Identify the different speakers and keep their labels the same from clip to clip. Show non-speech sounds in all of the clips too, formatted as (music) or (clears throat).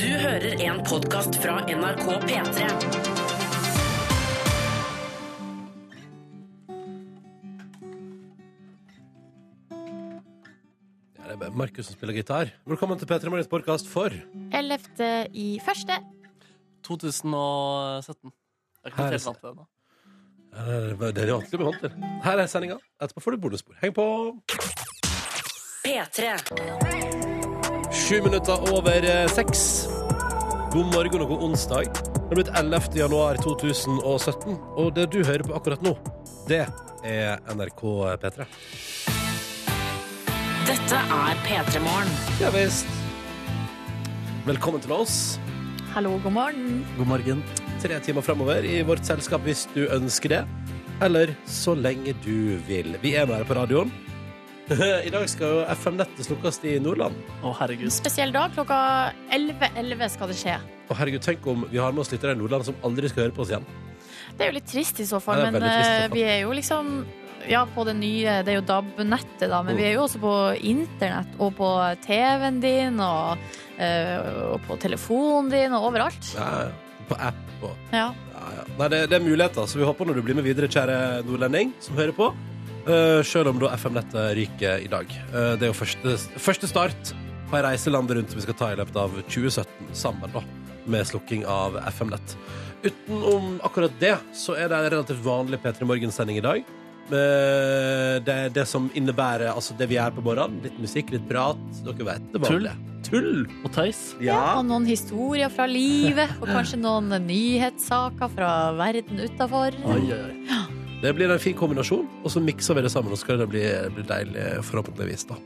Speaker 1: Du hører en podkast fra NRK P3.
Speaker 2: Ja, det er bare Eh, Markus som spiller gitar. Velkommen til P3 Morgens podkast for eh,
Speaker 3: 11. i første.
Speaker 4: 2017. Jeg er ikke
Speaker 2: Her er
Speaker 4: helt vant til det ennå.
Speaker 2: Eh, Det er vanskelig å bli vant til. Her er sendinga. Etterpå får du bonusspor. Heng på!
Speaker 1: P3.
Speaker 2: Sju minutter over eh, seks. God morgen og god onsdag. Det er blitt 11. januar 2017, og det du hører på akkurat nå, det er NRK P3.
Speaker 1: Dette er P3 Morgen.
Speaker 2: Ja visst. Velkommen til oss.
Speaker 3: Hallo, god morgen.
Speaker 4: God morgen.
Speaker 2: Tre timer framover i vårt selskap hvis du ønsker det. Eller så lenge du vil. Vi er nå her på radioen. (laughs) I dag skal jo FM-nettet slukkes i Nordland.
Speaker 4: Å, herregud.
Speaker 3: Spesiell dag. Klokka 11.11 skal det skje.
Speaker 2: Og herregud, tenk om vi har med oss lyttere i Nordland som aldri skal høre på oss igjen.
Speaker 3: Det er jo litt trist i så fall,
Speaker 2: Ja, det er
Speaker 3: men
Speaker 2: veldig trist i så
Speaker 3: eh,
Speaker 2: fall.
Speaker 3: vi er jo liksom ja, på det nye, det er jo DAB-nettet, da, men vi er jo også på internett og på TV-en din og, eh, og på telefonen din og overalt.
Speaker 2: Ja, ja. På app og
Speaker 3: Ja.
Speaker 2: Ja, ja. Nei, det, det er muligheter, så vi håper når du blir med videre, kjære nordlending som hører på. Eh, selv om da FM-nettet ryker i dag. Eh, det er jo første, første start på ei reise landet rundt som vi skal ta i løpet av 2017 sammen, da. Med slukking av FM-nett. Utenom akkurat det, så er det en relativt vanlig P3 Morgen-sending i dag. Eh, det er det som innebærer altså det vi gjør på morgenen. Litt musikk, litt prat. Dere vet det
Speaker 4: Tull.
Speaker 2: vanlige. Tull!
Speaker 4: Og tøys.
Speaker 3: Ja, og noen historier fra livet, og kanskje noen nyhetssaker fra verden utafor.
Speaker 4: Oi, oi, oi.
Speaker 2: Det blir en fin kombinasjon, og så mikser vi det sammen. Og så skal det bli, bli deilig, forhåpentligvis. da.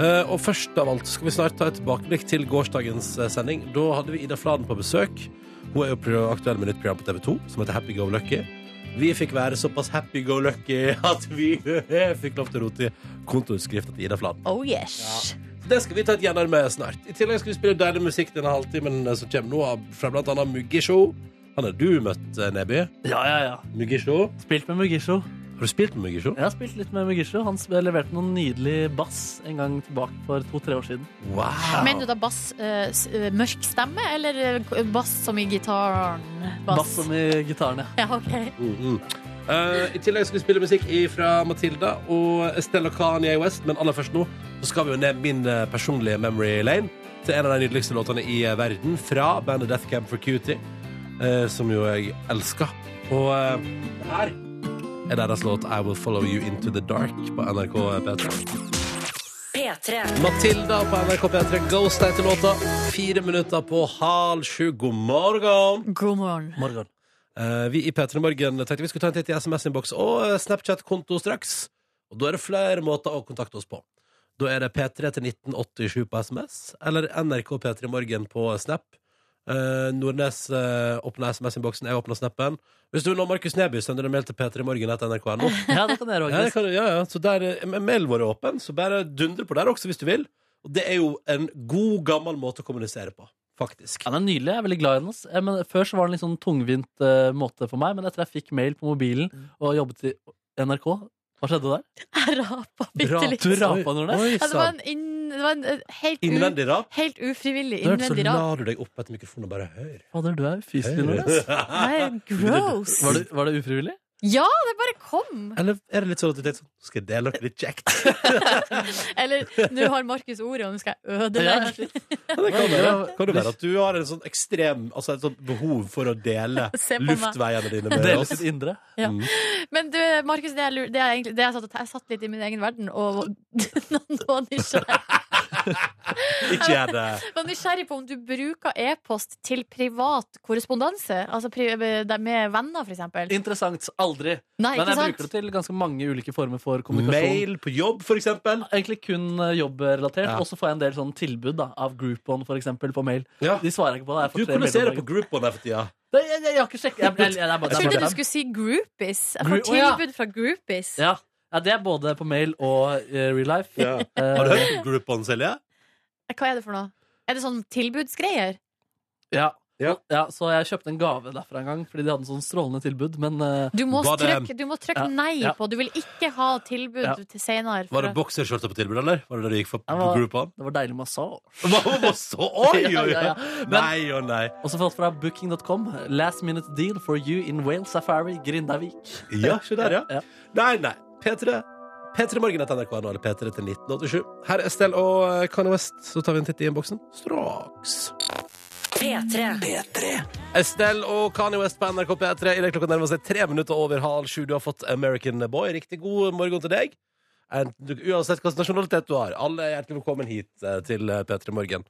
Speaker 2: Eh, og først av alt skal vi snart ta et tilbakeblikk til gårsdagens eh, sending. Da hadde vi Ida Fladen på besøk. Hun er jo pro- aktuell med nytt program på TV 2 som heter Happy Go Lucky. Vi fikk være såpass happy go lucky (laughs) at vi fikk lov til å rote i kontoutskrifta til Ida Fladen.
Speaker 3: Oh yes.
Speaker 2: Det skal vi ta et gjennom med snart. I tillegg skal vi spille deilig musikk denne halvtimen eh, som kommer nå, av- fra blant annet Muggisho. Han har du møtt, eh, Neby.
Speaker 4: Ja, ja, ja.
Speaker 2: Muggisho.
Speaker 4: Spilt med Mugisho.
Speaker 2: Har du spilt med Muggisho?
Speaker 4: Jeg har spilt litt med Mugisho. Han sp- leverte noen nydelig bass en gang tilbake for to-tre år siden.
Speaker 2: Wow.
Speaker 3: Mener du da bass eh, s- eh, mørk stemme, eller eh, bass som i gitaren?
Speaker 4: Bass, som i gitaren, ja.
Speaker 3: Ja, ok.
Speaker 2: Mm, mm. Eh, I tillegg skal vi spille musikk fra Matilda og Estella Kanye West, men aller først nå så skal vi jo ned min eh, personlige memory lane til en av de nydeligste låtene i eh, verden fra bandet Death Cab for Cutie, eh, som jo jeg elsker. Og eh, det her er deres låt I Will Follow You Into The Dark på NRK P3.
Speaker 1: P3.
Speaker 2: Matilda på NRK P3 Ghost heter låta. Fire minutter på halv sju. God morgen!
Speaker 3: God morgen.
Speaker 4: Morgen.
Speaker 2: Eh, vi i P3 Morgen tenkte vi skulle ta en titt i SMS-innboks og eh, Snapchat-konto straks. Og da er det flere måter å kontakte oss på. Da er det P3 til 1987 på SMS, eller NRK P3 Morgen på Snap. Eh, Nordnes uh, åpna SMS-innboksen, jeg åpna Snappen. Hvis du vil nå Markus Neby, sender du en mail til p3morgen.nrk.no.
Speaker 4: (laughs) Ja, det kan dere
Speaker 2: Ja, det
Speaker 4: òg.
Speaker 2: kan du- ja, ja. Så der, eh, mailen vår er åpen, så bare dundre på der også hvis du vil. Og det er jo en god, gammel måte å kommunisere på, faktisk.
Speaker 4: Ja, den er nydelig. Jeg er veldig glad i den. ass. Eh, Men før så var det en litt sånn tungvint eh, måte for meg, men etter jeg fikk mail på mobilen og jobbet i NRK Hva skjedde der?
Speaker 3: (laughs) Jeg rapa bitte
Speaker 2: Rap-
Speaker 3: litt.
Speaker 4: Du sånn. rapa, Nordnes.
Speaker 2: Oi,
Speaker 3: Ja, det var
Speaker 2: sann.
Speaker 3: en, inn, det var en eh, helt, u,
Speaker 2: Innvendig rap.
Speaker 3: helt ufrivillig
Speaker 2: Da så
Speaker 3: innvendig rap.
Speaker 2: la du deg opp etter mikrofonen og bare hør.
Speaker 4: Fader, du er ufyselig, Nordnes.
Speaker 2: (laughs) Hør.
Speaker 3: Nei,
Speaker 4: (laughs)
Speaker 3: gross.
Speaker 4: Var det, var det ufrivillig?
Speaker 3: Ja, det bare kom.
Speaker 2: Eller er det litt sånn at du tenker sånn "Nå Skal jeg dele noe litt kjekt?
Speaker 3: Eller nå har Markus ordet, og nå skal jeg
Speaker 4: Ja.
Speaker 3: ødelegge.
Speaker 2: Ja, (laughs) det kan,
Speaker 4: være.
Speaker 2: det kan det være at du har en sånn ekstrem Altså et sånt behov for å
Speaker 4: (laughs)
Speaker 2: dele
Speaker 3: Se på meg.
Speaker 2: luftveiene dine med
Speaker 4: Dele
Speaker 2: oss.
Speaker 4: sitt indre.
Speaker 3: Men du, Markus, det jeg, lur- det jeg, egentlig, det jeg, satt, og te- jeg satt litt i min egen verden og (laughs) var nysgjerrig,
Speaker 2: Ikke gjør det. (laughs)
Speaker 3: var nysgjerrig på om du bruker e-post til privat korrespondanse, altså pri, det er med venner, for eksempel.
Speaker 4: Interessant. Aldri.
Speaker 3: Nei,
Speaker 4: Men
Speaker 3: ikke
Speaker 4: jeg bruker
Speaker 3: sant?
Speaker 4: det til ganske mange ulike former for kommunikasjon.
Speaker 2: Mail på jobb, for eksempel.
Speaker 4: Egentlig kun eh, jobbrelatert.
Speaker 2: Ja.
Speaker 4: Og så får jeg en del sånn tilbud da, av Groupon for eksempel, på mail.
Speaker 2: Ja.
Speaker 4: De svarer jeg ikke på. da. Jeg
Speaker 2: Du
Speaker 4: får tre
Speaker 2: kommuniserer
Speaker 4: mail
Speaker 2: på
Speaker 4: om dagen.
Speaker 2: Groupon her for tida.
Speaker 4: Nei, jeg, jeg, jeg har ikke sjekket. Jeg, jeg, jeg, det er bare-
Speaker 3: Jeg
Speaker 4: det er
Speaker 3: trodde
Speaker 4: bare
Speaker 3: du
Speaker 4: dem.
Speaker 3: skulle si groupies. Jeg får
Speaker 4: Group- Å, ja.
Speaker 3: tilbud fra groupies.
Speaker 4: ja. ja, det er både på mail og eh, real life. Eh,
Speaker 2: (laughs) Har du hørt om Groupon, Silje?
Speaker 3: Eh, Hva er det for noe? Er det sånn tilbudsgreier?
Speaker 4: ja.
Speaker 2: Ja.
Speaker 4: Ja, så jeg kjøpte en gave derfra en gang, fordi de hadde en sånn strålende tilbud. Men eh,
Speaker 3: Du må
Speaker 2: Var det-
Speaker 3: trykke, du må trykke
Speaker 4: Ja,
Speaker 3: nei
Speaker 4: ja.
Speaker 3: på. Du vil ikke ha tilbud
Speaker 4: Ja.
Speaker 3: til senere. for
Speaker 2: Var det
Speaker 3: å-
Speaker 2: bokserskjorter på tilbud, eller? Var det det du gikk for
Speaker 4: Ja,
Speaker 2: på
Speaker 4: hva-
Speaker 2: Groupon? (laughs)
Speaker 4: det var deilig massasje.
Speaker 2: Hva var så Oi,
Speaker 4: Ja,
Speaker 2: oi,
Speaker 4: ja, ja.
Speaker 2: oi!
Speaker 4: Men-
Speaker 2: Nei og nei.
Speaker 4: Og så falt fra booking.com. Last minute deal for you in Wales Safari, Grindavik.
Speaker 2: Ja, se der, ja.
Speaker 4: Ja.
Speaker 2: Nei, nei. P3 P3 Morgen etter NRK nå, eller P3 til 1987. Her er Estelle og eh, Kanye West. Så tar vi en titt i innboksen straks.
Speaker 1: P3.
Speaker 2: Estelle og Kanye West på NRK P3. I det klokka nærmer seg tre minutter over halv sju. Du har fått American Boy. Riktig god morgen til deg. Ent- du- Uansett hvilken nasjonalitet du har. Alle er hjertelig velkommen hit eh, til eh, P3 Morgen.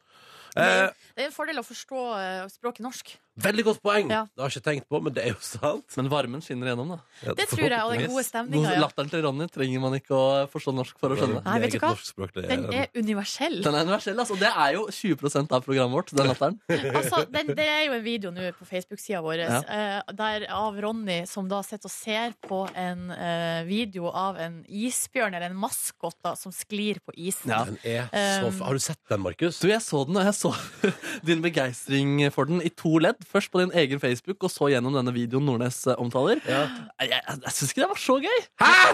Speaker 2: Eh,
Speaker 3: Det er en fordel å forstå eh, språket norsk.
Speaker 2: veldig godt poeng.
Speaker 3: Ja.
Speaker 2: Det har jeg ikke tenkt på, men det er jo sant.
Speaker 4: Men varmen skinner gjennom, da.
Speaker 2: Ja,
Speaker 3: Det tror jeg, og den
Speaker 2: forhåpentligvis.
Speaker 3: gode
Speaker 4: Noe,
Speaker 3: stemninga. Ja.
Speaker 4: latteren til Ronny trenger man ikke å forstå norsk for å skjønne.
Speaker 3: Nei, vet du
Speaker 2: Eget
Speaker 3: hva?
Speaker 2: norskspråk, det er-
Speaker 3: Den er universell.
Speaker 4: Den er universell, altså. Det er jo 20 av programmet vårt, den latteren.
Speaker 3: Altså, den, det er jo en video nå på Facebook-sida vår
Speaker 4: Ja.
Speaker 3: eh, der av Ronny som da sitter og ser på en eh, video av en isbjørn, eller en maskot, da, som sklir på isen.
Speaker 4: Ja.
Speaker 2: Den er så
Speaker 3: Um,
Speaker 2: f... Har du sett den, Markus?
Speaker 4: (laughs) Du, jeg så den, og jeg så (laughs) din begeistring for den i to ledd. Først på din egen Facebook, og så gjennom denne videoen Nordnes eh, omtaler. Jeg, jeg, jeg syns ikke det var så gøy!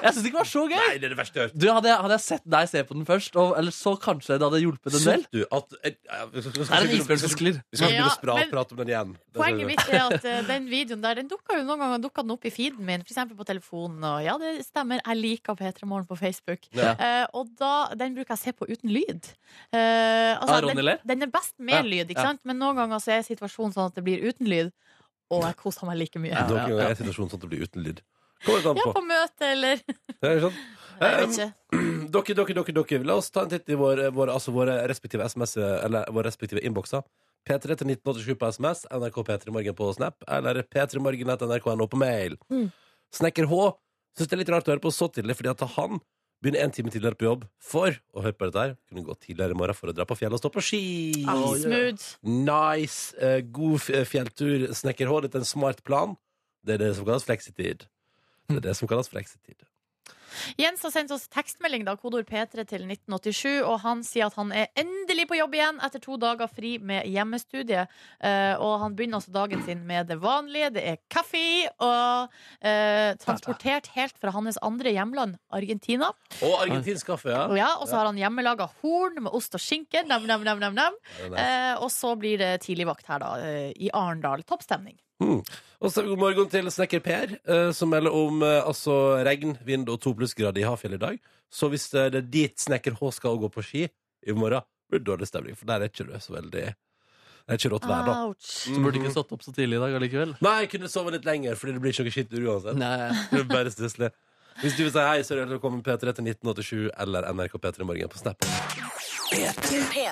Speaker 4: Jeg synes ikke det var så gøy
Speaker 2: Nei, det er det verste jeg har hørt.
Speaker 4: du, hadde, jeg- hadde jeg sett deg se på den først, og, eller så kanskje det hadde hjulpet en del?
Speaker 2: Syns du at eh, ja, Vi skal vi
Speaker 4: Det
Speaker 2: skal
Speaker 4: er en
Speaker 2: ikke
Speaker 4: isbjørn som
Speaker 2: begynne-
Speaker 4: sklir.
Speaker 2: vi skal ikke begynne å
Speaker 3: Ja,
Speaker 2: spra-
Speaker 3: men-
Speaker 2: prate om den igjen. Det skal vi
Speaker 3: Poenget
Speaker 2: gjøre.
Speaker 3: mitt er at eh, den videoen der Den dukka jo noen ganger dukket den opp i feeden min, f.eks. på telefonen. Og ja, det stemmer, jeg liker P3 Morgen på Facebook.
Speaker 2: Ja.
Speaker 3: Eh, og da, den bruker jeg å se på uten lyd. Eh,
Speaker 4: Ah, Ronny
Speaker 3: den,
Speaker 4: ler?
Speaker 3: den er best med
Speaker 4: Ja,
Speaker 3: lyd, ikke
Speaker 4: ja.
Speaker 3: sant? men noen ganger så er situasjonen sånn at det blir uten lyd. Og jeg koser meg like mye.
Speaker 2: Noen
Speaker 4: Ja,
Speaker 2: ganger
Speaker 4: ja, ja.
Speaker 2: er situasjonen sånn at det blir uten lyd. Kommer det an
Speaker 3: Ja,
Speaker 2: på.
Speaker 3: på møte eller
Speaker 2: Det er sånn. sant.
Speaker 3: Jeg vet ikke.
Speaker 2: Um, (clears throat) Dere, dere, dere, dere. La oss ta en titt i vår, vår, altså våre respektive SMS eh, Eller våre respektive innbokser. P3 til 1987 på SMS, NRK P3 Morgen på Snap eller P3 Morgen etter nrk.no på mail.
Speaker 3: Mm.
Speaker 2: Snekker H syns det er litt rart å høre på så tidlig, fordi at han begynner en time tidligere på jobb for å høre på dette her. Kunne gå tidligere i morgen for å dra på fjellet og stå på ski.
Speaker 3: Ah, Smooth.
Speaker 2: Nice. eh, god f- fjelltur, snekker H. Dette er en smart plan. Det er det som kalles fleksitid. Det er det som kalles fleksitid.
Speaker 3: Jens har sendt oss tekstmelding, da, kodord P3 til 1987, og han sier at han er endelig på jobb igjen etter to dager fri med hjemmestudie. Eh, og han begynner altså dagen sin med det vanlige. Det er kaffe og eh, transportert helt fra hans andre hjemland, Argentina.
Speaker 2: Og argentinsk kaffe, ja.
Speaker 3: Og, ja, og så har han hjemmelaga horn med ost og skinke. Nam, nam, nam, nam, nam.
Speaker 2: Ja, det er
Speaker 3: Eh, og så blir det tidligvakt her, da, eh, i Arendal. Topp stemning.
Speaker 2: Og så god morgen til snekker Per, eh, som melder om eh, altså, regn, vind og to plussgrader i Hafjell i dag. Så hvis eh, det er dit snekker H skal gå på ski i morgen, blir det dårlig stemning, for der er ikke det så veldig Det er ikke rått vær,
Speaker 3: Ah.
Speaker 2: da.
Speaker 3: Ouch.
Speaker 4: Du burde ikke stått opp så tidlig i dag allikevel.
Speaker 2: Nei, jeg kunne sove litt lenger, fordi det blir ikke noe skitur uansett.
Speaker 4: Nei.
Speaker 2: Det er Bare stusslig. Hvis du vil si hei, så er det velkommen P3 til 1987 eller NRK P3 Morgen på Snap.
Speaker 1: P3.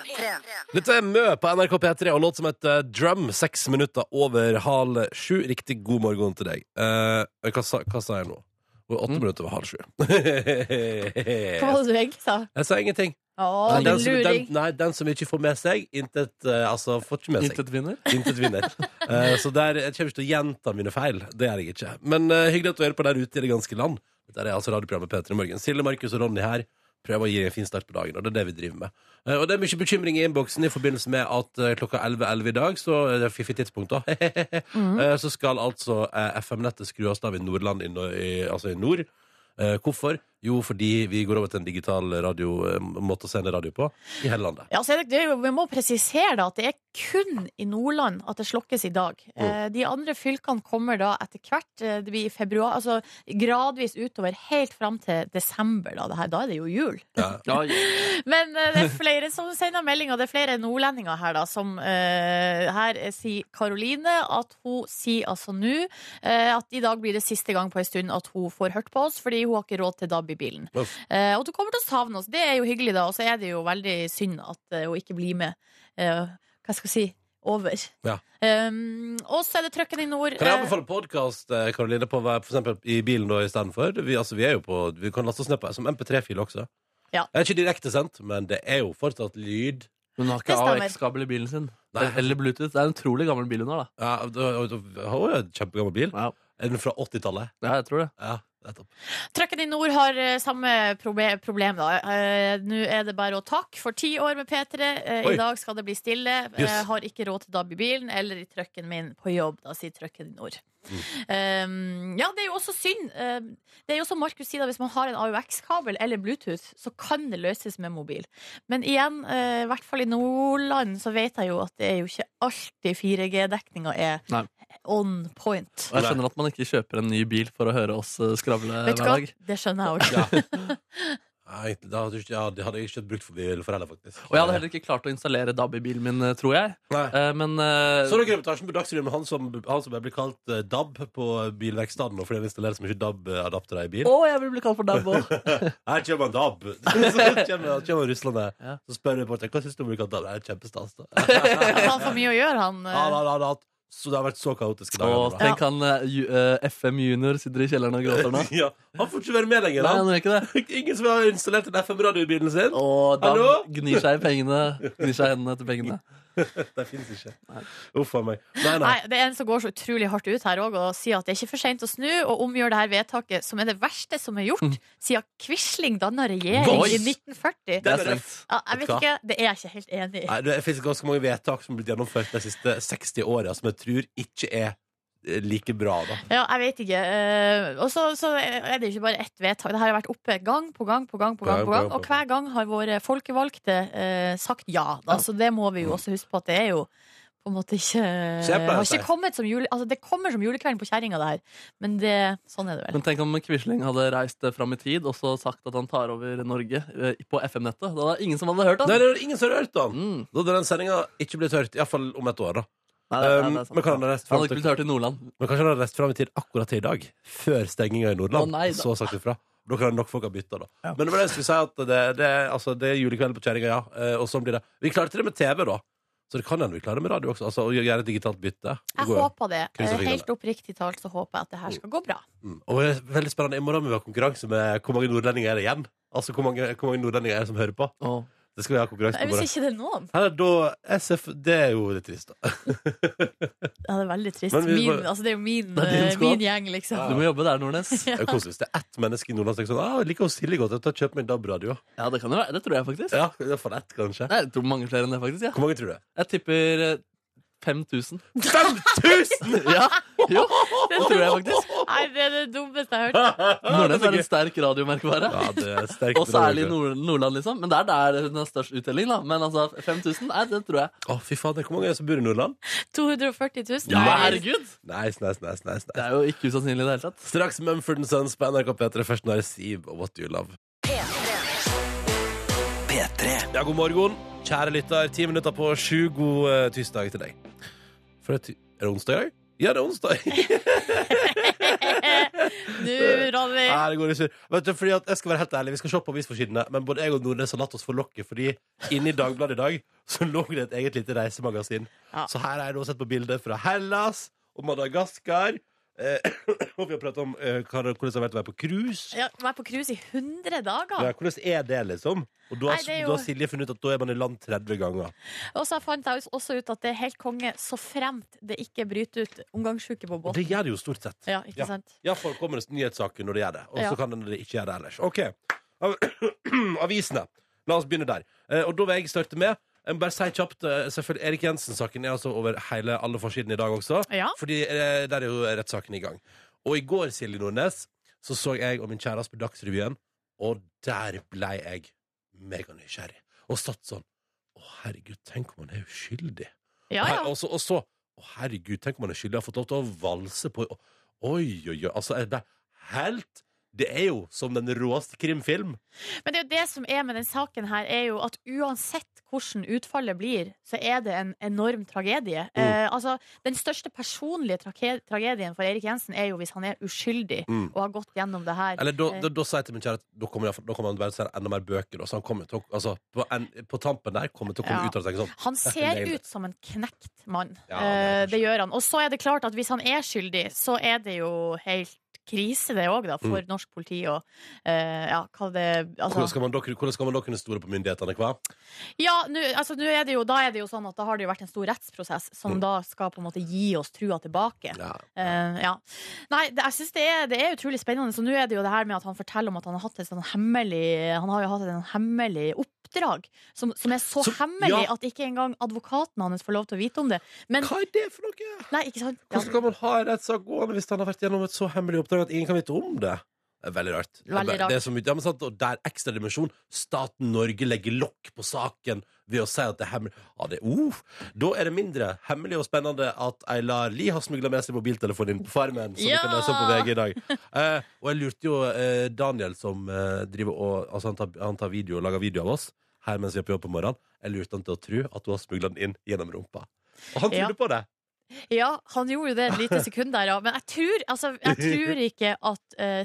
Speaker 2: Dette er Mø på NRK P3 og låt som heter eh, Drum. Seks minutter over halv sju. Riktig god morgen til deg. Eh, hva, sa, hva sa jeg nå? Det var Åtte
Speaker 4: Mm.
Speaker 2: minutter over halv sju.
Speaker 3: Hva var det du egentlig sa?
Speaker 2: jeg sa ingenting.
Speaker 3: Å,
Speaker 2: Nei,
Speaker 3: din
Speaker 2: den, som, den,
Speaker 3: luring.
Speaker 2: nei, den som ikke får med seg, intet eh, Altså, får ikke med seg.
Speaker 4: Intet vinner.
Speaker 2: Intet vinner. Eh, så der, jeg kommer ikke til å gjenta mine feil. Det gjør jeg ikke. Men eh, hyggelig at du hører på der ute i det ganske land. Dette er altså radioprogrammet P3 Morgen. Silje, Markus og Ronny her. Prøver å gi deg en fin start på dagen, og det er det vi driver med. Eh, og det er mye bekymring i innboksen i forbindelse med at eh, klokka 11.11 i dag, så eh, det er fiffig tidspunkt (laughs) da, Eh, så skal altså eh, FM-nettet skrues av i Nordland, i, no- i, altså i nord. Eh, hvorfor? Jo, fordi vi går over til en digital radio, eh, måte å sende radio på i hele landet.
Speaker 3: Ja, så er det, det, er jo- vi må presisere da, at det er kun i Nordland at det slokkes i dag. Eh, de andre fylkene kommer da etter hvert. eh, Det blir i februar, altså gradvis utover helt fram til desember. Da, det her, da er det jo jul. Men eh, det er flere som sender meldinger. Det er flere nordlendinger her, da, som eh, Her sier Karoline at hun sier altså nå eh, at i dag blir det siste gang på en stund at hun får hørt på oss, fordi hun har ikke råd til DAB i bilen.
Speaker 2: Uff.
Speaker 3: Eh, og du kommer til å savne oss. Det er jo hyggelig, da. Og så er det jo veldig synd at eh, hun ikke blir med. eh, hva skal jeg si? Over.
Speaker 2: Ja.
Speaker 3: Um, og så er det Trøkken i nord.
Speaker 2: Kan jeg
Speaker 3: eh,
Speaker 2: anbefale podkast Karoline, på å være for eksempel i bilen da istedenfor? Vi, altså, vi, er jo på- vi kan laste oss ned på som MP3-fil også.
Speaker 3: Ja.
Speaker 2: Det er ikke direktesendt, men det er jo fortsatt lyd.
Speaker 4: Hun har
Speaker 3: Det
Speaker 4: ikke
Speaker 3: stemmer.
Speaker 4: AX-kabel i bilen sin.
Speaker 2: Nei.
Speaker 4: Eller Bluetooth. Det er en utrolig gammel bil hun har,
Speaker 2: Ja,
Speaker 4: da.
Speaker 2: det- det- det- Hun har jo en kjempegammel bil.
Speaker 4: Ja.
Speaker 2: Er den fra 80-tallet?
Speaker 4: Ja, jeg tror det.
Speaker 2: Ja.
Speaker 4: Nettopp.
Speaker 3: Trøkken i nord har eh, samme proble problem, da. Eh, Nå er det bare å takke for ti år med P3. Eh,
Speaker 2: Oi.
Speaker 3: I dag skal det bli stille. Eh,
Speaker 2: Yes.
Speaker 3: har ikke råd til DAB i bilen eller i trøkken min på jobb, da sier Trøkken i nord. Eh, ja, det er jo også synd. Eh, det er jo som Markus sier, da, hvis man har en AUX-kabel eller Bluetooth, så kan det løses med mobil. Men igjen, eh, i hvert fall i Nordland, så vet jeg jo at det er jo ikke alltid 4G-dekninga er
Speaker 4: Nei.
Speaker 3: on point.
Speaker 4: Og jeg skjønner at man ikke kjøper en ny bil for å høre oss eh, skravle hver
Speaker 3: Vet du hva?
Speaker 4: dag.
Speaker 3: Det skjønner jeg også.
Speaker 2: Ja. Nei, egentlig, det hadde, jeg ikke- ja, det hadde jeg ikke brukt for bil for heller, faktisk.
Speaker 4: Og jeg hadde heller ikke klart å installere DAB i bilen min, eh, tror jeg.
Speaker 2: Nei.
Speaker 4: Eh, Men eh,
Speaker 2: Så dere reportasjen på Dagsrevyen med han som, han som ble kalt eh, DAB på bilverkstedet nå fordi han installerer så mye DAB-adaptere i bil?
Speaker 4: Å, jeg vil bli kalt for DAB (laughs) òg!
Speaker 2: Her kommer han DAB! (laughs) Så kommer, kommer Russland
Speaker 4: Ja.
Speaker 2: Så spør reporteren hva syns du om å bli kalt DAB. Det er kjempestas. da.
Speaker 3: Han har for mye å gjøre, han.
Speaker 2: Ja, han hadde hatt- Så det har vært så kaotiske
Speaker 4: Og
Speaker 2: dager. nå, da.
Speaker 4: tenk han eh, ju- eh, FM Junior sitter i kjelleren og gråter nå.
Speaker 2: Ja, han får (laughs) ikke være med lenger.
Speaker 4: Nei,
Speaker 2: Han.
Speaker 4: han gjør ikke det.
Speaker 2: Ingen som har installert en FM-radio i bilen sin.
Speaker 4: Og da
Speaker 2: Hallo?
Speaker 4: gnir seg i pengene. Gnir seg i hendene etter (laughs) pengene.
Speaker 2: Det fins ikke. Uff a meg. Nei, nei.
Speaker 3: Nei, det er en som går så utrolig hardt ut her òg og sier at det er ikke for seint å snu og omgjøre det her vedtaket, som er det verste som er gjort siden Quisling danna regjering
Speaker 2: Voice.
Speaker 3: i 1940.
Speaker 2: Mm. Det
Speaker 4: Det
Speaker 2: er
Speaker 4: er
Speaker 2: det.
Speaker 4: strengt.
Speaker 3: Ja, jeg vet ikke, Det er jeg ikke helt enig i.
Speaker 2: Nei, det finnes ganske mange vedtak som har blitt gjennomført de siste 60 åra, som jeg tror ikke er eh, like bra. da
Speaker 3: Ja, jeg vet ikke. Eh, Og så, så er det jo ikke bare ett vedtak. Det her har vært oppe gang på gang på gang, på gang, på gang og hver gang har våre folkevalgte eh, sagt ja. Da. Så det må vi jo også huske på at det er jo på en måte ikke
Speaker 2: Mm. Se på det,
Speaker 3: har ikke kommet som jule, altså Det kommer som julekvelden på kjerringa, det her. Men det, sånn er det vel.
Speaker 4: Men tenk om Quisling hadde reist eh, fram i tid og så sagt at han tar over Norge eh, på FM-nettet. Da var det ingen som hadde hørt han.
Speaker 2: Nei, det er ingen som har hørt den!
Speaker 4: Mm.
Speaker 2: Da hadde den sendinga ikke blitt hørt, iallfall om et år. da
Speaker 4: Nei, det,
Speaker 2: um,
Speaker 4: nei, det er sant.
Speaker 2: Men kan han ha reist
Speaker 4: Han
Speaker 2: fram
Speaker 4: hadde ikke
Speaker 2: til,
Speaker 4: blitt hørt i Nordland.
Speaker 2: men kanskje han har reist fram i tid akkurat til i dag? Før stenginga i
Speaker 4: Å,
Speaker 2: Nordland?
Speaker 4: nei, da.
Speaker 2: så sagt ifra. Da kan nok folk ha bytta, da. Men det var det jeg skulle si at det, det, altså, det er julekvelden på kjerringa, ja. eh, Og sånn blir det. Vi klarte det med TV, da. Så det kan hende vi klarer det med radio også. Altså, å gjøre et digitalt bytte. Det
Speaker 3: Jeg
Speaker 2: går jo.
Speaker 3: håper det. Eh,
Speaker 2: Kryss og fingrene.
Speaker 3: Helt oppriktig talt så håper jeg at det her skal gå bra.
Speaker 2: Mm. Og det er veldig spennende. I morgen må vi ha konkurranse med hvor mange nordlendinger er det igjen. Altså hvor mange, hvor mange nordlendinger er det som hører på.
Speaker 4: Å.
Speaker 2: Det skal vi ha konkurranse på i
Speaker 3: Hvis
Speaker 2: morgen.
Speaker 3: ikke det er noen.
Speaker 2: Her er da SF, det er jo litt
Speaker 4: (laughs)
Speaker 2: trist, da.
Speaker 3: Ja, det er veldig trist.
Speaker 2: Men vi-
Speaker 3: Min, altså, det er jo min,
Speaker 4: Det er din
Speaker 3: eh,
Speaker 4: skål.
Speaker 3: min gjeng, liksom.
Speaker 4: Du må jobbe der, (laughs) Nordnes.
Speaker 2: Det er koselig. Hvis Det er ett menneske i Nordland som tenker sånn ah, jeg liker Silje godt, jeg tar kjøp meg en DAB-radio.
Speaker 4: Ja, det kan jo være. Det tror jeg faktisk.
Speaker 2: Ja, i hvert fall ett, kanskje.
Speaker 4: Nei, jeg tror mange flere enn det, faktisk. Ja.
Speaker 2: Hvor mange tror du?
Speaker 4: Jeg tipper eh,
Speaker 2: (laughs)
Speaker 4: 5000.
Speaker 2: 5000! (laughs)
Speaker 4: Ja, jo, det tror jeg faktisk.
Speaker 3: Nei, det er det dummeste jeg har hørt.
Speaker 4: Nordnes er en sterk radiomerkevare.
Speaker 2: Ja, det er sterkt.
Speaker 4: Og særlig i Nord Nordland, liksom. Men det er der hun har størst uttelling, da. Men altså, 5000, nei, det tror jeg.
Speaker 2: Å, fy fader, hvor mange er det som bor i Nordland?
Speaker 3: 240 000.
Speaker 2: Ja.
Speaker 3: Nei.
Speaker 4: Herregud!
Speaker 2: Nice, nice, nice, nice,
Speaker 4: Det
Speaker 2: nice.
Speaker 4: er jo ikke usannsynlig i det hele tatt.
Speaker 2: Straks Mumford Sons på NRK P3. Først nå er det Siv og What Do You Love. Ja, god morgen, kjære lytter. Ti minutter på sju. God eh, tirsdag til deg. For det er, ti- er det onsdag i dag? Ja, det er onsdag.
Speaker 3: Nå, Ronny.
Speaker 2: Nei, det går ikke. Vet du, fordi at jeg skal være helt ærlig, vi skal se på avisforsidene, men både jeg og Nordnes har latt oss forlokke, fordi inne i Dagbladet i dag så lå det et eget lite reisemagasin.
Speaker 3: Ja.
Speaker 2: Så her er det også sett på bilder fra Hellas og Madagaskar. Eh, (clears throat) og vi har pratet om eh, hva det- hvordan det har vært å være på cruise.
Speaker 3: Ja, Vær på cruise i 100
Speaker 2: Ja,
Speaker 3: dager.
Speaker 2: hvordan er det, liksom? Og da har,
Speaker 3: Nei, det er jo-
Speaker 2: da har Silje funnet ut at da er man i land 30 ganger.
Speaker 3: Og så fant jeg også ut at det er helt konge så fremt det ikke bryter ut omgangssyke på
Speaker 2: Og
Speaker 3: båten.
Speaker 2: det gjør det jo stort sett.
Speaker 3: Ja, ikke sant?
Speaker 2: Ja, for det kommer det nyhetssaker når det gjør det. Og så
Speaker 3: Ja.
Speaker 2: kan det ikke gjøre det ellers. OK. Av- (clears throat) Avisene. La oss begynne der. Eh, Og da vil jeg starte med jeg må bare si kjapt, eh, selvfølgelig, Erik Jensen-saken er altså over hele alle forsidene i dag også.
Speaker 3: Ja.
Speaker 2: Fordi eh, der er jo rettssaken i gang. Og i går, Silje Nordnes, så så jeg og min kjæreste på Dagsrevyen, og der ble jeg meganysgjerrig. Og satt sånn Å, herregud, tenk om han er uskyldig.
Speaker 3: Ja, ja.
Speaker 2: Og så, og så å, herregud, tenk om han er skyldig. Har fått lov til å valse på Oi, oi, oi. Altså, jeg ble helt Det er jo som den råeste krimfilm.
Speaker 3: Men det er jo det som er med den saken her, er jo at uansett hvordan utfallet blir, så er det en enorm tragedie.
Speaker 2: Mm.
Speaker 3: Eh, altså, den største personlige trage- tragedien for Erik Jensen er jo hvis han er uskyldig
Speaker 2: Mm.
Speaker 3: og har gått gjennom det her.
Speaker 2: Eller da,
Speaker 3: Eh,
Speaker 2: da, da sa jeg til min kjære at da kommer, jeg, da kommer han bare til å selge enda mer bøker. Og så han kommer til å altså, på, en, på tampen der kommer til å komme
Speaker 3: Ja.
Speaker 2: ut og tenke sånn
Speaker 3: han ser
Speaker 2: Nailer.
Speaker 3: ut som en knekt mann.
Speaker 2: Ja, han er
Speaker 3: Eh, det gjør han. Og så er det klart at hvis han er skyldig, så er det jo helt krise, det òg, da, for norsk politi og eh, ja, hva det
Speaker 2: Mm. Hvordan
Speaker 3: altså,
Speaker 2: skal man da, hvordan skal man da kunne stole på myndighetene? Hva?
Speaker 3: Ja, nå altså, nå er det jo, da er det jo sånn at da har det jo vært en stor rettsprosess som
Speaker 2: Mm.
Speaker 3: da skal på en måte gi oss trua tilbake.
Speaker 2: Ja.
Speaker 3: Eh, ja. Nei, det, jeg synes det, er, det er utrolig spennende. Så nå er det jo det her med at han forteller om at han har hatt et sånn hemmelig Han har jo hatt et hemmelig oppdrag som, som er så,
Speaker 2: Så-
Speaker 3: hemmelig
Speaker 2: ja.
Speaker 3: at ikke engang advokaten hans får lov til å vite om det. Men
Speaker 2: Hva er det for noe?
Speaker 3: Nei, ikke sant? Ja,
Speaker 2: Hvordan kan man ha en rettssak gående hvis han har vært gjennom et så hemmelig oppdrag at ingen kan vite om det? Det er veldig rart.
Speaker 3: Veldig rart.
Speaker 2: Det er så mye, ja, men sant, og der ekstra dimensjon. Staten Norge legger lokk på saken ved å si at det er hemmelig. Ja, det, uh, da er det mindre hemmelig og spennende at Eilar Lie har smugla med seg mobiltelefonen inn på Farmen, som
Speaker 3: Ja!
Speaker 2: vi kan lese om på VG i dag. Eh, og jeg lurte jo eh, Daniel, som eh, driver og altså, han, tar, han tar video og lager video av oss her mens vi er på jobb på morgenen, jeg lurte han til å tro at du har smugla den inn gjennom rumpa. Og han
Speaker 3: Ja.
Speaker 2: trodde på det!
Speaker 3: ja, han gjorde jo det et lite sekund der, ja. Men jeg tror, altså, jeg tror ikke at eh,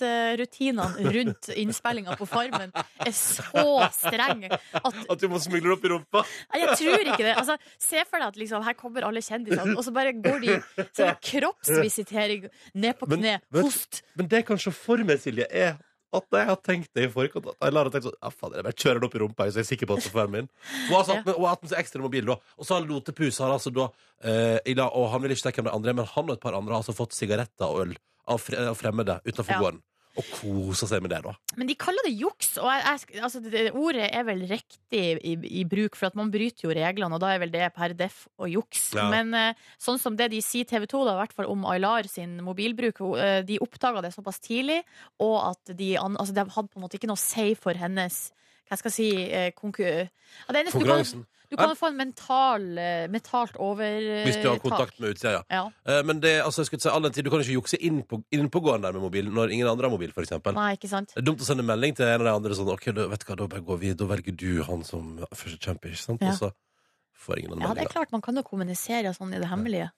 Speaker 3: sikkerhetsrutinene rundt innspillinga på Farmen er så strenge at
Speaker 2: At du må smugle det opp i rumpa!
Speaker 3: Nei, jeg tror ikke det. Altså, se for deg at liksom, her kommer alle kjendisene, og så bare går de så er det kroppsvisitering ned på
Speaker 2: Men-
Speaker 3: kne.
Speaker 2: men-
Speaker 3: Host.
Speaker 2: Men det jeg kan se for meg, Silje, er at jeg har tenkt det i forkant. At jeg lar det tenke sånn, ja faen, jeg bare kjører det opp i rumpa, jeg, så jeg er sikker på at det får være min. Hun har satt med, hun har hatt med seg ekstra mobil da. Og så har han Lotepus har altså da, eh, i dag- og han vil ikke tenke om det andre, men han og et par andre har altså fått sigaretter og øl av fre- av fremmede utenfor
Speaker 3: Ja.
Speaker 2: gården. Og kosa seg med det da.
Speaker 3: Men de kaller det juks, og jeg, jeg, altså, det, det ordet er vel riktig i, i bruk, for at man bryter jo reglene, og da er vel det per def og juks.
Speaker 2: Ja.
Speaker 3: Men eh, sånn som det de sier TV 2 da, i hvert fall om Aylar sin mobilbruk, hun, eh, de oppdaga det såpass tidlig, og at de, an, altså, de hadde på en måte ikke noe å si for hennes hva skal jeg si eh, konku... Ja, det eneste du kan,
Speaker 2: Konkurransen.
Speaker 3: du kan jo få en mental, eh, mentalt overtak.
Speaker 2: Hvis du har kontakt med utsida, ja.
Speaker 3: Ja.
Speaker 2: Eh, Men det, altså, jeg skulle si, all den tid, du kan ikke jukse inn på, inn på gården der med mobilen når ingen andre har mobil, for eksempel.
Speaker 3: Nei, ikke sant?
Speaker 2: Det er dumt å sende melding til en av de andre sånn Ok, da, vet du hva, da bare går vi, da velger du han som første kjemper, ikke sant?
Speaker 3: Ja.
Speaker 2: Og så får ingen annen
Speaker 3: Ja, det er
Speaker 2: melding. da.
Speaker 3: klart man kan jo kommunisere sånn i det hemmelige.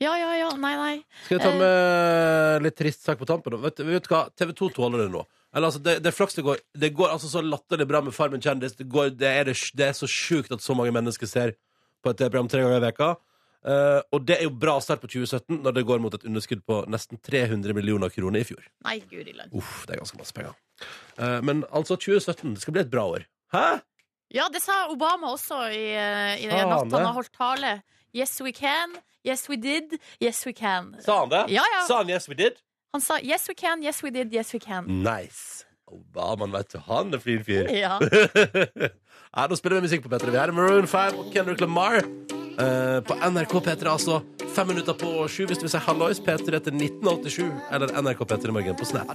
Speaker 3: Ja, ja, ja. Nei, nei.
Speaker 2: Skal
Speaker 3: Eh.
Speaker 2: vi ta med litt trist sak på tampen? da? Vet, vet du hva, TV 2 tåler det nå. Eller, altså, det, det er flaks det går. Det går altså så latterlig bra med Farmen kjendis. Det, går, det, er, det, det er så sjukt at så mange mennesker ser på et TV-program tre ganger i veka. Eh, og det er jo bra start på 2017 når det går mot et underskudd på nesten 300 millioner kroner i fjor.
Speaker 3: Nei, guri land.
Speaker 2: Uff, det er ganske masse penger. Eh, men altså, 2017 det skal bli et bra år. Hæ?
Speaker 3: Ja, det sa Obama også i, eh, i
Speaker 2: Sa han
Speaker 3: natta
Speaker 2: det?
Speaker 3: han har holdt tale. Yes, we can. Yes, we did. Yes, we can.
Speaker 2: Sa han det?
Speaker 3: Ja, ja.
Speaker 2: Sa han 'yes, we did'?
Speaker 3: Han sa yes, we can. Yes, we did. Yes, we can.
Speaker 2: Nice. Obamaen, vet du. Han er flin (laughs) fyr.
Speaker 3: Ja.
Speaker 2: Nei, nå spiller vi musikk på P3. Vi er Maroon 5 og Kendrick Lamar. eh, på NRK P3, altså. Fem minutter på sju hvis du vil si hallois. P3 til 1987. Eller NRK P3 Morgen på Snap.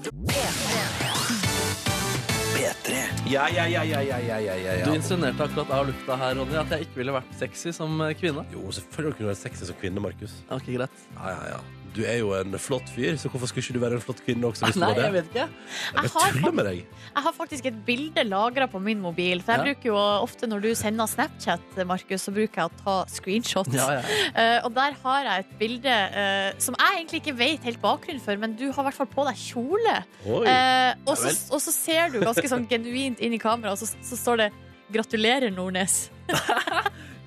Speaker 2: Ja, ja, ja, ja, ja, ja, ja, ja,
Speaker 4: Du
Speaker 2: ja.
Speaker 4: insinuerte akkurat av lufta her, Ronny, at jeg ikke ville vært sexy som eh, kvinne.
Speaker 2: Jo, selvfølgelig kunne du være sexy som kvinne, Markus.
Speaker 4: Ok, greit.
Speaker 2: Ja, ja, ja. Du er jo en flott fyr, så hvorfor skulle ikke du være en flott kvinne også? Hvis
Speaker 4: Nei,
Speaker 2: du var det?
Speaker 4: jeg vet ikke.
Speaker 2: Jeg
Speaker 3: Jeg
Speaker 2: bare tuller
Speaker 3: har,
Speaker 2: med deg.
Speaker 3: jeg har faktisk et bilde lagra på min mobil. For jeg
Speaker 4: Ja.
Speaker 3: bruker jo ofte når du sender Snapchat, Markus, så bruker jeg å ta screenshots.
Speaker 4: Ja, ja.
Speaker 3: Eh, og der har jeg et bilde eh, som jeg egentlig ikke vet helt bakgrunnen for, men du har i hvert fall på deg kjole.
Speaker 2: Oi.
Speaker 3: Eh, og,
Speaker 4: Ja
Speaker 3: så,
Speaker 4: vel.
Speaker 3: og så ser du ganske sånn genuint inn i kameraet, og så, så står det 'Gratulerer, Nordnes'.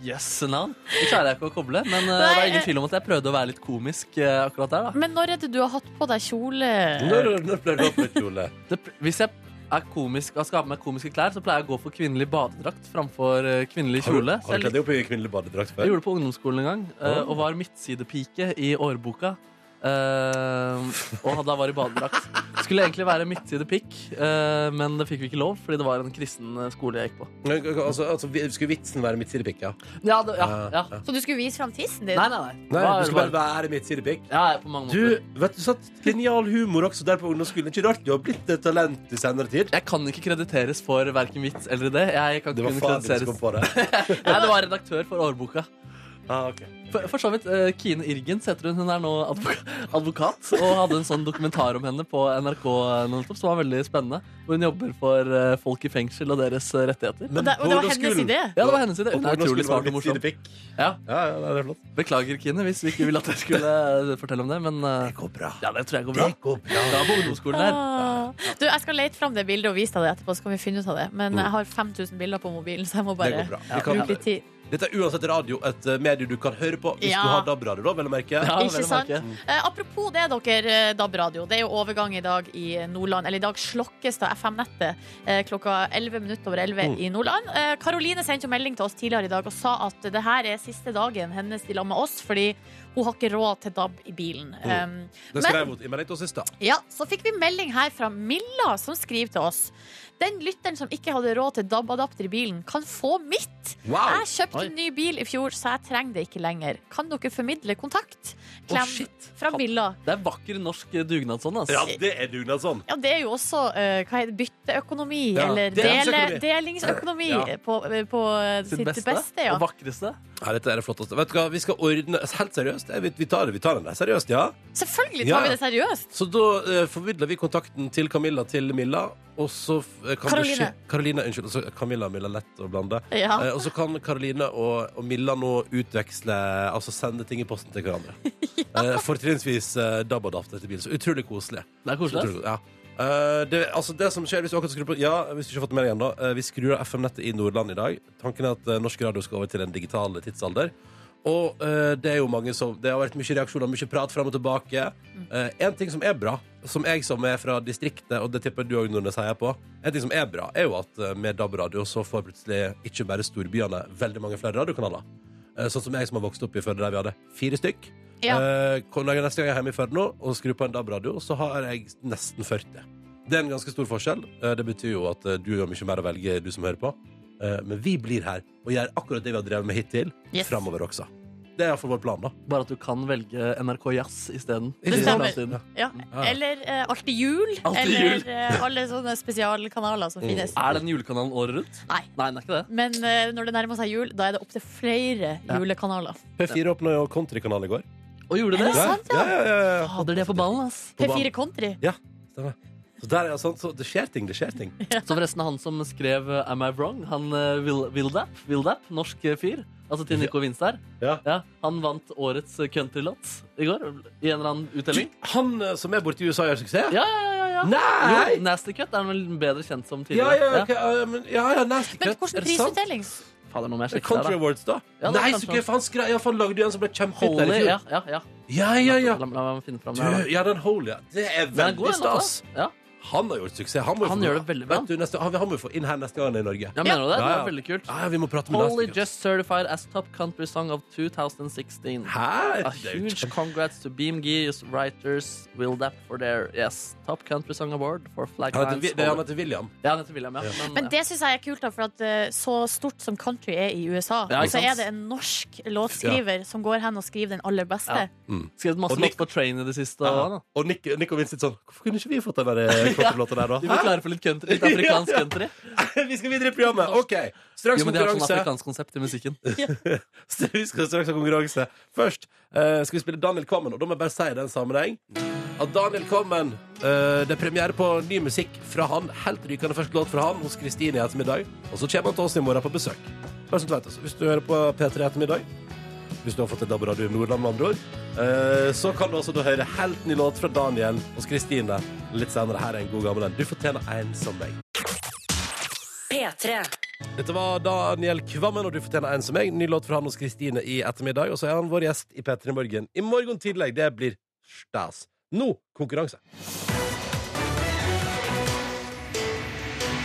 Speaker 4: Yes, navn. Det klarer jeg ikke å koble, men eh, det
Speaker 3: Nei,
Speaker 4: er
Speaker 3: eh.
Speaker 4: ingen tvil om at jeg prøvde å være litt komisk eh, akkurat der, da.
Speaker 3: Men når er det du har hatt på deg kjole?
Speaker 2: Når, når pleier du å ha på deg kjole?
Speaker 4: det, hvis jeg er komisk og skal ha på meg komiske klær, så pleier jeg å gå for kvinnelig badedrakt framfor eh, kvinnelig
Speaker 2: Har du-
Speaker 4: kjole.
Speaker 2: Har du
Speaker 4: Så jeg,
Speaker 2: kledd
Speaker 4: likte-
Speaker 2: deg opp i kvinnelig badedrakt
Speaker 4: jeg
Speaker 2: før?
Speaker 4: gjorde det på ungdomsskolen en gang, eh, og var midtsidepike i årboka. eh, og da var i badedrakt. Skulle egentlig være midtsidepikk, eh, men det fikk vi ikke lov fordi det var en kristen eh, skole jeg gikk på.
Speaker 2: Men, Altså, altså, vi- skulle vitsen være midtsidepikk, ja?
Speaker 4: Ja, det, ja, ja.
Speaker 3: Så du skulle vise fram tissen din?
Speaker 4: Nei, nei, nei.
Speaker 2: Nei,
Speaker 4: Hva er
Speaker 2: du
Speaker 4: det
Speaker 2: skal bare være midtsidepikk.
Speaker 4: Ja, ja, på mange måter.
Speaker 2: Du, vet du, satt genial humor også der på ungdomsskolen. Ikke rart du har blitt et talent i senere tid.
Speaker 4: Jeg kan ikke krediteres for verken vits eller idé. Jeg kan
Speaker 2: Det var
Speaker 4: kun
Speaker 2: faren din som kom
Speaker 4: krediteres
Speaker 2: på det.
Speaker 4: Nei, det var redaktør for årboka.
Speaker 2: (laughs) Ah, ok.
Speaker 4: For, for så vidt, eh, Kine Irgens heter hun. Hun er nå advoka advokat og hadde en sånn dokumentar om henne på NRK nå nettopp, som var veldig spennende. Hvor hun jobber for eh, folk i fengsel og deres eh, rettigheter.
Speaker 2: Men
Speaker 3: Og det,
Speaker 2: på
Speaker 3: og det var hennes
Speaker 2: ungdomsskolen-
Speaker 3: idé?
Speaker 4: Ja, det var hennes idé.
Speaker 2: Og
Speaker 4: Hun
Speaker 2: på
Speaker 4: er utrolig
Speaker 2: ungdomsskolen var
Speaker 4: smart
Speaker 2: det
Speaker 4: og morsom.
Speaker 2: midtsidepikk.
Speaker 4: Ja.
Speaker 2: Ja, ja, nei, det er flott.
Speaker 4: Beklager, Kine, hvis du ikke ville at jeg skulle eh, fortelle om det, men eh,
Speaker 2: Det går bra.
Speaker 4: ja, det tror jeg går bra.
Speaker 2: Det går
Speaker 4: Det
Speaker 2: bra.
Speaker 4: var på ungdomsskolen her.
Speaker 3: Ah. Du, Jeg skal lete fram det bildet og vise deg det etterpå, så kan vi finne ut av det. Men jeg har 5000 bilder på mobilen, så jeg
Speaker 2: Mm.
Speaker 3: må
Speaker 2: Det
Speaker 3: bare
Speaker 2: går bra. Vi
Speaker 3: bruke
Speaker 2: kan,
Speaker 3: litt tid.
Speaker 2: dette er uansett radio, et eh, medie du kan høre lurer på. Hvis
Speaker 3: Ja.
Speaker 2: du har DAB-radio, da, vel å merke.
Speaker 4: Ja,
Speaker 3: (laughs) Ikke
Speaker 4: vel å
Speaker 3: sant?
Speaker 4: merke.
Speaker 3: Eh, apropos det, dere, eh, DAB-radio. Det er jo overgang i dag i Nordland. Eller i dag slokkes da FM-nettet eh, klokka 11 minutter over 11 i Nordland. Eh, Karoline sendte jo melding til oss tidligere i dag og sa at det her er siste dagen hennes i lag med oss, fordi hun har ikke råd til DAB i bilen. Um,
Speaker 2: Det skrev hun til meg litt også sist, da.
Speaker 3: ja, så fikk vi melding her fra Milla som skriver til oss. Den lytteren som ikke hadde råd til DAB-adapter i bilen, kan få mitt.
Speaker 2: Wow!
Speaker 3: Jeg kjøpte
Speaker 4: Oi.
Speaker 3: en ny bil i fjor, så jeg trenger det ikke lenger. Kan dere formidle kontakt? Klem
Speaker 4: shit.
Speaker 3: fra Milla.
Speaker 4: Det er vakker norsk dugnadsånd, ass.
Speaker 2: Ja, det er dugnad sånn.
Speaker 3: Ja, det er jo også eh, hva heter det, bytteøkonomi,
Speaker 2: Ja,
Speaker 3: eller dele,
Speaker 2: delingsøkonomi.
Speaker 3: delingsøkonomi
Speaker 2: Ja.
Speaker 3: på, på eh, sitt, beste. ja.
Speaker 4: og vakreste.
Speaker 2: Ja, dette er det flotteste. Vet du hva, vi skal ordne Altså, Helt seriøst. Jeg vet, vi tar det, vi tar den der. Seriøst, ja.
Speaker 3: Selvfølgelig tar
Speaker 2: Ja.
Speaker 3: vi det seriøst.
Speaker 2: Så da eh, formidler vi kontakten til Camilla til Milla, og så eh, kan
Speaker 3: Caroline.
Speaker 2: du skje- Caroline, unnskyld. Altså Camilla og Milla, lett å blande.
Speaker 3: Ja.
Speaker 2: Eh, og så kan Caroline og, og Milla nå utveksle Altså sende ting i posten til
Speaker 3: (laughs)
Speaker 2: hverandre. ja. Fortrinnsvis eh, DAB og DAFT etter bil. Så utrolig koselig.
Speaker 4: Det er
Speaker 2: Så
Speaker 4: koselig. ass.
Speaker 2: utrolig- Ja. Eh, det, altså det som skjer hvis du akkurat skrur på Ja, hvis du ikke har fått med deg ennå, eh, vi skrur av FM-nettet i Nordland i dag. Tanken er at eh, norsk radio skal over til den digitale tidsalder. Og eh, det er jo mange som Det har vært mye reaksjoner, mye prat fram og tilbake. Eh, en ting som er bra, som jeg som er fra distriktet, og det tipper du òg, Nordnes, heier på, en ting som er bra, er jo at eh, med DAB-radio så får plutselig ikke bare storbyene veldig mange flere radiokanaler. Eh, Sånn som jeg som har vokst opp i Førde, der vi hadde fire stykk.
Speaker 3: Ja.
Speaker 2: Eh, kom- når jeg neste gang jeg er hjemme i Førde nå og skrur på en DAB-radio, så har jeg nesten 40. Det er en ganske stor forskjell. Eh, Det betyr jo at eh, du har mye mer å velge, du som hører på. Eh, Men vi blir her og gjør akkurat det vi har drevet med hittil,
Speaker 3: Yes.
Speaker 2: framover også. Det er iallfall vår plan, da.
Speaker 4: Bare at du kan velge NRK Jazz isteden.
Speaker 2: Ikke
Speaker 3: stemmer.
Speaker 4: Fra siden.
Speaker 3: Ja.
Speaker 2: Ja.
Speaker 3: Eller eh, Alltid jul.
Speaker 4: Alltid
Speaker 3: eller
Speaker 4: jul.
Speaker 3: eh, alle sånne spesialkanaler som finnes.
Speaker 4: Er den julekanalen året rundt?
Speaker 3: Nei.
Speaker 4: Nei, den er ikke det.
Speaker 3: Men eh, når det nærmer seg jul, da er det opptil flere
Speaker 4: Ja.
Speaker 3: julekanaler.
Speaker 2: P4 åpna jo countrykanal i går.
Speaker 4: Og gjorde det?
Speaker 3: Er det sant, ja?
Speaker 2: ja, ja, ja, ja.
Speaker 4: Fader, de er på ballen, ass.
Speaker 3: P4 Country.
Speaker 2: Stemmer. Så der er jo sånn, så det skjer ting, det skjer
Speaker 3: (laughs)
Speaker 2: ting.
Speaker 4: Så forresten, han som skrev eh, Am I Wrong, han eh, Vil- Vildap, Vildap, norsk eh, fyr, altså til Nico Vinstad,
Speaker 2: Ja.
Speaker 4: ja, han vant årets eh, countrylåt i går, i en eller annen uttelling.
Speaker 2: Han eh, som er borte i USA, gjør suksess?
Speaker 4: Ja, ja, ja, ja.
Speaker 2: Nei!
Speaker 4: Jo, Nasty Cut er han vel bedre kjent som
Speaker 2: Ja,
Speaker 4: tidligere.
Speaker 2: ja, ok, ja, men, ja, ja, Nasty
Speaker 3: Men
Speaker 2: Cut,
Speaker 3: hvordan
Speaker 2: er det sant?
Speaker 3: prisutdeling?
Speaker 4: Fader, nå må jeg sjekke
Speaker 2: Country
Speaker 4: det her, da.
Speaker 2: Awards, da?
Speaker 4: Ja, det er
Speaker 2: Nei,
Speaker 4: kanskje
Speaker 2: så gøy,
Speaker 4: han.
Speaker 2: for han, skre, ja, for han lagde jo en som ble kjempehit der
Speaker 4: Holy,
Speaker 2: i
Speaker 4: ja,
Speaker 2: fjor.
Speaker 4: ja, ja.
Speaker 2: Ja, ja, ja.
Speaker 4: La, la, la meg finne fram
Speaker 2: Du,
Speaker 4: det her, da.
Speaker 2: ja, den Holy, ja. Det er
Speaker 4: Den er god,
Speaker 2: veldig
Speaker 4: den også.
Speaker 2: stas.
Speaker 4: Ja.
Speaker 2: Han har gjort suksess. Han, må jo
Speaker 4: Han
Speaker 2: få-
Speaker 4: gjør det veldig bra.
Speaker 2: Vet Du, neste, han, han må jo få inn her neste gang han er i Norge.
Speaker 4: ja, mener du det?
Speaker 2: Ja,
Speaker 4: Det
Speaker 2: ja.
Speaker 4: var veldig kult.
Speaker 2: Ja, ja, vi må prate med
Speaker 4: Holy
Speaker 2: Nasty Cut.
Speaker 4: just certified as top country song of 2016. (laughs)
Speaker 2: Hæ?
Speaker 4: A
Speaker 2: Ah, Det er jo
Speaker 4: huge congrats to Beam Gees writers Will Dapp for their yes, top country song award for
Speaker 2: Han heter,
Speaker 4: Flaglines.
Speaker 2: Vi- det er han heter William.
Speaker 4: Ja, han heter William, ja. Men, eh,
Speaker 3: Men det syns jeg er kult, da, for at eh, så stort som country er i USA,
Speaker 4: Ja, ikke
Speaker 3: så er
Speaker 4: sant?
Speaker 3: det en norsk låtskriver som går hen og skriver den aller beste.
Speaker 4: Ja. skrevet masse
Speaker 2: Og Nick-
Speaker 4: låter på Train i det siste. også, da.
Speaker 2: Og Nick, Nick og Vince sitter sånn Hvorfor kunne ikke vi fått den
Speaker 4: (laughs)
Speaker 2: der kortlåta der,
Speaker 4: De
Speaker 2: da?
Speaker 4: var klare for litt country, litt afrikansk
Speaker 2: (laughs) Ja, ja.
Speaker 4: country.
Speaker 2: Hæ? (laughs) Vi skal videre i programmet. OK. Straks
Speaker 4: Jo, men de har sånn
Speaker 2: konkurranse.
Speaker 4: afrikansk konsept i
Speaker 2: (laughs)
Speaker 4: musikken.
Speaker 2: Så Vi skal straks ha konkurranse. Først eh, skal vi spille Daniel Kvammen, og da må jeg bare si i den sammenheng at Daniel Kvammen eh, Det er premiere på ny musikk fra han. Helt rykende fersk låt fra han hos Kristine i ettermiddag. Og så kommer han til oss i morgen på besøk. Bare så du vet det. Så Hvis du hører på P3 i ettermiddag, hvis du har fått et DAB-radio i Nordland, med andre ord, eh, så kan du også da høre helt ny låt fra Daniel hos Kristine litt senere. Her er en god gammel en. Du fortjener en som meg.
Speaker 1: P3.
Speaker 2: Dette var Daniel Kvammen, og du fortjener en som meg. Ny låt fra han hos Kristine i ettermiddag. Og så er han vår gjest i P3 Morgen i morgen tidlig. Det blir stas. Nå konkurranse.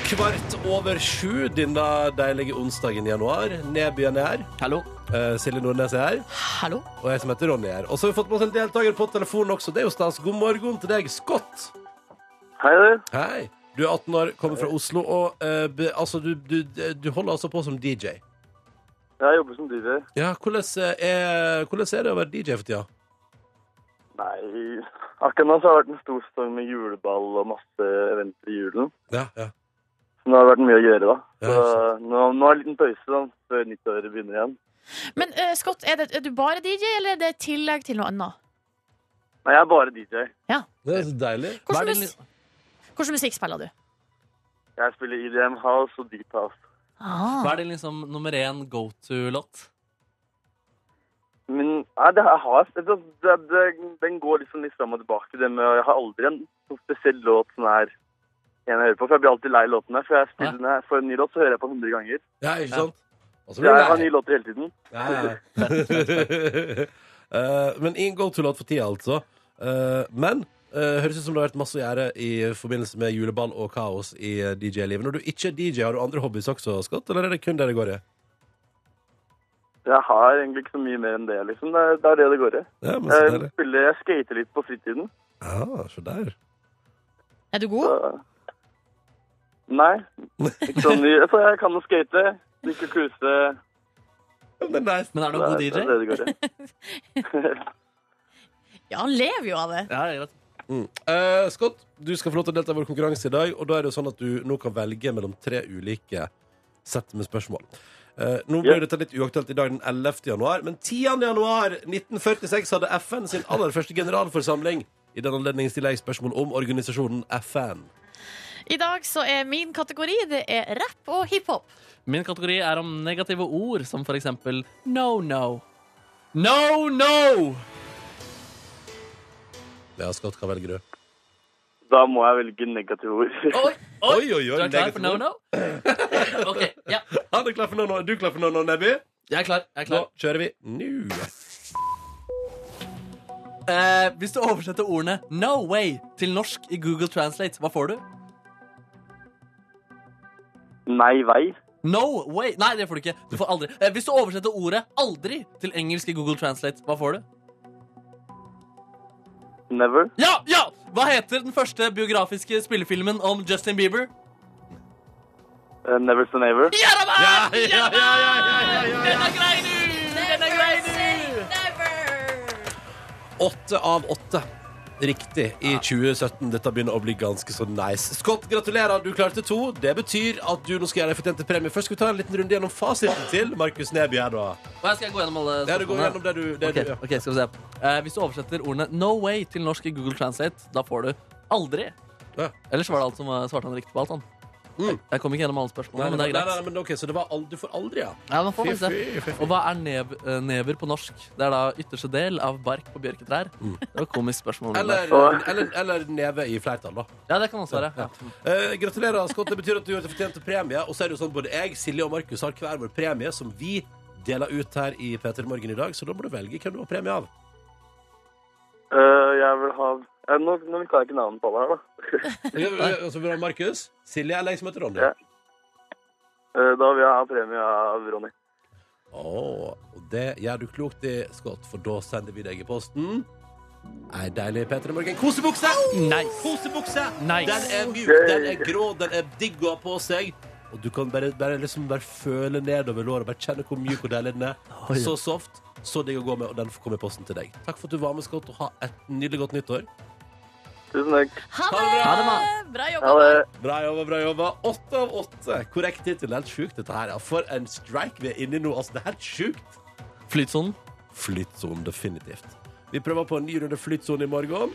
Speaker 2: Kvart over sju denne deilige onsdagen i januar. Nebyen er her.
Speaker 4: Hallo.
Speaker 2: Eh, Silje Nordnes er her.
Speaker 3: Hallo?
Speaker 2: Og jeg som heter Ronny er her. Og så har vi fått med oss en deltaker på telefonen også. Det er jo stas. God morgen til deg, Scott.
Speaker 5: Hei, du.
Speaker 2: Hei. Du er 18 år, kommer fra Oslo, og eh, be, altså, du, du, du holder altså på som DJ.
Speaker 5: Jeg jobber som DJ.
Speaker 2: Ja, hvordan eh, er, hvordan er det å være DJ for tida?
Speaker 5: Nei, akkurat nå så har det vært en stor storm med juleball og masse eventer i julen.
Speaker 2: Ja, ja.
Speaker 5: Så nå har det vært mye å gjøre, da. Så
Speaker 2: Ja,
Speaker 5: nå, nå er det en liten pause da, før nyttåret begynner igjen.
Speaker 3: Men eh, Scott, er, det, er du bare DJ, eller er det tillegg til noe annet?
Speaker 5: Nei, jeg er bare DJ.
Speaker 2: Det er så deilig.
Speaker 4: Hva er
Speaker 3: Hvordan,
Speaker 4: det
Speaker 3: mus hvordan musikk spiller du?
Speaker 5: Jeg spiller EDM House og Deep House.
Speaker 4: Hva
Speaker 3: Ah.
Speaker 4: er din liksom nummer én go to-låt?
Speaker 5: Men nei, det her har jeg det, det, det, Den går liksom litt fram og tilbake. Det med, jeg har aldri en sånn spesiell låt som er en jeg hører på. For jeg blir alltid lei låtene. For jeg spiller, når jeg får en ny låt, så hører jeg på 100 ganger.
Speaker 2: Ja, ikke
Speaker 4: Ja.
Speaker 2: sant? Og så blir du
Speaker 5: Jeg har
Speaker 2: lei.
Speaker 5: nye låter hele tiden.
Speaker 2: Ja, ja, ja. (laughs) Eh, Men ingen go-to-låt for tida, altså. Eh, men eh, høres ut som det har vært masse å gjøre i forbindelse med juleball og kaos i eh, DJ-livet. Når du ikke er DJ, har du andre hobbies også, Scott, eller er det kun det det går i?
Speaker 5: Jeg har egentlig ikke så mye mer enn det, liksom. Det er det, er det, det går i.
Speaker 2: Ja, men så
Speaker 5: Jeg
Speaker 2: deilig.
Speaker 5: Eh, spiller, jeg skater litt på fritiden.
Speaker 2: Ja, så der.
Speaker 3: Er du god?
Speaker 5: Så... Nei. Ikke sånn ny. Så jeg kan å skate, drikke og cruise.
Speaker 2: Ja, men det er nice.
Speaker 4: Men er du en
Speaker 5: Det er
Speaker 4: god
Speaker 5: det,
Speaker 4: DJ?
Speaker 5: er det det går i.
Speaker 3: Ja, han lever jo av det.
Speaker 4: Ja, det er greit.
Speaker 2: Mm. Eh, Scott, du skal få lov til å delta i vår konkurranse i dag, og da er det jo sånn at du nå kan velge mellom tre ulike sett med spørsmål. Eh, nå blir
Speaker 5: Ja.
Speaker 2: dette litt uaktuelt i dag den 11. januar, men 10. januar 1946 hadde FN sin aller første generalforsamling. I den anledning stiller jeg spørsmål om organisasjonen FN.
Speaker 3: I dag så er min kategori det er rapp og hiphop.
Speaker 4: Min kategori er om negative ord, som for eksempel no, no. No, no!
Speaker 2: Ja, Scott, hva velger du?
Speaker 5: Da må jeg velge negative ord. (laughs)
Speaker 4: Oi, oi!
Speaker 2: oi,
Speaker 4: Du er klar for no, no? (laughs) OK. Ja,
Speaker 2: Han er klar for no, no. Er Du klar for no, no, Nebby?
Speaker 4: jeg er klar. Jeg er
Speaker 2: Nå
Speaker 4: klar.
Speaker 2: kjører vi nå.
Speaker 4: Eh, hvis du oversetter ordene no way til norsk i Google Translate, hva får du?
Speaker 5: Nei vei.
Speaker 4: No way! Nei, det får du ikke. Du får aldri. Eh, hvis du oversetter ordet 'aldri' til engelsk i Google Translate, hva får du?
Speaker 5: Never.
Speaker 4: Ja! ja! Hva heter den første biografiske spillefilmen om Justin Bieber?
Speaker 5: Eh, never say never.
Speaker 4: Jeremy!
Speaker 2: Ja, ja, ja, ja, ja, ja, ja.
Speaker 4: Den er grei, du! Den er grei, du!
Speaker 2: Åtte av åtte. Riktig i 2017. Dette begynner å bli ganske så nice. Scott, gratulerer. Du klarte to. Det betyr at du nå skal gjøre deg fortjent til premie. Først skal vi ta en liten runde gjennom fasiten til Markus Neby her, da.
Speaker 4: Og jeg skal gå gjennom alle
Speaker 2: Ja, du går
Speaker 4: spørsmålene.
Speaker 2: gjennom det du, det
Speaker 4: Ok,
Speaker 2: du ja.
Speaker 4: ok, skal vi se. Eh, hvis du oversetter ordene 'no way' til norsk i Google Translate, da får du 'aldri'.
Speaker 2: Ja.
Speaker 4: Ellers var det alt som var- svarte han riktig på alt. han
Speaker 2: Mm.
Speaker 4: Jeg kom ikke gjennom alle spørsmålene,
Speaker 2: Nei,
Speaker 4: men det er
Speaker 2: nei,
Speaker 4: greit.
Speaker 2: nei, men ok, Så det var aldri for aldri, ja.
Speaker 4: Ja, man får
Speaker 2: Fy,
Speaker 4: faktisk det.
Speaker 2: fy, fy, fy.
Speaker 4: Og hva er nev, eh, never på norsk? Det er da ytterste del av bark på bjørketrær. Det var et komisk spørsmål. men det-
Speaker 2: Mm. Eller, eller, eller neve i flertall, da.
Speaker 4: Ja, det kan også være. Ja.
Speaker 2: Eh, gratulerer, Scott. Det betyr at du har fortjent en premie. Og så er det jo sånn, både jeg, Silje og Markus har hver vår premie, som vi deler ut her i P3 Morgen i dag. Så da må du velge hvem du har premie av.
Speaker 5: Eh, jeg vil ha eh, nå, nå kan jeg ikke navnet på alle her, da.
Speaker 2: Ja, ja, ja, Altså, vi har Markus, Silje eller jeg som heter Ronny.
Speaker 5: Ja. Eh, da vil jeg ha premie av Ronny.
Speaker 2: Åh, og det gjør du klokt i, Scott, for da sender vi deg i posten ei deilig P3 Morgen kosebukse!
Speaker 4: Nice.
Speaker 2: Kosebukse!
Speaker 4: Nice.
Speaker 2: Den er mjuk,
Speaker 5: Yay.
Speaker 2: den er grå, den er digg å ha på seg. Og du kan bare, bare, liksom bare føle nedover låret, bare kjenne hvor mjuk og deilig den er.
Speaker 4: Oi.
Speaker 2: Så soft, så digg å gå med, og den får komme i posten til deg. Takk for at du var med, Scott, og ha et nydelig godt nyttår.
Speaker 5: Tusen takk.
Speaker 3: Ha det!
Speaker 4: Ha det, mann.
Speaker 3: Bra
Speaker 5: Ha
Speaker 3: jobba.
Speaker 5: det.
Speaker 2: Bra jobba, bra jobba. Åtte av åtte. Korrekt hittil. Helt sjukt, dette her. ja. For en strike vi er inni nå. Altså, det er helt sjukt.
Speaker 4: Flytsonen.
Speaker 2: Flytsonen, definitivt. Vi prøver på en ny runde flytsonen i morgen.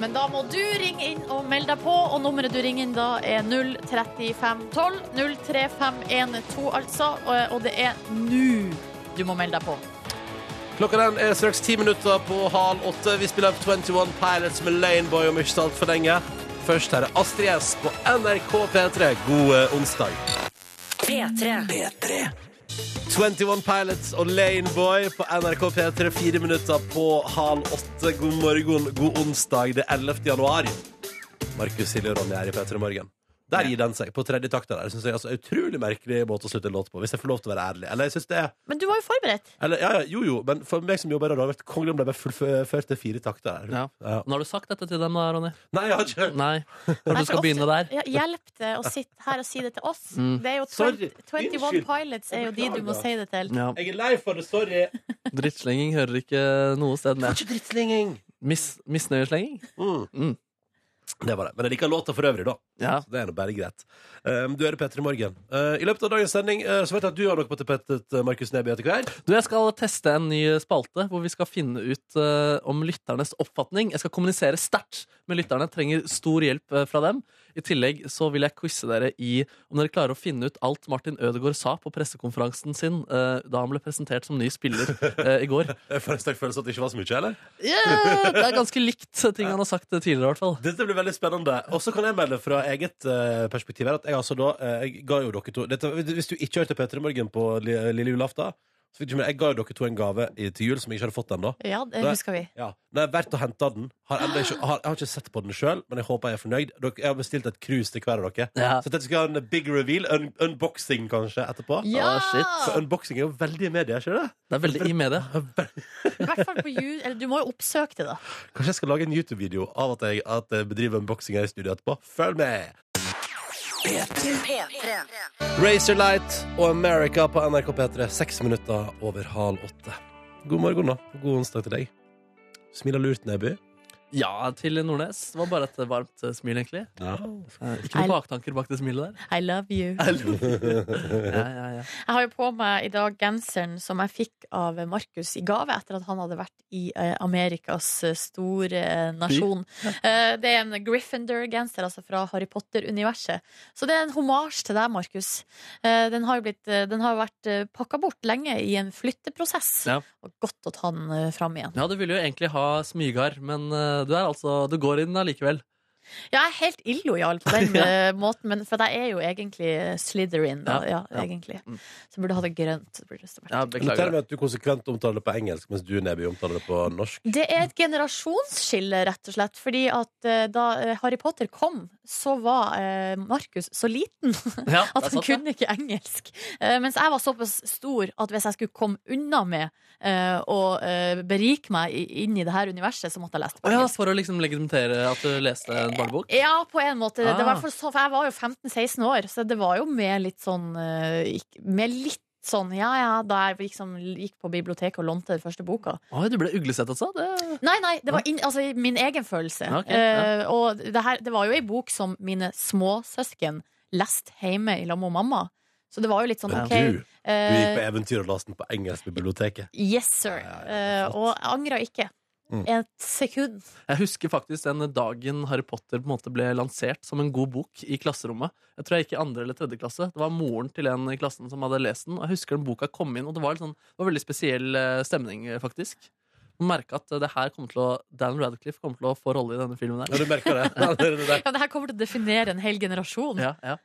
Speaker 3: Men da må du ringe inn og melde deg på, og nummeret du ringer inn da er 03512. 03512, altså. Og- Og det er nå du må melde deg på.
Speaker 2: Klokka den er straks ti minutter på halv åtte. Vi spiller opp 21 Pilots med Laneboy om ikke så altfor lenge. Først her er Astrid S på NRK P3. God eh, onsdag.
Speaker 1: P3.
Speaker 2: E 21 Pilots og Laneboy på NRK P3, fire minutter på halv åtte. God morgen, god onsdag, det er 11. januar. Markus, Silje og Ronny er i P3 Morgen. Der gir den seg, på tredje takta der. Synes jeg altså, utrolig merkelig måte å slutte en låt på, hvis jeg får lov til å være ærlig. Eller, jeg synes det er,
Speaker 3: Men du var jo forberedt.
Speaker 2: eller ja, ja, jo, jo, men for meg som jobber i radio, har det vært kongelig om det ble fullført til fire takta der.
Speaker 4: Ja.
Speaker 2: Ja.
Speaker 4: Nå har du sagt dette til dem, da, Ronny.
Speaker 2: Nei, jeg har ikke
Speaker 4: Nei. Når du skal
Speaker 3: for
Speaker 4: begynne der.
Speaker 3: Ja, hjelp det å sitte her og si det til oss.
Speaker 4: Mm.
Speaker 3: Det er jo
Speaker 2: Sorry.
Speaker 3: 20, 21
Speaker 2: Unnskyld.
Speaker 3: Pilots er jo de du må
Speaker 2: Beklager.
Speaker 3: si det til.
Speaker 4: Ja.
Speaker 2: Jeg er lei for det, sorry.
Speaker 4: Drittslenging hører ikke noe sted
Speaker 2: Det
Speaker 4: med.
Speaker 2: er ikke drittslenging.
Speaker 4: Mis misnøyeslenging?
Speaker 2: Mm.
Speaker 4: Mm.
Speaker 2: Det var det. Men jeg liker låta for øvrig, da.
Speaker 4: Ja.
Speaker 2: Så det er nå bare greit. Um, du er Petter i morgen. Uh, I løpet av dagens sending uh, så vet jeg at du har noe på tapetet, uh, Markus Neby, etter hvert.
Speaker 4: Du, jeg skal teste en ny spalte hvor vi skal finne ut eh, om lytternes oppfatning. Jeg skal kommunisere sterkt med lytterne, trenger stor hjelp eh, fra dem. I tillegg så vil jeg quize dere i om dere klarer å finne ut alt Martin Ødegaard sa på pressekonferansen sin eh, da han ble presentert som ny spiller eh, i går. Eh,
Speaker 2: Jeg får en sterk følelse at det ikke var så mye, eller?
Speaker 4: Yeah, det er ganske likt ting han har sagt eh, tidligere, i hvert fall.
Speaker 2: Dette blir veldig spennende. Og så kan jeg melde fra eget eh, perspektiv her at jeg altså da eh, jeg ga jo dere to dette, Hvis du ikke hørte Petter i morgen på li, lille julaften, så fikk du med Jeg ga jo dere to en gave i, til jul som jeg ikke hadde fått ennå.
Speaker 3: Ja, det
Speaker 2: Nei.
Speaker 3: husker vi.
Speaker 2: Ja. Når jeg har vært og henta den har enda ikke, har, Jeg har ikke sett på den sjøl, men jeg håper jeg er fornøyd. Dere, jeg har bestilt et cruise til hver av dere.
Speaker 4: Ja.
Speaker 2: Så dette skal ha en big reveal. Un, unboxing, kanskje, etterpå.
Speaker 3: Ja!
Speaker 2: For unboxing er jo veldig i media, ikke det?
Speaker 4: Ah, Det er veldig i media.
Speaker 3: I hvert fall på jul. Eller du må jo oppsøke det, da.
Speaker 2: Kanskje jeg skal lage en YouTube-video av at jeg, at jeg bedriver unboxing her i studio etterpå. Følg med! Razorlight og America på NRK P3, seks minutter over halv åtte. God morgen da, og god onsdag til deg. Smiler lurt, Neby.
Speaker 4: Ja, til Nordnes. Det var bare et varmt eh, smil, egentlig.
Speaker 2: Ja.
Speaker 4: Eh, Ikke noen baktanker bak det smilet der.
Speaker 3: I love you.
Speaker 4: Ja, ja, ja.
Speaker 3: Jeg har jo på meg i dag genseren som jeg fikk av Markus i gave etter at han hadde vært i eh, Amerikas eh, store eh, nasjon. Eh, det er en Gryffindor-genser, altså fra Harry Potter-universet. Så det er en hommage til deg, Markus. Eh, den har jo blitt, eh, den har vært eh, pakka bort lenge i en flytteprosess.
Speaker 4: Ja.
Speaker 3: Og godt å ta den eh, fram igjen.
Speaker 4: ja, du ville jo egentlig ha smygar, men eh, du, er altså, du går i den allikevel.
Speaker 3: Ja, jeg er helt illojal på den eh, måten, men for jeg er jo egentlig Slitherin, da. Ja,
Speaker 4: ja.
Speaker 3: egentlig.
Speaker 4: Mm.
Speaker 3: Så burde ha det grønt. så Burde det vært.
Speaker 4: Ja,
Speaker 2: Men det
Speaker 4: beklager.
Speaker 2: med at du konsekvent omtaler det på engelsk, mens du, Neby, omtaler det på norsk.
Speaker 3: Det er et generasjonsskille, rett og slett. Fordi at eh, da eh, Harry Potter kom, så var eh, Markus så liten (laughs)
Speaker 4: Ja,
Speaker 3: at
Speaker 4: det er
Speaker 3: han
Speaker 4: sant, det.
Speaker 3: kunne ikke engelsk. Eh, mens jeg var såpass stor at hvis jeg skulle komme unna med eh, å eh, berike meg i- inn i det her universet, så måtte jeg lese det
Speaker 4: Å
Speaker 3: på
Speaker 4: ja,
Speaker 3: engelsk.
Speaker 4: for å liksom legitimere at du leste en barnebok?
Speaker 3: Ja, på en måte. Det var i
Speaker 4: Ah.
Speaker 3: hvert fall sånn, for jeg var jo 15-16 år, så det var jo med litt sånn eh, ikk- Med litt sånn ja ja, da jeg liksom gikk på biblioteket og lånte den første boka.
Speaker 4: Oi, du ble uglesett også? Det...
Speaker 3: Nei, nei, det var inn, altså, min egen følelse.
Speaker 4: Ok, ja.
Speaker 3: Eh, og det, her, det var jo ei bok som mine småsøsken leste hjemme i lag med mamma. Så det var jo litt sånn
Speaker 2: Men
Speaker 3: OK.
Speaker 2: du, du gikk på
Speaker 3: eh,
Speaker 2: eventyr og laste den på engelsk på biblioteket.
Speaker 3: yes, sir.
Speaker 2: Ja, ja,
Speaker 3: Eh,
Speaker 2: ja, flott.
Speaker 3: og jeg angra ikke.
Speaker 2: Mm.
Speaker 3: Et sekund.
Speaker 4: Jeg husker faktisk den dagen Harry Potter på en måte ble lansert som en god bok i klasserommet. Jeg tror jeg gikk i andre eller tredje klasse. Det var moren til en i klassen som hadde lest den. Og jeg husker den boka kom inn, og det var, litt sånn, det var veldig spesiell eh, stemning, eh, faktisk. Man merka at eh, det her kommer til å, Dan Radcliffe kommer til å få rolle i denne filmen
Speaker 2: Ja,
Speaker 4: her.
Speaker 2: du merker
Speaker 3: (laughs)
Speaker 2: det. Ja, det, er det der.
Speaker 3: Ja, det her kommer til å definere en hel generasjon.
Speaker 4: Ja, ja.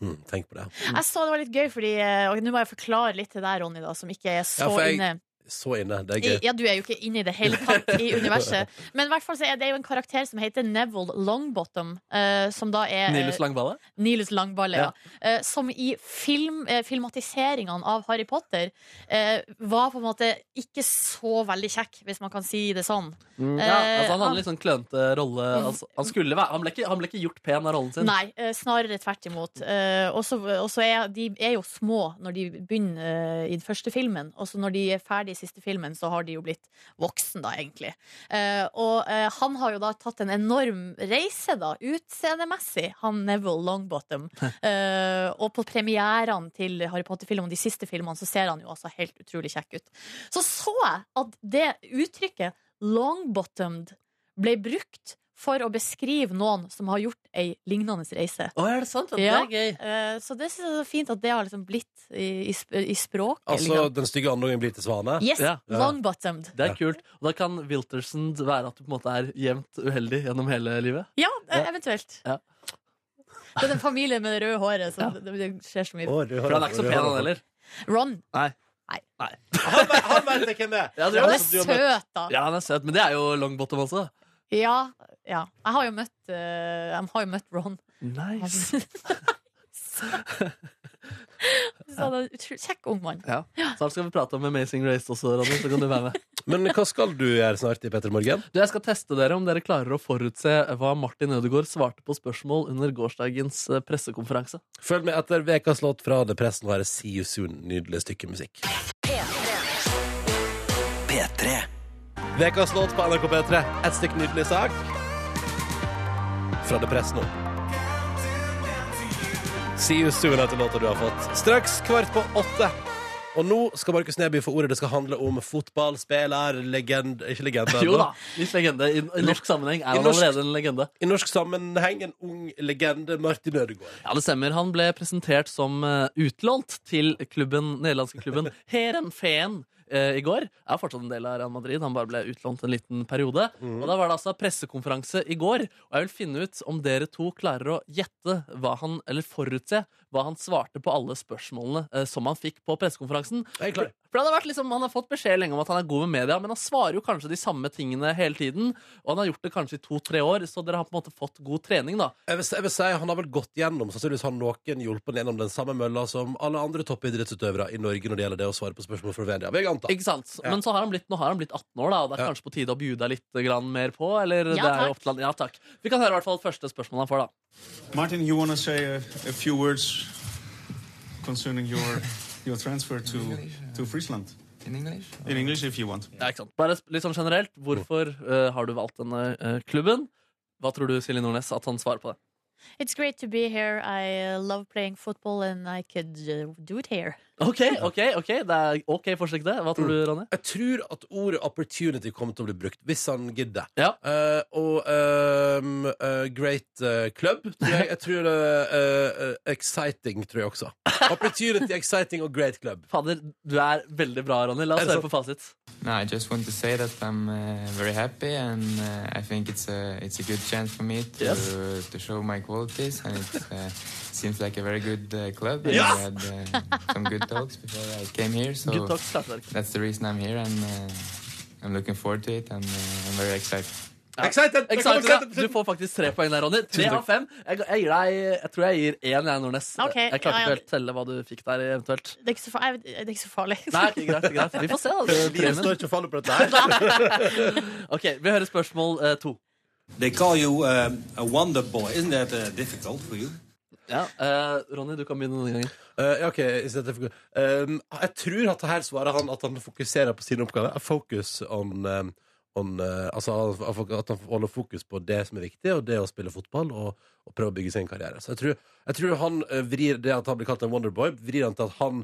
Speaker 2: Mm, tenk på det.
Speaker 3: Jeg så det var litt gøy, fordi eh, Og nå må jeg forklare litt til deg, Ronny, da, som ikke er
Speaker 2: Ja,
Speaker 3: så
Speaker 2: for jeg-
Speaker 3: inne.
Speaker 2: Så inne. Det er
Speaker 3: I,
Speaker 2: gøy.
Speaker 3: ja, du er jo ikke inne i det hele tatt i
Speaker 2: (laughs)
Speaker 3: universet. Men i hvert fall så er det jo en karakter som heter Neville Longbottom, eh, som da er eh,
Speaker 4: Nilus Langballe?
Speaker 3: Nilus Langballe, ja. Eh, som i film, eh, filmatiseringene av Harry Potter eh, var på en måte ikke så veldig kjekk, hvis man kan si det sånn.
Speaker 4: Ja, altså, han
Speaker 3: han-
Speaker 4: hadde litt sånn klønete rolle. Altså, han, skulle være, han, ble ikke, han ble ikke gjort pen av rollen sin.
Speaker 3: Nei, eh, snarere tvert imot. Eh, og så- og så er de er jo små når de begynner eh, i den første filmen, og så når de er ferdig i siste filmen, så har de jo blitt voksen, da, egentlig. Eh, og eh, han har jo da tatt en enorm reise, da, utseendemessig, han Neville Longbottom. Eh, og på premierene til Harry Potter-filmene, de siste filmene, så ser han jo altså helt utrolig kjekk ut. Så så jeg at det uttrykket, longbottomed, ble brukt for å beskrive noen som har gjort ei lignende reise.
Speaker 4: Å, er det sant?
Speaker 3: Ja.
Speaker 4: Ja. Det er gøy.
Speaker 3: Eh, Så det synes jeg er så fint at det har liksom blitt i, i, sp- i språket.
Speaker 2: Altså,
Speaker 3: liksom.
Speaker 2: den stygge andungen blir til svane.
Speaker 3: Yes,
Speaker 4: Ja.
Speaker 2: Ja.
Speaker 3: longbottomed.
Speaker 4: Det er kult. Og da kan Wilterson være at du på en måte er jevnt uheldig gjennom hele livet.
Speaker 3: Ja, eh, eventuelt.
Speaker 4: Ja.
Speaker 3: Det er den familien med det røde håret som det, det skjer så mye.
Speaker 2: Å, du har-
Speaker 4: For han er ikke så pen, han heller.
Speaker 3: Ron.
Speaker 4: Nei.
Speaker 2: Han vet- Han vet jeg hvem er!
Speaker 4: Ja, det er
Speaker 3: Han
Speaker 4: han
Speaker 3: er søt, da.
Speaker 4: Ja, han er søt, men det er jo Longbottom også.
Speaker 3: Ja. ja. Jeg har jo møtt, eh, jeg har jo møtt
Speaker 4: (laughs)
Speaker 3: Ron. (laughs)
Speaker 4: Nice.
Speaker 3: Så han er en utro- kjekk ung mann.
Speaker 4: Ja. Snart skal vi prate om Amazing Race også, Ronny, så kan du være med.
Speaker 2: Men hva skal du gjøre snart i Petter Morgen?
Speaker 4: Du, jeg skal teste dere om dere klarer å forutse hva Martin Ødegaard svarte på spørsmål under gårsdagens eh, pressekonferanse.
Speaker 2: Følg med etter vekas låt fra The Pressen og her er See You Soon. Nydelig stykke musikk. Vekas låt på NRK P3. Et stykke nydelig sak fra The Press nå. See You Soon heter låta du har fått. Straks kvart på åtte. Og nå skal Markus Neby få ordet. Det skal handle om fotballspiller, legend Ikke legende.
Speaker 4: (laughs) Jo da,
Speaker 2: da.
Speaker 4: litt legende. I, I norsk sammenheng
Speaker 2: I
Speaker 4: er han
Speaker 2: norsk-
Speaker 4: allerede en legende.
Speaker 2: I norsk sammenheng en ung legende, Martin Ødegaard.
Speaker 4: Ja, det stemmer. Han ble presentert som eh, utlånt til klubben, nederlandske klubben Herenveen eh, i går. Er fortsatt en del av Real Madrid, han bare ble utlånt en liten periode. Og da var det altså pressekonferanse i går, og jeg vil finne ut om dere to klarer å gjette hva han, eller forutse hva han svarte på alle spørsmålene eh, som han fikk på pressekonferansen.
Speaker 2: Jeg er klar.
Speaker 4: For det hadde vært liksom, Han har fått beskjed lenge om at han er god med media, men han svarer jo kanskje de samme tingene hele tiden. Og han har gjort det kanskje i to-tre år, så dere har på en måte fått god trening, da.
Speaker 2: Jeg vil, si- jeg vil si Han har vel gått gjennom sannsynligvis har noen hjulpet gjennom den samme mølla som alle andre toppidrettsutøvere i Norge når det gjelder det å svare på spørsmål fra media. Vil jeg anta.
Speaker 4: Ikke sant?
Speaker 2: Ja.
Speaker 4: Men så har han blitt, nå har han blitt 18 år, da, og det er
Speaker 2: Ja.
Speaker 4: kanskje på tide å bjuda litt grann mer på? Eller
Speaker 3: Ja,
Speaker 4: det er jo
Speaker 3: takk.
Speaker 4: opp til han. Ja, takk. Vi kan høre i hvert fall første spørsmål han får, da.
Speaker 6: Martin, you want to say a, a few words concerning your your transfer to to Friesland
Speaker 7: uh, In English?
Speaker 6: in English, if you want.
Speaker 4: Ja, ikke sant? Bare sp- litt sånn generelt, hvorfor eh, har du valgt denne eh, klubben? Hva tror du, Silje Nordnes, at han svarer på det?
Speaker 3: It's great to be here. I uh, love playing football and I could uh, do it here.
Speaker 4: OK, ok, ok, det er ok forsøk, det. Hva tror du, Ronny?
Speaker 2: Jeg tror at ordet 'opportunity' kommer til å bli brukt, hvis han gidder.
Speaker 4: Ja.
Speaker 2: Eh, og ehm, eh, 'great eh, club' tror jeg. Jeg tror det eh, eh, 'Exciting' tror jeg også. (laughs) 'Opportunity', 'exciting' og 'great club'.
Speaker 4: Fader, du er veldig bra, Ronny. La
Speaker 2: Er
Speaker 4: oss
Speaker 2: det
Speaker 4: høre på fasit.
Speaker 7: No, I just want to say that I'm uh, very happy, and uh, I think it's a it's a good chance for me to
Speaker 4: Yes.
Speaker 7: to show my qualities, and it uh, seems like a very good uh, club. And
Speaker 4: Yes.
Speaker 7: We had uh, some good talks before I came here, so
Speaker 4: Good talk, klarte dere.
Speaker 7: that's the reason I'm here, and uh, I'm looking forward to it, and uh, I'm very excited. (laughs)
Speaker 2: Excited!
Speaker 4: Ikke sant, ja. Du får faktisk tre poeng der, Ronny. Tre av fem. Jeg, ga- jeg, gir deg, jeg tror jeg gir én, jeg, Nordnes.
Speaker 3: Ok,
Speaker 4: Jeg klarte
Speaker 3: ja,
Speaker 4: ikke
Speaker 3: ja.
Speaker 4: helt telle hva du fikk der, eventuelt.
Speaker 3: Det er ikke så, far- jeg, det er ikke så farlig.
Speaker 4: Nei, ok, greit, greit. Vi får se, da.
Speaker 2: Livet
Speaker 4: Premien.
Speaker 2: står ikke og faller på dette (laughs) her.
Speaker 4: Ok, vi hører spørsmål eh, to.
Speaker 8: They call you um, a wonder boy. Isn't that uh, difficult for you?
Speaker 4: Ja, eh, Ronny, du kan begynne denne gangen.
Speaker 2: Eh, ja, ok, i stedet for- Ehm, Jeg tror at her svarer han at han fokuserer på sine oppgaver. Focus on, um, on eh, Altså at han holder fokus på det som er viktig, og det å spille fotball og, og prøve å bygge sin karriere. Så jeg tror, jeg tror han eh, vrir det at han blir kalt en wonderboy, vrir han til at han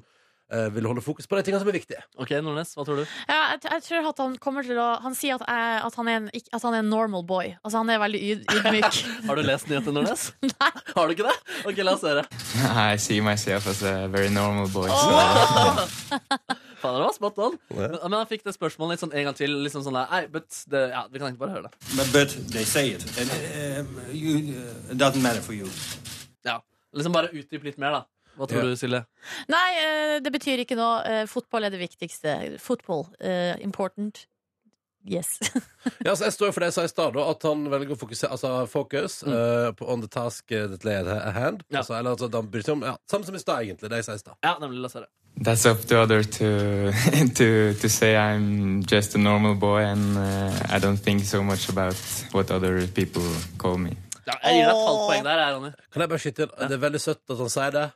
Speaker 2: eh, vil holde fokus på de tingene som er viktige.
Speaker 4: Ok, Nordnes, hva tror du?
Speaker 3: (laughs) Ja, jeg, t- jeg tror at han kommer til å Han sier at, jeg, at, han, er en, ikke- at han er en normal boy. Altså han er veldig yd, ydmyk.
Speaker 2: (laughs)
Speaker 4: Har du lest nyheten, Nordnes? Nei. Har du ikke det? Ok, la oss høre.
Speaker 7: I see myself as a very normal boy. so-
Speaker 4: Oh. Fader, det var spot on. Men, men han fikk det spørsmålet litt sånn en gang til. Liksom sånn der, Nei, but det, ja, Vi kan egentlig bare høre det.
Speaker 8: But, but they say it, and um, you, uh, it doesn't matter for you.
Speaker 4: Ja, Liksom bare utdyp litt mer, da. Hva tror
Speaker 2: Ja.
Speaker 4: du, Silje?
Speaker 3: Nei, eh, det betyr ikke noe. Eh, Fotball er det viktigste. Football. eh, important. Yes. (laughs)
Speaker 2: Ja, altså, jeg står jo for det jeg sa i stad, da, at han velger å fokusere Altså focus eh, på on the task eh, that lay at hand.
Speaker 4: Ja.
Speaker 2: Altså, eller altså, at han bryr seg om ja, Samme som i stad, egentlig. Det jeg sa i stad.
Speaker 4: Ja, nemlig. La oss høre.
Speaker 7: That's up to others to (laughs) to to say I'm just a normal boy and uh, I don't think so much about what other people call me.
Speaker 4: Ja, jeg gir deg et halvt poeng der, jeg, Ronny.
Speaker 2: Kan jeg bare skyte inn? Det er veldig søtt at han sier det.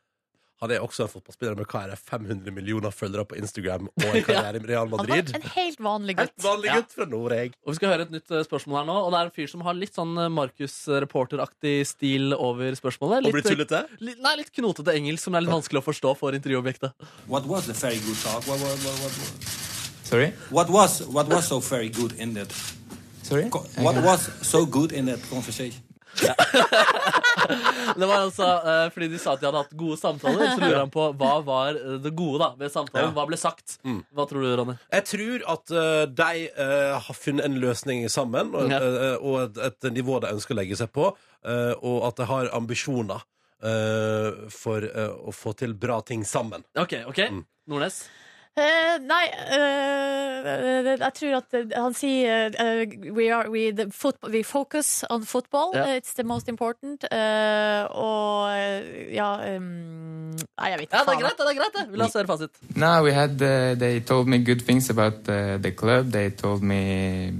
Speaker 2: Han er også en fotballspiller med hva er det, 500 millioner følgere på Instagram og en karriere i Real
Speaker 3: Han var
Speaker 2: Madrid.
Speaker 3: en helt vanlig
Speaker 2: Helt
Speaker 3: gutt.
Speaker 2: vanlig
Speaker 4: Ja.
Speaker 2: gutt fra Noreg.
Speaker 4: Og Vi skal høre et nytt eh, spørsmål her nå. Og Det er en fyr som har litt sånn eh, Markus-reporteraktig stil over spørsmålet.
Speaker 2: Og blir tullete.
Speaker 4: Litt, eh, nei, litt knotete engelsk som er litt vanskelig å forstå for intervjuobjektet.
Speaker 8: What was the very good talk? What, what, what, what,
Speaker 7: Sorry,
Speaker 8: what was what was so very good in that?
Speaker 7: sorry.
Speaker 8: co- What was so good in that conversation?
Speaker 4: Det var altså eh, fordi de sa at de hadde hatt gode samtaler. Så lurer han på hva var eh, det gode da ved samtalen. Hva ble sagt?
Speaker 2: Mm.
Speaker 4: Hva tror du, Ronny?
Speaker 2: Jeg tror at eh, de eh, har funnet en løsning sammen, og,
Speaker 4: Ja.
Speaker 2: eh, og et, et nivå de ønsker å legge seg på, eh, og at de har ambisjoner eh, for eh, å få til bra ting sammen.
Speaker 4: Ok, ok
Speaker 2: Mm.
Speaker 4: Nordnes.
Speaker 3: Eh, nei, eh, jeg tror at eh, han sier eh, we, are, we, the football, we focus on football.
Speaker 4: Ja.
Speaker 3: It's the most important. Eh, og eh, ja um, Nei, jeg vet ikke.
Speaker 4: Ja, det er
Speaker 3: faen.
Speaker 4: greit, det. det er greit det. Vi La
Speaker 2: Mm.
Speaker 4: oss høre fasit.
Speaker 7: No, we had. Uh, they told me good things about uh, the club. They told me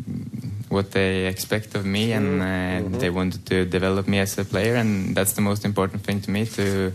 Speaker 7: what they expect of me, and uh, they wanted to develop me as a player, and that's the most important thing to me to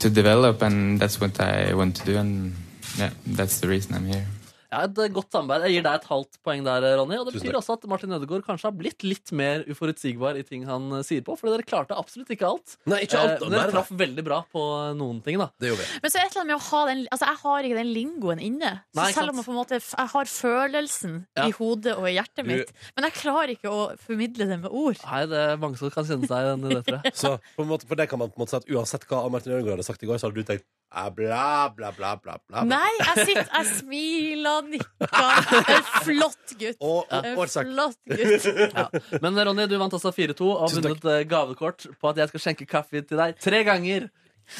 Speaker 7: to develop, and that's what I want to do, and yeah, that's the reason I'm here.
Speaker 4: Ja, et eh, godt samarbeid. Jeg gir deg et halvt poeng der, eh, Ronny. Og det
Speaker 2: Tusen
Speaker 4: betyr
Speaker 2: takk.
Speaker 4: også at Martin Ødegaard kanskje har blitt litt mer uforutsigbar i ting han eh, sier på, fordi dere klarte absolutt ikke alt.
Speaker 2: Nei, ikke alt.
Speaker 4: Eh,
Speaker 2: Nei,
Speaker 4: Men dere
Speaker 2: nei,
Speaker 4: traff veldig bra på noen ting, da.
Speaker 2: Det gjorde vi.
Speaker 3: Men så er det et eller annet med å ha den Altså, jeg har ikke den lingoen inne. Så
Speaker 4: Nei, ikke
Speaker 3: selv om
Speaker 4: sant.
Speaker 3: jeg på en måte Jeg har følelsen
Speaker 4: Ja.
Speaker 3: i hodet og i hjertet
Speaker 2: Du-
Speaker 3: mitt, men jeg klarer ikke å formidle det med ord.
Speaker 4: Nei, det er mange som kan kjenne seg igjen i det, tror jeg.
Speaker 2: Så på en måte, for det kan man på en måte si at uansett hva Martin Ødegaard hadde sagt i går, så hadde du tenkt "Ah, bla, bla, bla, bla, bla. bla."
Speaker 3: Nei, jeg sitter Jeg smiler, nikker.
Speaker 4: (laughs)
Speaker 3: En flott gutt.
Speaker 2: Og, og
Speaker 3: En
Speaker 2: årsak.
Speaker 3: flott gutt.
Speaker 4: Ja. Men Ronny, du vant altså 4-2 og har
Speaker 2: Tusen takk.
Speaker 4: vunnet eh, gavekort på at jeg skal skjenke kaffe til deg tre ganger.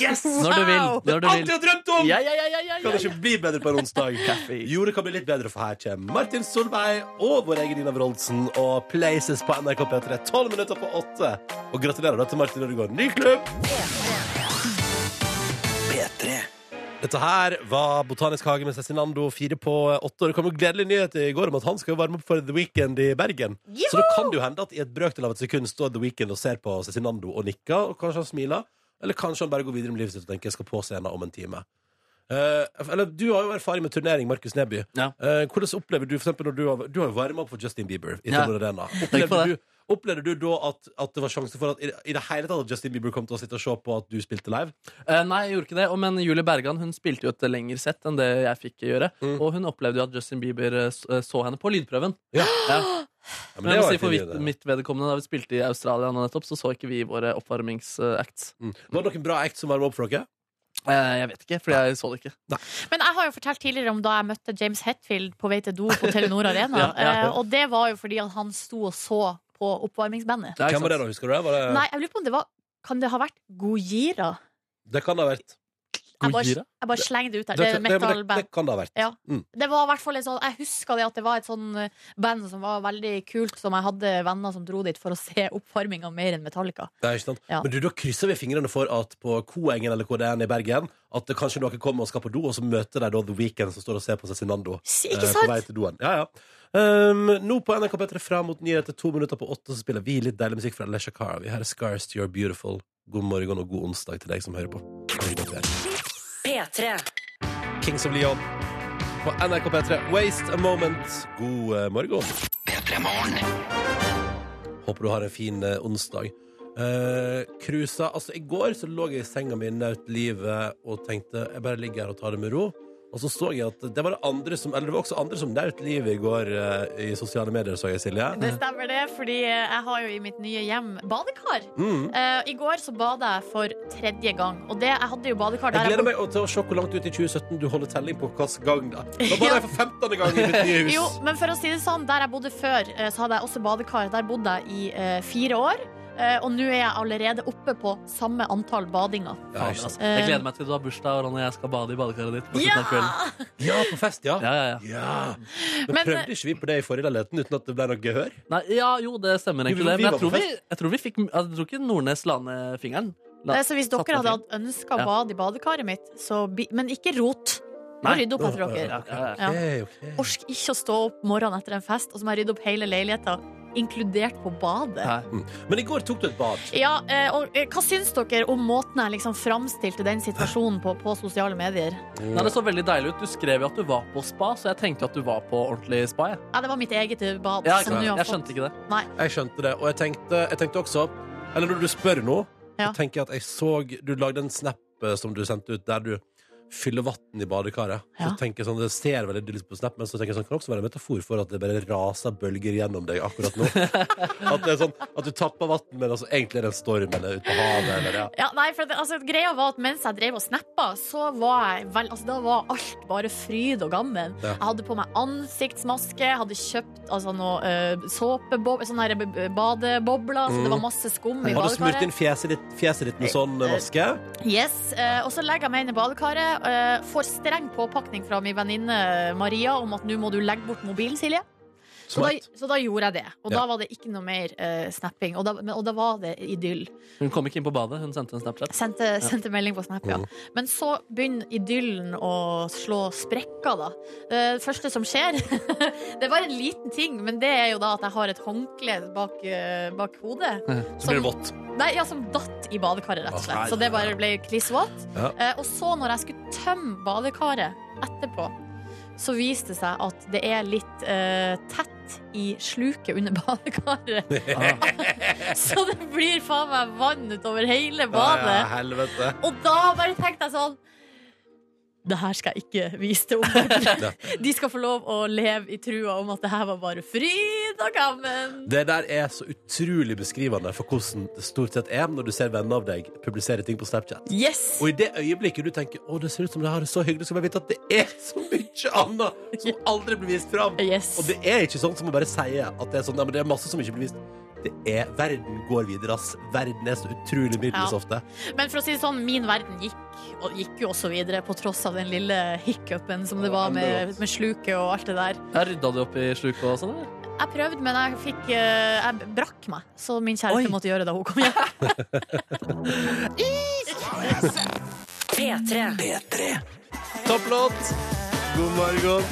Speaker 4: Yes! Når du vil.
Speaker 3: Wow!
Speaker 4: Når du
Speaker 2: Alt jeg
Speaker 4: vil.
Speaker 2: har drømt om!
Speaker 4: Ja, ja, ja, ja, ja,
Speaker 2: Kan det
Speaker 4: ja.
Speaker 2: ikke bli bedre på en
Speaker 4: (laughs)
Speaker 2: onsdag? Jo, det kan bli litt bedre, for her kommer Martin Solveig og vår egen Nina Wroldsen og Places på NRK P3 12 minutter på 8. Og gratulerer da til Martin Ødegaard. Ny klubb! Dette her var Botanisk hage med Cezinando fire på åtte. Og det kom jo gledelig nyhet i går om at han skal jo varme opp for The Weekend i Bergen. Så da kan det jo hende at i et brøkdel av et sekund står The Weekend og ser på Cezinando og nikker, og kanskje han smiler. Eller kanskje han bare går videre med livet sitt og tenker jeg skal på scenen om en time. Eh, eller Du har jo erfaring med turnering, Markus Neby.
Speaker 4: Ja.
Speaker 2: Eh, hvordan opplever du for eksempel, når du har, du har jo varma opp for Justin Bieber i
Speaker 4: Ja.
Speaker 2: Telenor Arena.
Speaker 4: Tenk på
Speaker 2: Opplevde du,
Speaker 4: det.
Speaker 2: opplevde du da at, at det var sjanse for at i, i det hele tatt at Justin Bieber kom til å sitte og se på at du spilte live?
Speaker 4: Eh, nei, jeg gjorde ikke det. Og Men Julie Bergan hun spilte jo et lengre sett enn det jeg fikk gjøre. Og hun opplevde jo at Justin Bieber eh, s- eh, så henne på lydprøven.
Speaker 2: Mm. Ja. Ja,
Speaker 4: Men jeg
Speaker 2: det
Speaker 4: må
Speaker 2: var
Speaker 4: si for
Speaker 2: fint,
Speaker 4: mitt,
Speaker 2: det.
Speaker 4: mitt vedkommende Da vi spilte i Australia nå nettopp, så så ikke vi våre oppvarmingsacts.
Speaker 2: Mm. Var det noen bra act som varma opp for dere?
Speaker 4: Eh, jeg vet ikke, for jeg så det ikke.
Speaker 3: Men jeg har jo fortalt tidligere om da jeg møtte James Hetfield på vei til do på Telenor
Speaker 2: (laughs)
Speaker 3: Arena.
Speaker 4: Ja, ja.
Speaker 3: Eh, Og det var jo fordi at han sto og så på oppvarmingsbandet.
Speaker 4: Ja, ikke
Speaker 2: Hvem var det,
Speaker 4: sant?
Speaker 2: da? Husker du det? Var det,
Speaker 3: Nei, jeg lurer på om det var Kan det ha vært Gojira?
Speaker 2: det kan det ha vært.
Speaker 3: Jeg bare,
Speaker 4: Gojira?
Speaker 3: jeg bare slenger det ut der.
Speaker 2: Det,
Speaker 3: Det er
Speaker 2: det, det, det,
Speaker 3: metal-band.
Speaker 2: kan det ha vært. Mm.
Speaker 3: Ja. Det var i hvert fall et sånn Jeg husker det at det var et sånn eh, band som var veldig kult, som jeg hadde venner som dro dit for å se oppvarminga mer enn Metallica.
Speaker 2: Det er ikke sant.
Speaker 3: Ja.
Speaker 2: Men du, da krysser vi fingrene for at på Koengen eller hvor det er i Bergen, at det kanskje dere kommer og skal på do, og så møter dere da The Weeknd som står og ser på Cezinando.
Speaker 3: S- Ikke
Speaker 2: eh, På vei
Speaker 3: sant?
Speaker 2: til doen. Ja, ja. Um, nå på NRK P3 fram mot nyheter to minutter på åtte, så spiller vi litt deilig musikk fra Lesha Carvey. Her er Scars to Your Beautiful. God morgen og god onsdag til deg som hører på.
Speaker 1: P3.
Speaker 2: Kings of Leon på NRK P3. Waste a moment. God eh, morgen. Håper du har en fin eh, onsdag. Eh, Cruisa Altså, i går så lå jeg i senga mi naut livet og tenkte jeg bare ligger her og tar det med ro. Og så så jeg at det var det andre som Eller det var også andre som naut livet i går eh, i sosiale medier, så jeg, Silje.
Speaker 3: Det stemmer det, fordi eh, jeg har jo i mitt nye hjem badekar.
Speaker 2: Mm.
Speaker 3: Eh, I går så bada jeg for tredje gang, og det, jeg hadde jo badekar
Speaker 2: Jeg
Speaker 3: der
Speaker 2: gleder meg til å se hvor langt ut i 2017 du holder telling på hvilken gang. Da Da var jeg for 15. gang i mitt nye hus.
Speaker 3: Jo, men for å si det sånn, der jeg bodde før, eh, så hadde jeg også badekar. Der bodde jeg i eh, fire år. eh, Og nå er jeg allerede oppe på samme antall badinger.
Speaker 2: Ja,
Speaker 4: Fader,
Speaker 2: ikke sant.
Speaker 4: altså. Jeg gleder meg til du har bursdag, Ronny, og jeg skal bade i badekaret ditt. På slutten av kvelden.
Speaker 2: ja, på fest, ja.
Speaker 4: Ja, ja, ja.
Speaker 2: Ja. Men,
Speaker 3: (laughs) Men-
Speaker 2: prøvde ikke vi på det i forrige leiligheten uten at det ble noe gehør?
Speaker 4: Nei, ja, jo, det stemmer
Speaker 2: Vi-
Speaker 4: egentlig.
Speaker 2: vi
Speaker 4: det Men
Speaker 2: var
Speaker 4: jeg
Speaker 2: på
Speaker 4: tror, vi, jeg tror vi fikk Jeg tror ikke Nordnes la ned fingeren. La,
Speaker 3: Eh, Så hvis
Speaker 4: satte
Speaker 3: dere hadde
Speaker 4: fingeren.
Speaker 3: hatt ønska
Speaker 4: Ja.
Speaker 3: bad i badekaret mitt, så bi Men ikke rot. Må
Speaker 4: Nei.
Speaker 3: rydde opp etter
Speaker 4: Ja,
Speaker 3: dere.
Speaker 4: ja, ja.
Speaker 3: Ja.
Speaker 2: Ok, ok.
Speaker 3: Ork ikke å stå opp morgenen etter en fest, og så må jeg rydde opp hele leiligheta, inkludert på badet.
Speaker 4: Nei.
Speaker 2: Men i går tok du et bad.
Speaker 3: Ja, eh, og eh, Hva syns dere om måten jeg liksom framstilte den situasjonen på på sosiale medier?
Speaker 4: Nei, det så veldig deilig ut. Du skrev jo at du var på spa, så jeg tenkte at du var på ordentlig spa. Jeg,
Speaker 3: Ja, Det var mitt eget eh, bad. som
Speaker 4: ja, ikke sant?
Speaker 3: nå har
Speaker 4: jeg
Speaker 3: fått-
Speaker 4: skjønte ikke det.
Speaker 2: Jeg skjønte det, og jeg tenkte, jeg tenkte også Eller når du spør nå,
Speaker 3: Ja.
Speaker 2: så tenker jeg at jeg så Du lagde en snap eh, som du sendte ut, der du fyller vann i badekaret. Så
Speaker 3: Ja.
Speaker 2: tenker jeg sånn, Det ser veldig dyrt ut på snap, men så tenker jeg sånn, kan det også være en metafor for at det bare raser bølger gjennom deg akkurat
Speaker 3: (laughs)
Speaker 2: nå. at det er sånn, at du tapper vann, men altså, egentlig er det en storm eller ute på havet. Eller, ja.
Speaker 3: Ja, nei, for det, altså, greia var at Mens jeg drev og snappa, så var jeg vel, altså, da var alt bare fryd og gammen.
Speaker 2: Ja.
Speaker 3: Jeg hadde på meg ansiktsmaske, jeg hadde kjøpt altså, noe eh, såpebob- sånne her, eh, badebobler, så det var masse skum (laughs) i
Speaker 2: Mm. Har du smurt
Speaker 3: badekaret.
Speaker 2: inn fjeset ditt, fjeset ditt med sånn eh, maske?
Speaker 3: Yes, eh, og så legger jeg meg inn i badekaret. eh, får streng påpakning fra min venninne Maria om at nå må du legge bort mobilen, Silje. Så da,
Speaker 2: Smart.
Speaker 3: så da gjorde jeg det. Og
Speaker 2: Ja.
Speaker 3: da var det ikke noe mer eh, snapping. Og da, men, og da var det idyll.
Speaker 4: Hun kom ikke inn på badet. Hun sendte en Snapchat.
Speaker 3: Sendte, sendte melding på Snap, ja. Men så begynner idyllen å slå sprekker, da. Eh, Det første som skjer (laughs) Det var en liten ting, men det er jo da at jeg har et håndkle bak, eh, bak hodet.
Speaker 2: Så blir det vått.
Speaker 3: Nei, ja, som datt i badekaret, rett og slett. Så det bare ble klissvått.
Speaker 2: Ja.
Speaker 3: Eh, og så, når jeg skulle tømme badekaret etterpå, så viste det seg at det er litt eh, tett i sluket under (laughs) badekaret. så det blir faen meg vann utover hele badet.
Speaker 2: helvete.
Speaker 3: Og da bare tenkte jeg sånn det her skal jeg ikke vise
Speaker 2: (laughs)
Speaker 3: til omverdenen. De skal få lov å leve i trua om at det her var bare fryd og gammen.
Speaker 2: Det der er så utrolig beskrivende for hvordan det stort sett er når du ser venner av deg publisere ting på Snapchat.
Speaker 3: Yes!
Speaker 2: Og i det øyeblikket du tenker å, det ser ut som de har det så hyggelig, skal bare vite at det er så mye annet som aldri blir vist fram.
Speaker 3: Yes.
Speaker 2: Og det er ikke sånn som å bare si at det er sånn, ja, men det er masse som ikke blir vist. Det er, Verden går videre, ass. Verden er så utrolig middels
Speaker 3: Ja.
Speaker 2: ofte.
Speaker 3: Men for å si det sånn, min verden gikk, og gikk jo også videre på tross av den lille hiccupen som det var med, med sluket og alt det der.
Speaker 4: Jeg rydda du opp i sluket og sånn? eller?
Speaker 3: Jeg prøvde, men jeg fikk eh, Jeg brakk meg, så min kjæreste
Speaker 2: Oi.
Speaker 3: måtte gjøre det da hun kom hjem.
Speaker 1: P3.
Speaker 2: Topplåt! God morgen.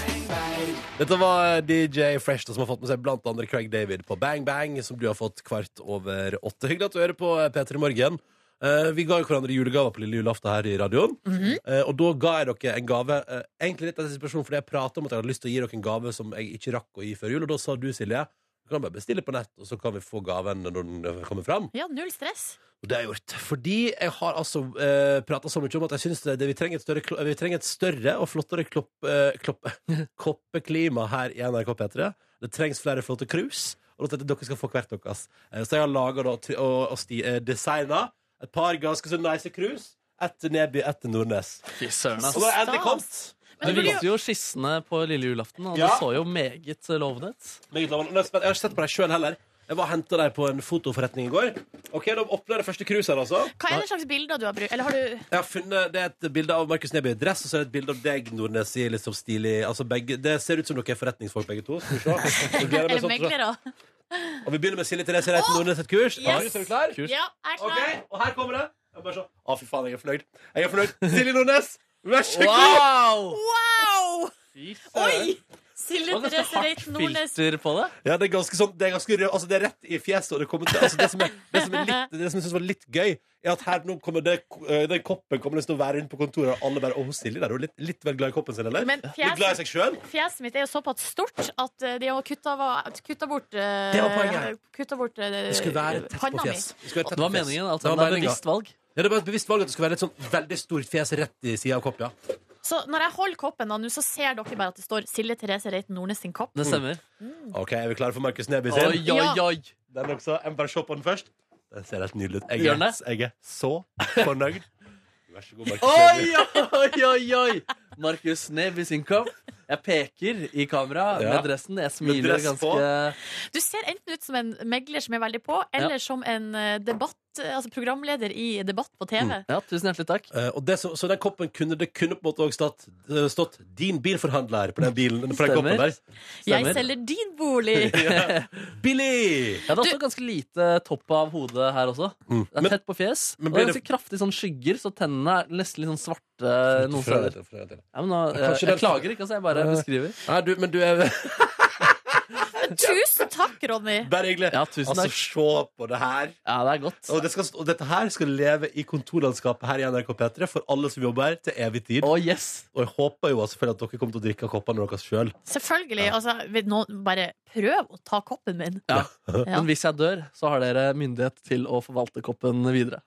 Speaker 2: Dette var DJ Fresh da, som har fått med seg blant andre Craig David på Bang Bang, som du har fått kvart over åtte. Hyggelig at du hører på P3 Morgen. Eh, vi ga jo hverandre julegaver på lille julaften her i radioen. Eh, og da ga jeg dere en gave, eh, egentlig litt av en situasjon, fordi jeg pratet om at jeg hadde lyst til å gi dere en gave som jeg ikke rakk å gi før jul, og da sa du, Silje, du kan bare bestille på nett, og så kan vi få gaven når den kommer fram.
Speaker 3: Ja, null stress.
Speaker 2: Og det har jeg gjort. Fordi jeg har altså eh, prata så mye om at jeg syns det, det, vi, trenger et større, klo- vi trenger et større og flottere klopp, eh, klopp, (laughs) koppeklima her i NRK P3. Det trengs flere flotte krus. Og da tenkte jeg dere skal få hvert deres. Eh, så jeg har laga og, og sti- eh, designa et par ganske så nice krus. Ett til Neby, ett til Nordnes.
Speaker 4: Fy søren,
Speaker 2: Og
Speaker 4: ass.
Speaker 2: nå er det endelig kommet!
Speaker 4: Du viste jo skissene på lille julaften, og
Speaker 2: Ja.
Speaker 4: det så jo meget lovende ut.
Speaker 2: Meget lovende. Nå er jeg spent. Jeg har ikke sett på dem sjøl heller. Jeg var og henta dem på en fotoforretning i går. Ok, Da åpner jeg det første cruiset her, altså.
Speaker 3: Hva er det slags bilder du har brukt? Eller har du
Speaker 2: Jeg har funnet, Det er et bilde av Markus Neby i dress, og så er det et bilde av deg, Nordnes, i litt sånn stilig altså begge, Det ser ut som dere er forretningsfolk, begge to. Skal vi se. Jeg gleder meg
Speaker 3: (laughs) Eller
Speaker 2: sånn til det.
Speaker 3: meglere?
Speaker 2: Og vi begynner med Silje Therese Reiten Nordnes et kurs. Marius, er du klar?
Speaker 4: Kult.
Speaker 3: Ja, jeg er
Speaker 2: Ok,
Speaker 3: klar.
Speaker 2: Og her kommer det. Jeg bare sånn Å, fy faen, jeg er fornøyd. Jeg er fornøyd. Silje Nordnes, vær så god!
Speaker 4: Wow!
Speaker 3: Wow!
Speaker 4: Fy søren.
Speaker 3: Oi!
Speaker 2: Eh,
Speaker 3: Silje
Speaker 4: Det var ganske
Speaker 3: Therese
Speaker 4: hardt
Speaker 3: Reiten Nordnes.
Speaker 4: filter på det.
Speaker 2: Ja, det er ganske sånn Det er ganske rød, altså det er rett i fjeset, og det kommer til altså Det som, er, det som, er litt, det som jeg synes var litt gøy, er at her nå kommer det eh, Den koppen kommer liksom til å være rundt på kontoret, og alle bare Å, hun Silje der, hun er litt, litt vel glad i koppen sin, eller?
Speaker 3: Men
Speaker 2: Litt glad i
Speaker 3: fjeset,
Speaker 2: seg sjøl?
Speaker 3: fjeset mitt er jo såpass stort at eh, de har kutta, va- kutta bort eh,
Speaker 2: Det var poenget.
Speaker 3: Kutta bort eh,
Speaker 2: Det skulle være tett
Speaker 3: panna
Speaker 2: på
Speaker 3: mi.
Speaker 2: fjes. Det skulle være tett
Speaker 4: Det var
Speaker 2: på fjes.
Speaker 4: meningen. altså.
Speaker 2: Det var
Speaker 4: det er
Speaker 2: meningen.
Speaker 4: bevisst valg.
Speaker 2: Ja, det var et bevisst valg at det skulle være et sånn veldig stort fjes rett i sida av koppen. Ja.
Speaker 3: Så når jeg holder koppen da nå, så ser dere bare at det står Silje Therese Reiten Nordnes sin kopp.
Speaker 4: Det stemmer.
Speaker 2: OK, er vi klare for Markus Neby sin?
Speaker 4: Oi, oi, oi.
Speaker 2: Den også. Jeg må bare se på den først. Den ser helt nydelig ut. Jeg
Speaker 4: Gjør den
Speaker 2: er,
Speaker 4: det?
Speaker 2: jeg er så fornøyd. Vær så god, Markus
Speaker 4: Oi,
Speaker 2: Neby.
Speaker 4: oi, oi, oi. Markus Neby sin kopp. Jeg peker i kamera
Speaker 2: Ja.
Speaker 4: med dressen. Jeg smiler
Speaker 2: dress på.
Speaker 4: ganske
Speaker 3: Du ser enten ut som en megler som er veldig på, eller som en eh, debatt, eh, altså programleder i debatt på TV.
Speaker 2: Mm,
Speaker 4: Ja, tusen hjertelig takk.
Speaker 2: Eh, og det, som- så den koppen kunne det kunne på en måte også stått, eh, stått 'Din bilforhandler' på den bilen. På den koppen
Speaker 4: Stemmer.
Speaker 2: der.
Speaker 3: Jeg
Speaker 4: Stemmer.
Speaker 3: selger din bolig!
Speaker 2: (laughs) Billy!
Speaker 4: Jeg hadde også ganske lite topp av hodet her også. Det
Speaker 2: Men-
Speaker 4: er tett på fjes.
Speaker 2: men
Speaker 4: og det
Speaker 2: blir
Speaker 4: er
Speaker 2: det-
Speaker 4: ganske kraftig sånn skygger, så tennene er nesten litt sånn svarte noen steder. Ja, men nå, jeg,
Speaker 2: Kanskje den-
Speaker 4: jeg klager ikke, altså. Jeg bare beskriver.
Speaker 2: Nei, du, men du er
Speaker 3: Tusen takk, Ronny!
Speaker 2: Bare hyggelig.
Speaker 4: Ja, tusen
Speaker 2: Altså,
Speaker 4: takk.
Speaker 2: se på det her.
Speaker 4: Ja, det er godt.
Speaker 2: Og, det skal, og dette her skal leve i kontorlandskapet her i NRK P3 for alle som jobber her, til evig tid.
Speaker 4: Å, yes.
Speaker 2: Og jeg håper jo selvfølgelig at dere kommer til å drikke av koppene deres sjøl.
Speaker 3: Selvfølgelig. Altså, vil noen bare prøv å ta koppen min.
Speaker 4: Ja.
Speaker 3: Ja.
Speaker 4: Men hvis jeg dør, så har dere myndighet til å forvalte koppen videre.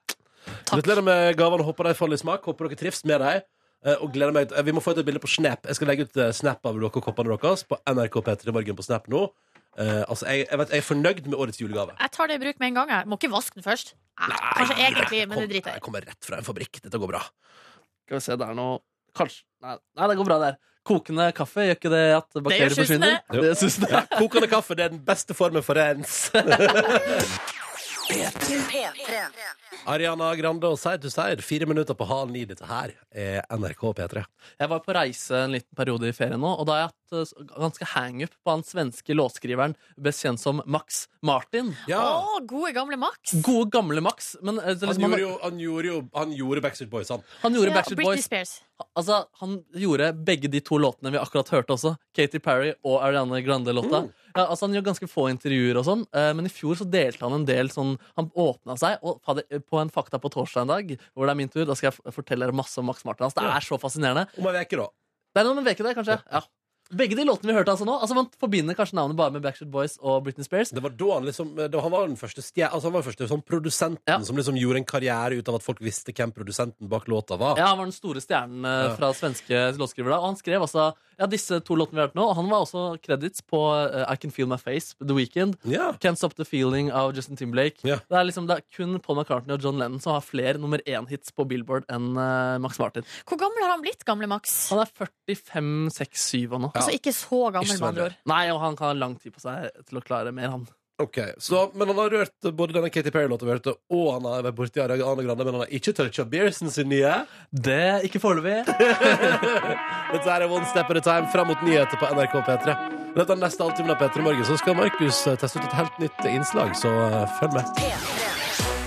Speaker 2: Gratulerer med gavene. Håper de faller i smak. Håper dere trives med dem. Eh, Og gleder meg ut. eh, Vi må få ut et bilde på Snap. Jeg skal legge ut eh, Snap av dere og koppene deres altså på NRK P3 Morgen på Snap nå. Eh, altså, jeg, jeg, vet, jeg er fornøyd med årets julegave.
Speaker 3: Jeg tar det i bruk med en gang. Jeg må ikke vaske den først. Eh, Kanskje egentlig, men det
Speaker 2: Kom-
Speaker 3: driter jeg
Speaker 2: jeg
Speaker 3: i.
Speaker 2: kommer rett fra en fabrikk. Dette går bra.
Speaker 4: Skal vi se, det er noe Kanskje Nei, nei det går bra der. Kokende kaffe, gjør ikke det at bakterier
Speaker 3: gjør susene.
Speaker 4: forsvinner?
Speaker 2: Jo.
Speaker 4: Det er susene.
Speaker 2: Ja, kokende kaffe det er den beste formen for rens.
Speaker 1: P3.
Speaker 2: Ariana Grande og Side to Side, fire minutter på halen i dette her, er NRK P3.
Speaker 4: Jeg var på reise en liten periode i ferien nå, og da har jeg hatt eh, s- ganske hangup på han svenske låtskriveren best kjent som Max Martin.
Speaker 3: Å, gode gamle Max!
Speaker 4: Gode, gamle Max. Men eh, så
Speaker 2: Han
Speaker 4: liksom,
Speaker 2: gjorde,
Speaker 4: han,
Speaker 2: jo, han, gjorde jo, han gjorde Backstreet Boys, han.
Speaker 4: han gjorde
Speaker 3: Ja,
Speaker 4: Backstreet
Speaker 3: Britney
Speaker 4: Boys.
Speaker 3: Spears.
Speaker 4: Altså, han gjorde begge de to låtene vi akkurat hørte også. Katy Perry og Ariane Grande-låta. Ja, altså, han gjør ganske få intervjuer, og sånn eh, men i fjor så delte han en del sånn Han åpna seg, og fader, på en Fakta på torsdag en dag, hvor det er min tur, da skal jeg f- fortelle dere masse om Max Martin. Altså, det er så fascinerende.
Speaker 2: Om ei uke, da.
Speaker 4: Det er om en veke der, kanskje. Ja. Begge de låtene vi hørte altså nå. Altså Man forbinder kanskje navnet bare med Backstreet Boys og Britney Spears.
Speaker 2: Det var da han liksom da Han var den første, stje, altså han var den første sånn produsenten
Speaker 4: Ja.
Speaker 2: som liksom gjorde en karriere ut av at folk visste hvem produsenten bak låta var.
Speaker 4: Ja, Han var den store stjernen eh, fra svenske låtskrivere. Og han skrev altså ja, disse to låtene vi hørte nå. Og han var også credits på eh, I Can Feel My Face, The Weekend.
Speaker 2: Ja.
Speaker 4: Can't Stop The Feeling av Justin Timberlake.
Speaker 2: Ja.
Speaker 4: Det er liksom det er kun Paul McCartney og John Lennon som har flere nummer én-hits på Billboard enn eh, Max Martin.
Speaker 3: Hvor gammel har han blitt, gamle Max?
Speaker 4: Han er 45-6-7 nå.
Speaker 3: Altså ikke så gammel,
Speaker 2: Ikke så
Speaker 3: med andre
Speaker 2: veldig.
Speaker 3: ord.
Speaker 4: Nei, og han kan ha lang tid på seg til å klare mer, han.
Speaker 2: Ok, så, Men han har rørt både denne Katy Perry-låta vi hørte, og han har vært borti Ariana Grande, men han har ikke toucha Beersen sin nye.
Speaker 4: Det ikke foreløpig.
Speaker 2: Dette her er One Step at a Time fram mot nyheter på NRK P3. I løpet av neste halvtime av P3 Morgen så skal Markus eh, teste ut et helt nytt innslag, så eh, følg med.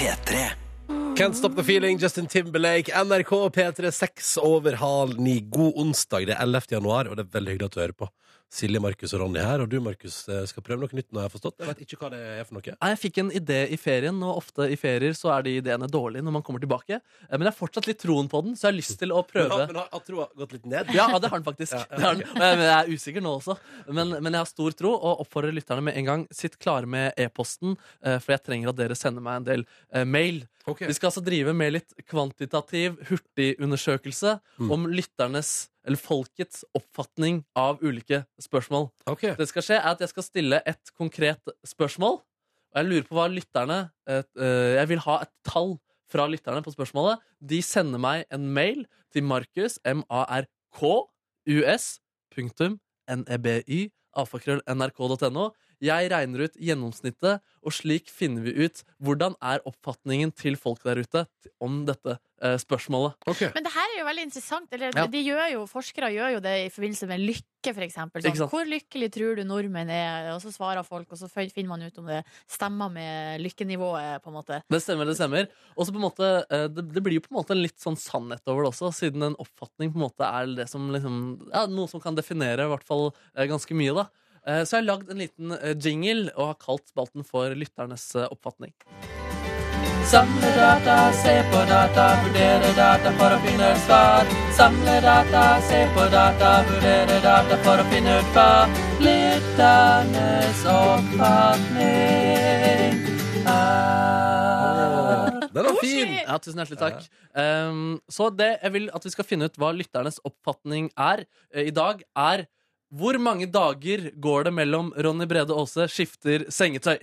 Speaker 2: Can't Stop The Feeling, Justin Timberlake, NRK og P3 6 over halv ni. God onsdag, det er 11. januar, og det er veldig hyggelig at du hører på. Silje, Markus og Ronny her, og du, Markus, eh, skal prøve noe nytt nå, har jeg forstått. Jeg vet ikke hva det er for noe.
Speaker 4: Nei, Jeg fikk en idé i ferien, og ofte i ferier så er de ideene dårlige når man kommer tilbake. Eh, Men jeg har fortsatt litt troen på den, så jeg har lyst til å
Speaker 2: Men har,
Speaker 4: prøve.
Speaker 2: men har, har troa gått litt ned?
Speaker 4: Ja, ja, det har den faktisk. Det har den. Og jeg, men jeg er usikker nå også, men, men jeg har stor tro. Og oppfordrer lytterne med en gang sitt klare med e-posten, eh, for jeg trenger at dere sender meg en del eh, mail.
Speaker 2: Ok.
Speaker 4: Vi skal altså drive med litt kvantitativ hurtigundersøkelse om lytternes, eller folkets, oppfatning av ulike spørsmål.
Speaker 2: Ok.
Speaker 4: Det skal skje er at jeg skal stille et konkret spørsmål. Og jeg lurer på hva lytterne et, eh, Jeg vil ha et tall fra lytterne på spørsmålet. De sender meg en mail til markus, m-a-r-k-u-s, punktum, E n-e-b-y, alfakrøll, nrk.no. Jeg regner ut gjennomsnittet, og slik finner vi ut hvordan er oppfatningen til folk der ute t- om dette eh, spørsmålet.
Speaker 2: ok.
Speaker 3: Men det her er jo veldig interessant. Eller,
Speaker 4: Ja.
Speaker 3: de gjør jo, forskere gjør jo det i forbindelse med lykke, for eksempel.
Speaker 4: Ikke
Speaker 3: Sånn,
Speaker 4: sant?
Speaker 3: hvor lykkelig tror du nordmenn er? Og så svarer folk, og så fin- finner man ut om det stemmer med lykkenivået, på en måte.
Speaker 4: Det stemmer, det stemmer. Og så på en måte, eh, det, det blir jo på en måte en litt sånn sannhet over det også, siden en oppfatning på en måte er det som liksom, ja, noe som kan definere i hvert fall eh, ganske mye. da. Eh, Så jeg har lagd en liten eh, jingle og har kalt spalten for Lytternes eh, oppfatning. Samle data, se på data, vurdere data for å finne ut svar. Samle data, se på data, vurdere data for å finne ut hva. Lytternes oppfatning er
Speaker 2: Den var fin!
Speaker 4: ja, tusen hjertelig takk. Um, så det jeg vil at vi skal finne ut hva lytternes oppfatning er eh, i dag, er hvor mange dager går det mellom Ronny Brede Aase skifter sengetøy?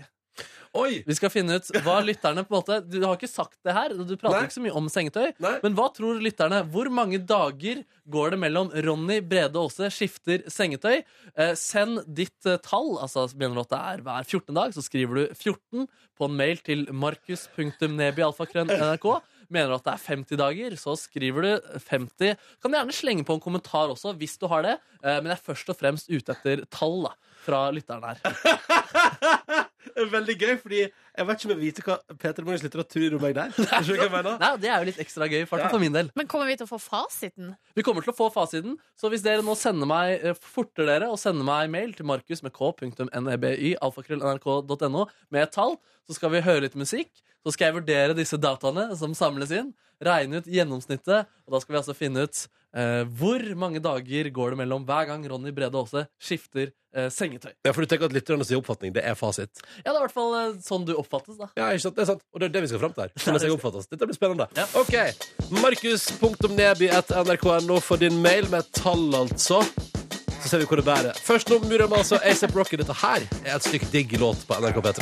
Speaker 2: Oi!
Speaker 4: Vi skal finne ut hva lytterne på en måte Du har ikke sagt det her, du prater
Speaker 2: Nei.
Speaker 4: ikke så mye om sengetøy.
Speaker 2: Nei.
Speaker 4: Men hva tror lytterne? Hvor mange dager går det mellom Ronny Brede Aase skifter sengetøy? Eh, send ditt eh, tall, altså mener du at det er hver 14. dag, så skriver du 14 på en mail til markus.nebyalfakrønn.nrk. Mener du at det er 50 dager, så skriver du 50. Kan gjerne slenge på en kommentar også, hvis du har det. Eh, men jeg er først og fremst ute etter tall da, fra lytterne her.
Speaker 2: Veldig gøy, fordi jeg vet ikke om jeg vet hva Peter Morgens litteratur om meg der. Skjønner du hva jeg mener?
Speaker 4: Nei, Det er jo litt ekstra gøy, i hvert fall for min del.
Speaker 3: Men kommer vi til å få fasiten?
Speaker 4: Vi kommer til å få fasiten, så hvis dere nå sender meg eh, forter dere og sender meg mail til markus med k.neby alfakrøll.nrk.no med et tall, så skal vi høre litt musikk. Så skal jeg vurdere disse dataene som samles inn, regne ut gjennomsnittet, og da skal vi altså finne ut eh, hvor mange dager går det mellom hver gang Ronny Brede Aase skifter eh, sengetøy.
Speaker 2: Ja, for du tenker at lytternes oppfatning, det er fasit.
Speaker 4: Ja, det er i hvert fall eh, sånn du oppfattes, da.
Speaker 2: Ja, ikke sant? Det er sant. Og det er det vi skal fram til her. Hvordan jeg oppfatter oss. Dette blir spennende.
Speaker 4: Ja.
Speaker 2: Ok. Markus.neby.nrk.no for din mail med tall, altså. Så ser vi hvor det bærer. Først nå Muriam altså A$AP Rocky. Dette her er et stykke digg låt på NRK P3.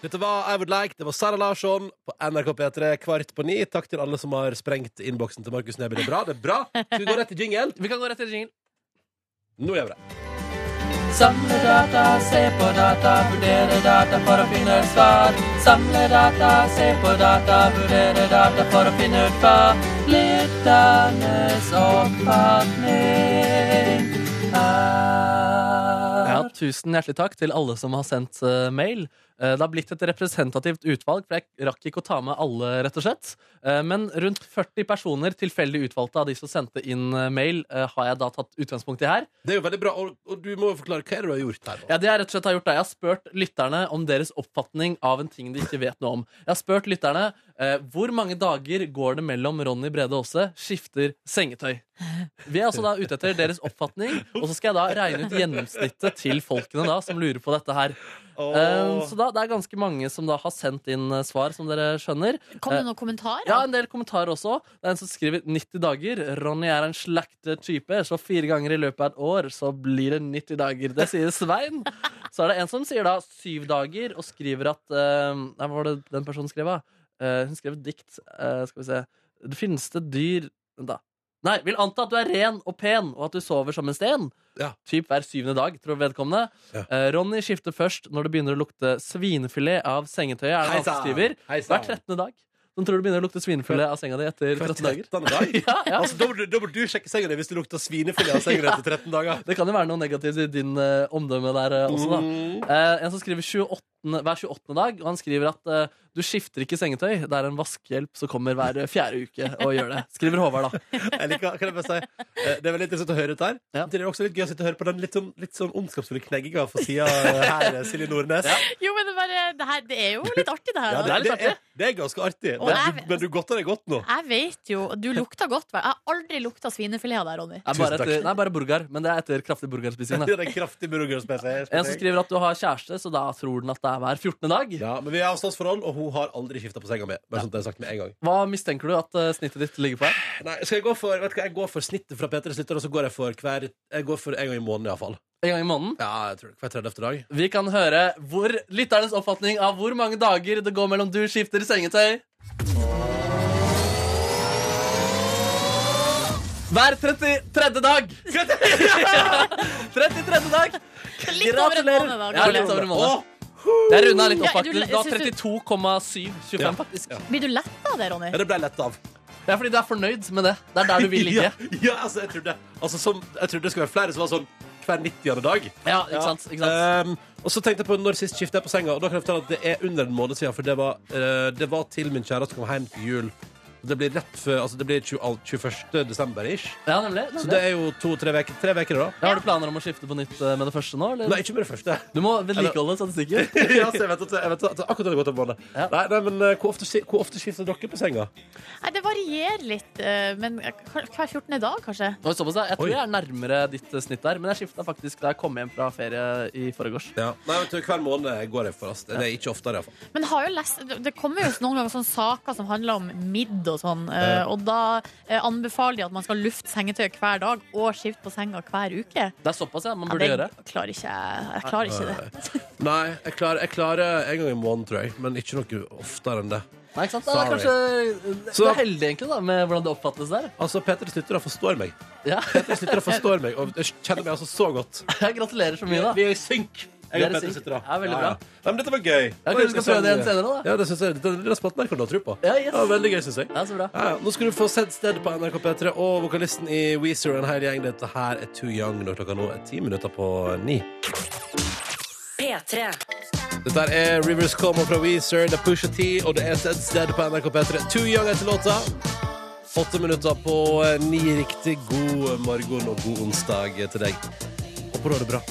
Speaker 2: Dette var I Would Like, det var Sara Larsson på NRK P3 kvart på ni. Takk til alle som har sprengt innboksen til Markus Neby. Det er bra. det er bra Skal vi gå rett til jingle?
Speaker 4: Vi kan gå rett til jingle.
Speaker 2: Nå gjør vi det.
Speaker 4: Samle data, se på data, vurdere data for å finne et svar. Samle data, se på data, vurdere data for å finne ut hva lytternes oppfatning er. Ja, tusen hjertelig takk til alle som har sendt eh, mail. Eh, Det har blitt et representativt utvalg, for jeg rakk ikke å ta med alle, rett og slett. Eh, Men rundt 40 personer, tilfeldig utvalgte av de som sendte inn eh, mail, eh, har jeg da tatt utgangspunkt i her.
Speaker 2: Det er jo veldig bra, og, og du må jo forklare hva er det du har gjort her. da?
Speaker 4: Ja, det Jeg rett og slett har gjort da. Jeg har spurt lytterne om deres oppfatning av en ting de ikke vet noe om. Jeg har spurt lytterne eh, hvor mange dager går det mellom Ronny Brede Aase skifter sengetøy. Vi er også da ute etter deres oppfatning, og så skal jeg da regne ut gjennomsnittet til folkene da som lurer på dette her. Eh, så da, det er ganske mange som da har sendt inn eh, svar, som dere skjønner.
Speaker 3: Kom det
Speaker 4: Eh,
Speaker 3: noen kommentarer?
Speaker 4: Ja, en del kommentarer også. Det er en som skriver 90 dager. Ronny er en slakte type, så fire ganger i løpet av et år så blir det 90 dager. Det sier Svein. Så er det en som sier da syv dager, og skriver at eh, Hva var det den personen skrev, da? Eh, hun skrev et dikt. Eh, skal vi se. Det finnes det dyr Vent, da. Nei, vil anta at du er ren og pen, og at du sover som en sten.
Speaker 2: Ja.
Speaker 4: Typ hver syvende dag, tror vedkommende.
Speaker 2: Ja.
Speaker 4: Eh, Ronny skifter først når det begynner å lukte svinefilet av sengetøyet. Er det han som
Speaker 2: Heisann!
Speaker 4: skriver
Speaker 2: Heisann!
Speaker 4: Hver 13. dag. Som tror du begynner å lukte svinefilet av senga di etter 13
Speaker 2: (laughs)
Speaker 4: dager.
Speaker 2: 13. dag?
Speaker 4: Ja, ja.
Speaker 2: Altså, da, må du, da må du sjekke senga di hvis det lukter svinefilet av senga di etter 13 dager.
Speaker 4: Det kan jo være noe negativt i din eh, omdømme der eh, også, da.
Speaker 2: Mm.
Speaker 4: Eh, en som skriver 28, hver 28. dag, og han skriver at eh, du skifter ikke sengetøy. Det er en vaskehjelp som kommer hver eh, fjerde uke og gjør det. Skriver Håvard, da.
Speaker 2: Jeg liker, kan jeg bare si, eh, det er veldig interessant å høre dette her.
Speaker 4: Ja.
Speaker 2: Samtidig er det også litt gøy å sitte og høre på den litt sånn, litt sånn ondskapsfulle knegginga fra sida her, eh, Silje Nordnes.
Speaker 3: Jo, men det, er bare, det, her, det er jo litt artig, det her.
Speaker 2: Ja,
Speaker 3: da.
Speaker 4: det er litt
Speaker 2: er, det er ganske artig.
Speaker 3: Og
Speaker 2: Men
Speaker 3: jeg-
Speaker 2: du, men du godter deg godt nå.
Speaker 3: Jeg vet jo Du lukta godt. hva? Jeg har aldri lukta svinefilet av deg, Ronny.
Speaker 4: Er bare
Speaker 2: Tusen takk.
Speaker 4: etter, nei, bare burger, men det er etter kraftig
Speaker 2: (laughs)
Speaker 4: burgerspising.
Speaker 2: Det
Speaker 4: da.
Speaker 2: er en kraftig burgerspesiell.
Speaker 4: En som skriver at du har kjæreste, så da tror den at det er hver 14. dag.
Speaker 2: Ja, men vi har avstandsforhold, og hun har aldri skifta på senga mi. Bare sånn at jeg har sagt med en gang.
Speaker 4: Hva mistenker du at eh, snittet ditt ligger på her?
Speaker 2: Nei, skal jeg gå for, vet du hva, jeg går for snittet fra P3 slutter, og så går jeg for hver Jeg går for en gang i måneden, iallfall.
Speaker 4: En gang i måneden?
Speaker 2: Ja, jeg tror det. Hver 30. dag.
Speaker 4: Vi kan høre hvor lytternes oppfatning av hvor mange dager det går mellom du skifter sengetøy. Hver 33. dag! 33. dag!
Speaker 3: Litt over en måned, da.
Speaker 4: Ja, litt over en måned. Jeg runda litt opp,
Speaker 3: Ja, du-
Speaker 4: faktisk. Det var
Speaker 3: jeg synes
Speaker 4: 32,725,
Speaker 2: Ja.
Speaker 4: faktisk.
Speaker 2: Ja.
Speaker 3: Blir du letta av det, Ronny?
Speaker 2: Ja, det ble lett av.
Speaker 4: Det er fordi du er fornøyd med det. Det er der du vil ligge.
Speaker 2: (laughs) Ja, ja, altså, jeg trodde altså, som, Jeg trodde det skulle være flere som var sånn hver 90. dag.
Speaker 4: Ja, ikke sant? Ikke sant?
Speaker 2: Ehm, og så tenkte jeg på når sist skiftet jeg på senga, og da kan jeg fortelle at det er under en måned siden, for det var, eh, det var til min kjæreste kom hjem til jul. Det blir rett før, altså det blir 20, 21. desember-ish.
Speaker 4: Ja, nemlig.
Speaker 2: Så
Speaker 4: nemlig.
Speaker 2: det er jo to-tre veker, tre veker da.
Speaker 4: Ja, har du planer om å skifte på nytt eh, med det første nå? Eller?
Speaker 2: Nei, ikke med det
Speaker 4: (laughs)
Speaker 2: første.
Speaker 4: Du må vedlikeholde statistikken.
Speaker 2: ja, så jeg vet at, jeg vet at akkurat det har gått en måned.
Speaker 4: Ja.
Speaker 2: Nei, nei, men eh, hvor ofte, sk- hvor ofte skifter dere på senga?
Speaker 3: Nei, det varierer litt, eh, men hver 14. dag, kanskje.
Speaker 4: Oi, såpass, ja. Jeg tror
Speaker 2: Oi.
Speaker 4: jeg er nærmere ditt eh, snitt der, men jeg skifta faktisk da jeg kom hjem fra ferie i forgårs.
Speaker 2: Ja. Nei, vet du, hver måned går jeg for oss. Det er ikke oftere, iallfall.
Speaker 3: Men har jo lest, det kommer jo noen ganger sånne saker som handler om midd og sånn, eh, og da eh, anbefaler de at man skal lufte sengetøy hver dag og skifte på senga hver uke.
Speaker 4: Det er såpass, ja. Man
Speaker 3: Ja,
Speaker 4: burde
Speaker 3: det
Speaker 4: gjøre.
Speaker 3: klarer ikke jeg. Jeg klarer ikke det.
Speaker 2: Nei, jeg klarer, jeg klarer en gang i måneden, tror jeg, men ikke noe oftere enn det.
Speaker 4: Nei, ikke sant? Da, det er kanskje Du
Speaker 2: Så-
Speaker 4: er heldig, egentlig, da, med hvordan det oppfattes der.
Speaker 2: Altså, Peter Slytter da forstår meg.
Speaker 4: (laughs) Ja.
Speaker 2: Peter Slytter da forstår meg, og jeg kjenner meg altså så godt.
Speaker 4: Jeg gratulerer så mye, da.
Speaker 2: Vi er i synk.
Speaker 4: Vi
Speaker 2: Jeg og
Speaker 4: er i
Speaker 2: Petter
Speaker 4: synk.
Speaker 2: sitter da.
Speaker 4: Ja, veldig bra.
Speaker 2: Nei, men dette var gøy.
Speaker 4: Ja, kanskje vi skal prøve det igjen senere, da.
Speaker 2: Ja, det synes jeg. Det lille spotten her kan du ha tro på.
Speaker 4: Ja, yes.
Speaker 2: Det var veldig gøy, synes jeg.
Speaker 4: Ja, så bra.
Speaker 2: Ja, ja. Nå skal du få sett stedet på NRK P3 og vokalisten i Weezer og en hel gjeng. Dette her er Too Young når klokka nå er ti minutter på ni.
Speaker 1: P3.
Speaker 2: Dette her er Rivers Como fra Weezer, det er Pusha T, og det er Sett stedet på NRK P3. Too Young etter låta. Åtte minutter på eh, ni riktig. God morgen og god onsdag til deg. Håper du har det bra.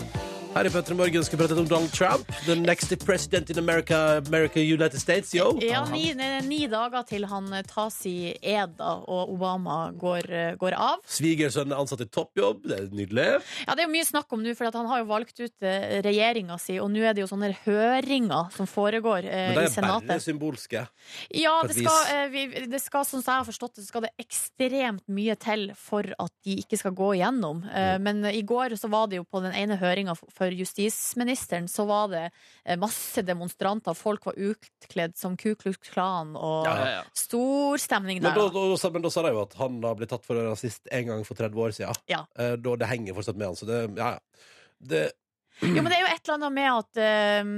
Speaker 2: Her i P3 Morgen skal vi prate litt om Donald Trump. The next president in America, America United States, yo.
Speaker 3: Ja, ni, nei, ni dager til han eh, tas i ed, da, og Obama går, eh, går av.
Speaker 2: Svigersønnen er ansatt i toppjobb. Det er nydelig.
Speaker 3: Ja, Det er jo mye snakk om nå, for at han har jo valgt ut eh, regjeringa si, og nå er det jo sånne høringer som foregår eh,
Speaker 2: Men de er
Speaker 3: i
Speaker 2: bare
Speaker 3: Senatet.
Speaker 2: symbolske.
Speaker 3: Ja,
Speaker 2: på et
Speaker 3: det skal, eh, vi, det skal, sånn som jeg har forstått det, så skal det ekstremt mye til for at de ikke skal gå igjennom. Eh, Men i går så var det jo på den ene høringa for justisministeren, så var det eh, masse demonstranter. Folk var utkledd som Ku Klux Klan, og
Speaker 4: Ja, ja, ja.
Speaker 3: stor stemning
Speaker 2: Men
Speaker 3: der.
Speaker 2: da,
Speaker 3: da.
Speaker 2: da, sa- men da sa de jo at han har blitt tatt for rasist en gang for 30 år siden.
Speaker 3: Ja.
Speaker 2: Eh, Da, det henger fortsatt med han, så det, ja, ja. Det,
Speaker 3: Jo, men det er jo et eller annet med at eh,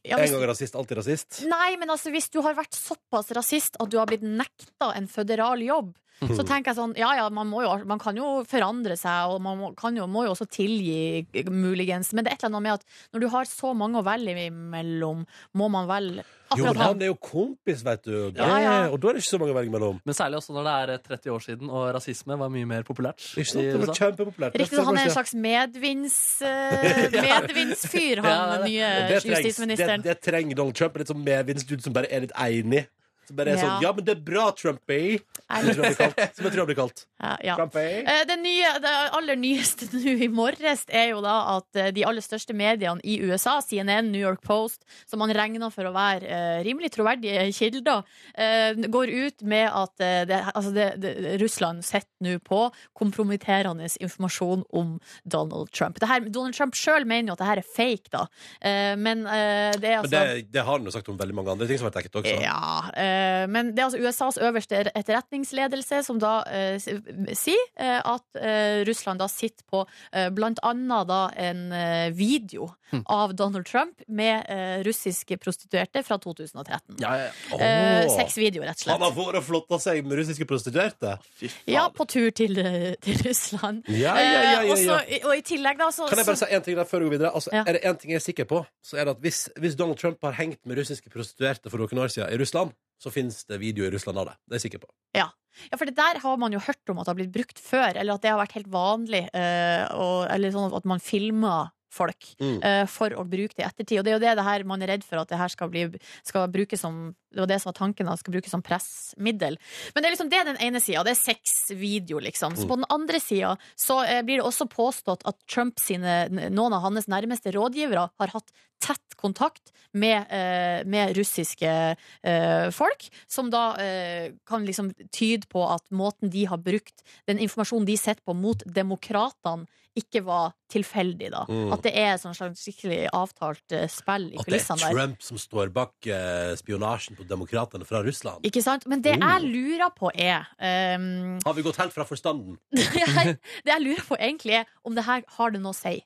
Speaker 3: ja,
Speaker 2: en
Speaker 3: hvis-
Speaker 2: gang rasist, alltid rasist.
Speaker 3: Nei, men altså, hvis du har vært såpass rasist at du har blitt nekta en føderal jobb,
Speaker 2: Mm.
Speaker 3: Så tenker jeg sånn, ja ja, man, må jo, man kan jo forandre seg, og man må, kan jo, må jo også tilgi, eh, muligens. Men det er et eller annet med at når du har så mange å velge imellom, må man velge
Speaker 2: Jo, men
Speaker 3: akkurat
Speaker 2: han
Speaker 3: han.
Speaker 2: er jo kompis, vet du. Det,
Speaker 3: Ja, ja.
Speaker 2: Og da er det ikke så mange å velge mellom.
Speaker 4: Men særlig også når det er eh, 30 år siden, og rasisme var mye mer populært.
Speaker 2: Ikke sant?
Speaker 4: i
Speaker 2: Det sånn var
Speaker 4: USA.
Speaker 2: kjempepopulært.
Speaker 3: Riktig, så han er en slags medvinds, eh,
Speaker 2: (laughs)
Speaker 3: medvindsfyr,
Speaker 4: Ja,
Speaker 3: han
Speaker 2: Og
Speaker 3: nye
Speaker 2: det trengs, det,
Speaker 3: justisministeren.
Speaker 2: det trenger Donald Trump. En litt sånn medvindsdude som bare er litt enig. Som bare er
Speaker 3: Ja.
Speaker 2: sånn Ja, men det er bra, Trumpy! Som jeg
Speaker 3: Jeg
Speaker 2: tror han blir kalt. Som jeg tror han blir kalt.
Speaker 3: Ja, ja.
Speaker 2: Trumpy.
Speaker 3: Eh, Det, nye, det aller nyeste (laughs) nå i morges er jo da at eh, de aller største mediene i USA, CNN, New York Post, som man regner for å være eh, rimelig troverdige kilder, eh, går ut med at eh, det, altså det, det, Russland sitter nå på kompromitterende informasjon om Donald Trump. Det her, Donald Trump sjøl mener jo at det her er fake, da. Eh, men eh, det er
Speaker 2: Men
Speaker 3: altså
Speaker 2: det, det har han jo sagt om veldig mange andre ting som har vært dekket også.
Speaker 3: ja, eh, men det er altså USAs øverste etterretningsledelse som da eh, s- sier eh, at eh, Russland da sitter på eh, blant annet da en eh, video
Speaker 2: Hm.
Speaker 3: av Donald Trump med eh, russiske prostituerte fra 2013.
Speaker 4: Ja, ja, ja.
Speaker 2: Åh.
Speaker 3: Eh, Seks videoer, rett og
Speaker 2: Han
Speaker 3: slett.
Speaker 2: har vært og flotta seg med russiske prostituerte.
Speaker 3: Eh, Ja, på tur til, eh, til Russland.
Speaker 2: Ja, ja, ja,
Speaker 3: Eh,
Speaker 2: ja,
Speaker 3: og
Speaker 2: ja.
Speaker 3: så- og i tillegg, da, så
Speaker 2: Kan jeg bare si en ting der før vi går videre? Altså,
Speaker 3: Ja.
Speaker 2: Er det en ting jeg er sikker på, så er det at hvis, hvis Donald Trump har hengt med russiske prostituerte for noen år siden i Russland, så finnes det video i Russland av det. Det er jeg sikker på.
Speaker 3: Ja, for det der har man jo hørt om at det har blitt brukt før, eller at det har vært helt vanlig, eh, og, eller sånn at man filmer folk
Speaker 2: Mm.
Speaker 3: eh, for å bruke det i ettertid. Og det er jo det, det her man er redd for at det her skal, bli, skal brukes som Det var det som var tanken, at det skal brukes som pressmiddel. Men det er liksom det er den ene sida. Det er seks video, liksom.
Speaker 2: Mm.
Speaker 3: Så på den andre sida så eh, blir det også påstått at Trump sine, noen av hans nærmeste rådgivere har hatt tett kontakt med, eh, med russiske eh, folk, som da eh, kan liksom tyde på at måten de har brukt den informasjonen de sitter på mot demokratene, ikke var tilfeldig, da.
Speaker 2: Mm.
Speaker 3: At det er et sånn slags skikkelig avtalt eh, spill i
Speaker 2: At det
Speaker 3: kulissene
Speaker 2: er
Speaker 3: der.
Speaker 2: Trump som står bak eh, spionasjen på demokratene fra Russland.
Speaker 3: Ikke sant? Men det
Speaker 2: Oh.
Speaker 3: jeg lurer på, er ehm, (laughs)
Speaker 2: Har vi gått helt fra forstanden?
Speaker 3: jeg, Det jeg lurer på egentlig er om det her har det noe å si.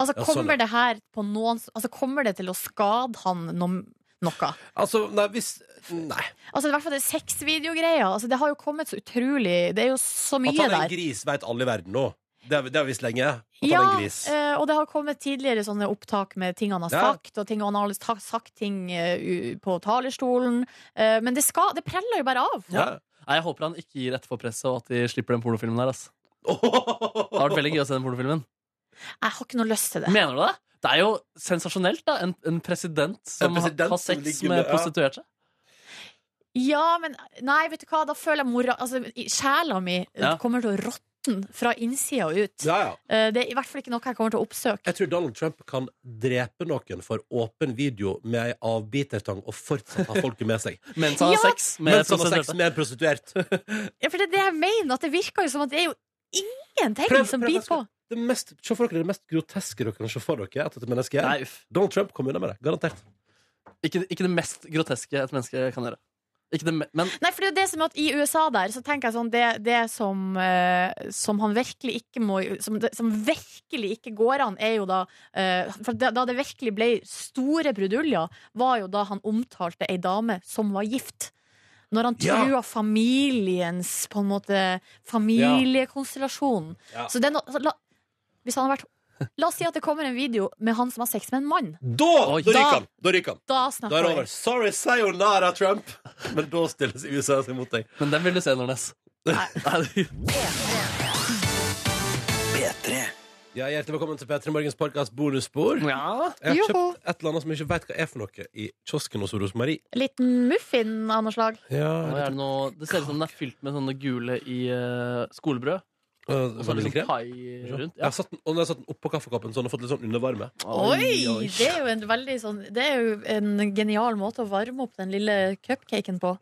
Speaker 3: Altså,
Speaker 2: Ja, sånn,
Speaker 3: kommer det her på noen Altså, kommer det til å skade han noe? noe?
Speaker 2: Altså, nei, hvis Nei.
Speaker 3: Altså, I hvert fall det sexvideogreia. Altså, det har jo kommet så utrolig Det er jo så mye
Speaker 2: At
Speaker 3: der.
Speaker 2: han er en gris, veit alle i verden nå. Det har vi- det har vi visst lenge. At
Speaker 3: Ja,
Speaker 2: han er en gris. (laughs)
Speaker 3: eh, og det har kommet tidligere sånne opptak med ting han har
Speaker 2: Ja.
Speaker 3: sagt, og ting han har ta- sagt ting eh, u- på talerstolen. Eh, men det, skal, det preller jo bare av.
Speaker 2: Ja.
Speaker 4: Nei, jeg håper han ikke gir etter for presset, og at de slipper den pornofilmen der. ass. Det har vært veldig gøy å se den pornofilmen.
Speaker 3: Jeg har ikke noe lyst til det.
Speaker 4: Mener du det? Det er jo sensasjonelt, da. En, en president som
Speaker 2: En president
Speaker 4: har, har
Speaker 2: som
Speaker 4: sex
Speaker 2: ligger med-
Speaker 4: med
Speaker 2: ja.
Speaker 4: prostituerte.
Speaker 3: Ja, men nei, vet du hva, da føler jeg mora Altså, i- sjela mi eh,
Speaker 4: Ja.
Speaker 3: kommer til å råtne fra innsida og ut.
Speaker 2: ja, ja.
Speaker 3: Eh, det er i hvert fall ikke noe jeg kommer til å oppsøke.
Speaker 2: Jeg tror Donald Trump kan drepe noen for åpen video med ei avbitertang og fortsatt ha folket med seg.
Speaker 4: Mens han har
Speaker 3: Ja.
Speaker 4: sex med
Speaker 2: Mens han har sex
Speaker 4: prostituerte.
Speaker 2: med en prostituert.
Speaker 3: Ja, for det er det jeg mener, at det virker jo som at det er jo ingenting
Speaker 2: Prøv-
Speaker 3: som
Speaker 2: prøv, jeg
Speaker 3: biter på.
Speaker 2: skal- (laughs) Det mest, se for dere det mest groteske dere kan se for dere. Etter et menneske er.
Speaker 4: (laughs) Nei, uff.
Speaker 2: Donald Trump kom unna med det. Garantert.
Speaker 4: Ikke, ikke det mest groteske et menneske kan gjøre. Ikke det, me- men
Speaker 3: Nei, for det er jo det som er at I USA der, så tenker jeg sånn Det, det som, eh, som han virkelig ikke må som, det, som virkelig ikke går an, er jo da eh, For da, da det virkelig ble store bruduljer, var jo da han omtalte ei dame som var gift. Når han
Speaker 2: Ja.
Speaker 3: trua familiens på en måte familiekonstellasjonen.
Speaker 2: Ja.
Speaker 3: Så det er noe altså, la, Hvis han har vært La oss si at det kommer en video med han som har sex med en mann.
Speaker 2: Da, da Ah,
Speaker 4: Oi.
Speaker 2: ryker
Speaker 3: Da-
Speaker 2: han! Da ryker han.
Speaker 3: Da
Speaker 2: Da er
Speaker 3: snakker
Speaker 2: det over.
Speaker 3: vi.
Speaker 2: Sorry, sayonara, (laughs) Trump. Men da stilles USA seg mot deg.
Speaker 4: Men den vil du se, Nordnes. (laughs) Nei, du-
Speaker 2: Ja, hjertelig velkommen til P3 Morgens podkast bonusspor.
Speaker 4: ja.
Speaker 2: Jeg har
Speaker 3: Joho.
Speaker 2: kjøpt et eller annet som jeg ikke veit hva er for noe, i kiosken hos Rosemarie.
Speaker 3: Liten muffin av noe slag.
Speaker 4: Nå
Speaker 2: Ja,
Speaker 4: er det, noe, det ser ut som den er fylt med sånne gule i eh, skolebrød. Og så er det sånn
Speaker 2: Vaniljekrem.
Speaker 4: pai rundt.
Speaker 2: Jeg har satt den, og når jeg har satt den oppå kaffekoppen, så den har fått litt sånn undervarme.
Speaker 3: Oi, Det er jo en veldig sånn Det er jo en genial måte å varme opp den lille cupcaken på.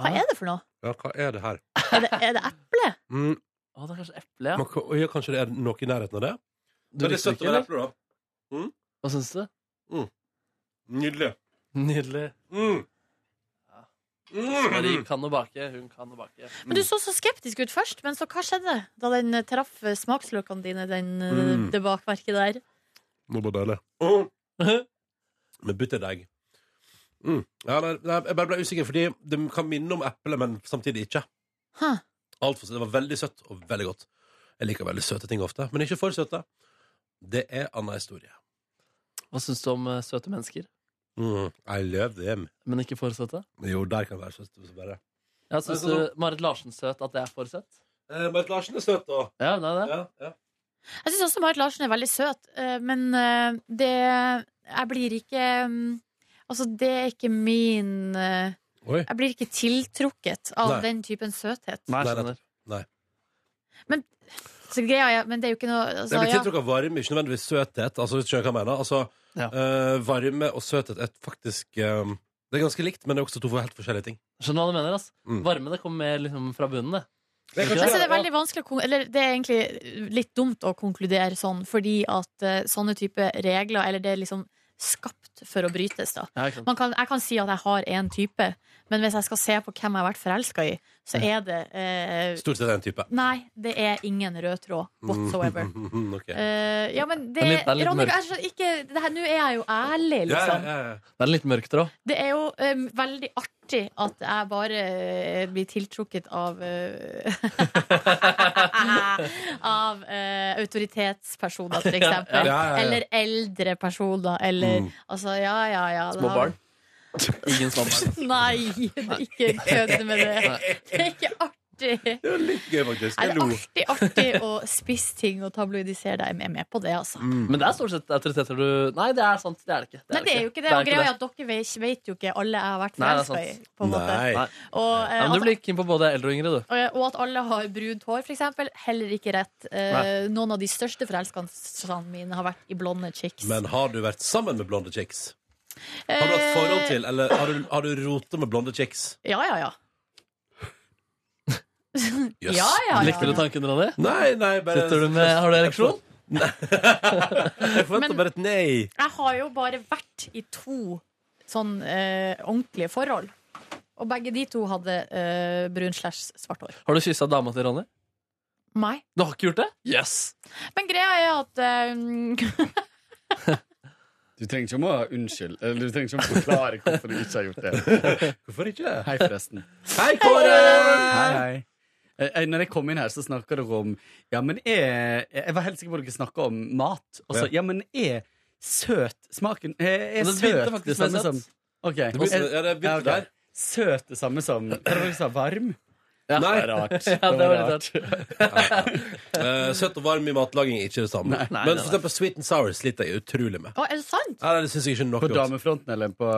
Speaker 3: Hva er det for noe?
Speaker 2: Ja, hva er det her?
Speaker 3: Er det, er det eple?
Speaker 2: Mm,
Speaker 4: Å, det er kanskje eple, ja.
Speaker 2: man kan, ja, kanskje det er noe i nærheten av det?
Speaker 4: Du
Speaker 2: Men det er
Speaker 4: likte det
Speaker 2: søtt å
Speaker 4: ikke,
Speaker 2: være
Speaker 4: eller?
Speaker 2: eple, da.
Speaker 4: Hva syns du?
Speaker 2: Nydelig.
Speaker 4: Nydelig.
Speaker 2: Mm.
Speaker 4: Marie kan å bake, hun kan å
Speaker 2: (laughs)
Speaker 4: bake.
Speaker 3: Men Du så så skeptisk ut først, men så hva skjedde da den eh, traff eh, smaksløkene dine, den, eh,
Speaker 2: Mm.
Speaker 3: det bakverket der?
Speaker 2: Nå ble det deilig. Med butterdeig. Mm. Ja, nei, nei, jeg bare ble usikker, fordi det kan minne om eple, men samtidig ikke.
Speaker 3: Huh.
Speaker 2: Alt for søtt. Det var veldig søtt og veldig godt. Jeg liker veldig søte ting ofte, men ikke for søte. Det er annen historie.
Speaker 4: Hva syns du om eh, søte mennesker,
Speaker 2: Mm. I love them.
Speaker 4: men ikke for søte?
Speaker 2: Jo, der kan det være søtt. hvis du Bare.
Speaker 4: Ja, Syns
Speaker 2: Nei, sånn-
Speaker 4: du Marit Larsen søt at det er for søtt?
Speaker 2: Eh, Marit Larsen er søt, da.
Speaker 4: Ja, det er det.
Speaker 2: Ja, ja.
Speaker 3: Jeg syns også Marit Larsen er veldig søt, eh, men eh, det Jeg blir ikke mm, Altså, det er ikke min eh,
Speaker 2: Oi.
Speaker 3: Jeg blir ikke tiltrukket av
Speaker 2: Nei.
Speaker 3: den typen søthet.
Speaker 4: Nei,
Speaker 2: Nei,
Speaker 4: jeg skjønner.
Speaker 3: Så greia er, men det er jo ikke noe altså,
Speaker 2: Det blir
Speaker 3: ja.
Speaker 2: tiltrukket av varme, ikke nødvendigvis søthet. Altså, hvis du skjønner hva jeg mener. Altså,
Speaker 4: Ja.
Speaker 2: eh, varme og søthet er faktisk eh, Det er ganske likt, men det er også to helt forskjellige ting.
Speaker 4: Skjønner hva du mener, ass.
Speaker 2: Mm.
Speaker 4: Varme det kommer mer liksom, fra bunnen, det.
Speaker 2: Det
Speaker 4: kanskje-
Speaker 3: Altså, det er veldig vanskelig å kon- Eller det er egentlig litt dumt å konkludere sånn, fordi at eh, sånne type regler Eller det er liksom skapt for å brytes, da.
Speaker 4: Ja, ikke sant?
Speaker 3: Man kan, jeg kan si at jeg har én type, men hvis jeg skal se på hvem jeg har vært forelska i, så er det eh,
Speaker 2: Stort sett én type. (laughs)
Speaker 3: Nei, det er ingen rød tråd
Speaker 4: (laughs)
Speaker 3: whatsoever.
Speaker 2: Ok. ja,
Speaker 3: Eh, ja, men det,
Speaker 4: Det er litt- det er litt
Speaker 3: Ronny,
Speaker 4: mørkt.
Speaker 3: jeg skjønner ikke det her- Nå er jeg jo ærlig,
Speaker 2: ja,
Speaker 3: liksom.
Speaker 2: ja, ja.
Speaker 4: Det er litt mørkt òg.
Speaker 3: Det er jo eh, veldig artig at jeg bare eh, blir tiltrukket av eh, (laughs) Av eh, autoritetspersoner,
Speaker 4: (laughs)
Speaker 3: for
Speaker 2: Ja, ja,
Speaker 3: eksempel.
Speaker 2: Mm. ja.
Speaker 3: Eller eldre personer, eller Altså, ja, ja, ja. det
Speaker 4: Små
Speaker 3: har- (laughs)
Speaker 4: barn. Ingen små barn.
Speaker 3: Nei, (laughs) ikke kødd med det. Det er ikke artig.
Speaker 2: Det var litt gøy, faktisk.
Speaker 3: Nei,
Speaker 2: Jeg
Speaker 3: det
Speaker 2: lo.
Speaker 3: er alltid artig å spisse ting og tabloidisere deg. Jeg er med på det, altså.
Speaker 4: Men det er stort sett autoriteter du Nei, det er sant. Det er det ikke.
Speaker 3: Nei, det er jo ikke det. Og greia er at dere vet, vet jo ikke alle jeg har vært
Speaker 4: Nei, det er
Speaker 3: forelska i.
Speaker 4: sant.
Speaker 3: På en måte.
Speaker 2: Nei.
Speaker 4: Nei.
Speaker 3: Og, eh,
Speaker 4: Ja, men
Speaker 3: at-
Speaker 4: du blir keen på både eldre og yngre, du.
Speaker 3: Eh, og og at alle har brunt hår, f.eks. Heller ikke rett. Eh, noen av de største forelskelsene mine har vært i blonde chicks.
Speaker 2: Men har du vært sammen med blonde chicks? Har du hatt forhold til, eller har du, har du rota med blonde chicks?
Speaker 3: Eh, Ja, ja, ja.
Speaker 2: Jøss.
Speaker 3: ja, ja, ja.
Speaker 4: Likte du tanken, Ronny?
Speaker 2: Nei, nei, bare
Speaker 4: Sitter du med, har du ereksjon?
Speaker 2: Jeg forventer
Speaker 3: Men-
Speaker 2: bare et nei.
Speaker 3: Jeg har jo bare vært i to sånn eh, ordentlige forhold. Og begge de to hadde eh, brun slash svart hår.
Speaker 4: Har du kyssa dama til Ronny?
Speaker 3: Meg.
Speaker 4: Du har ikke gjort det? Yes!
Speaker 3: Men greia er at eh, (laughs)
Speaker 9: Du trenger ikke om å unnskylde Eller du trenger ikke om å forklare hvorfor du ikke har gjort det.
Speaker 2: Hvorfor ikke?
Speaker 9: Hei, forresten.
Speaker 2: Hei, Kåre!
Speaker 9: Hei, hei. Eh, eh, Når jeg kom inn her, så snakka dere om Ja, men jeg, jeg var helt sikker på at dere snakka om mat. Og så,
Speaker 2: Ja.
Speaker 9: ja, men er søt smaken Er, er
Speaker 4: Men det begynte
Speaker 9: søt det
Speaker 4: faktisk med
Speaker 9: samme
Speaker 4: søt.
Speaker 3: sånn.
Speaker 9: som OK.
Speaker 2: Det begynte, ja, det
Speaker 9: Ja,
Speaker 2: begynte
Speaker 9: ok.
Speaker 2: der.
Speaker 9: Søt det samme som Hva var det dere sa? Varm?
Speaker 4: Ja.
Speaker 9: Det var rart.
Speaker 4: Ja, det var litt rart.
Speaker 2: Eh, søtt og varm i matlaging er ikke det samme.
Speaker 9: Nei,
Speaker 4: nei,
Speaker 2: Men
Speaker 4: nei.
Speaker 2: for eksempel sweet and sour sliter jeg utrolig med.
Speaker 3: Å, er det sant?
Speaker 2: Nei, nei, det syns jeg ikke er nok
Speaker 9: På
Speaker 2: godt.
Speaker 9: damefronten eller på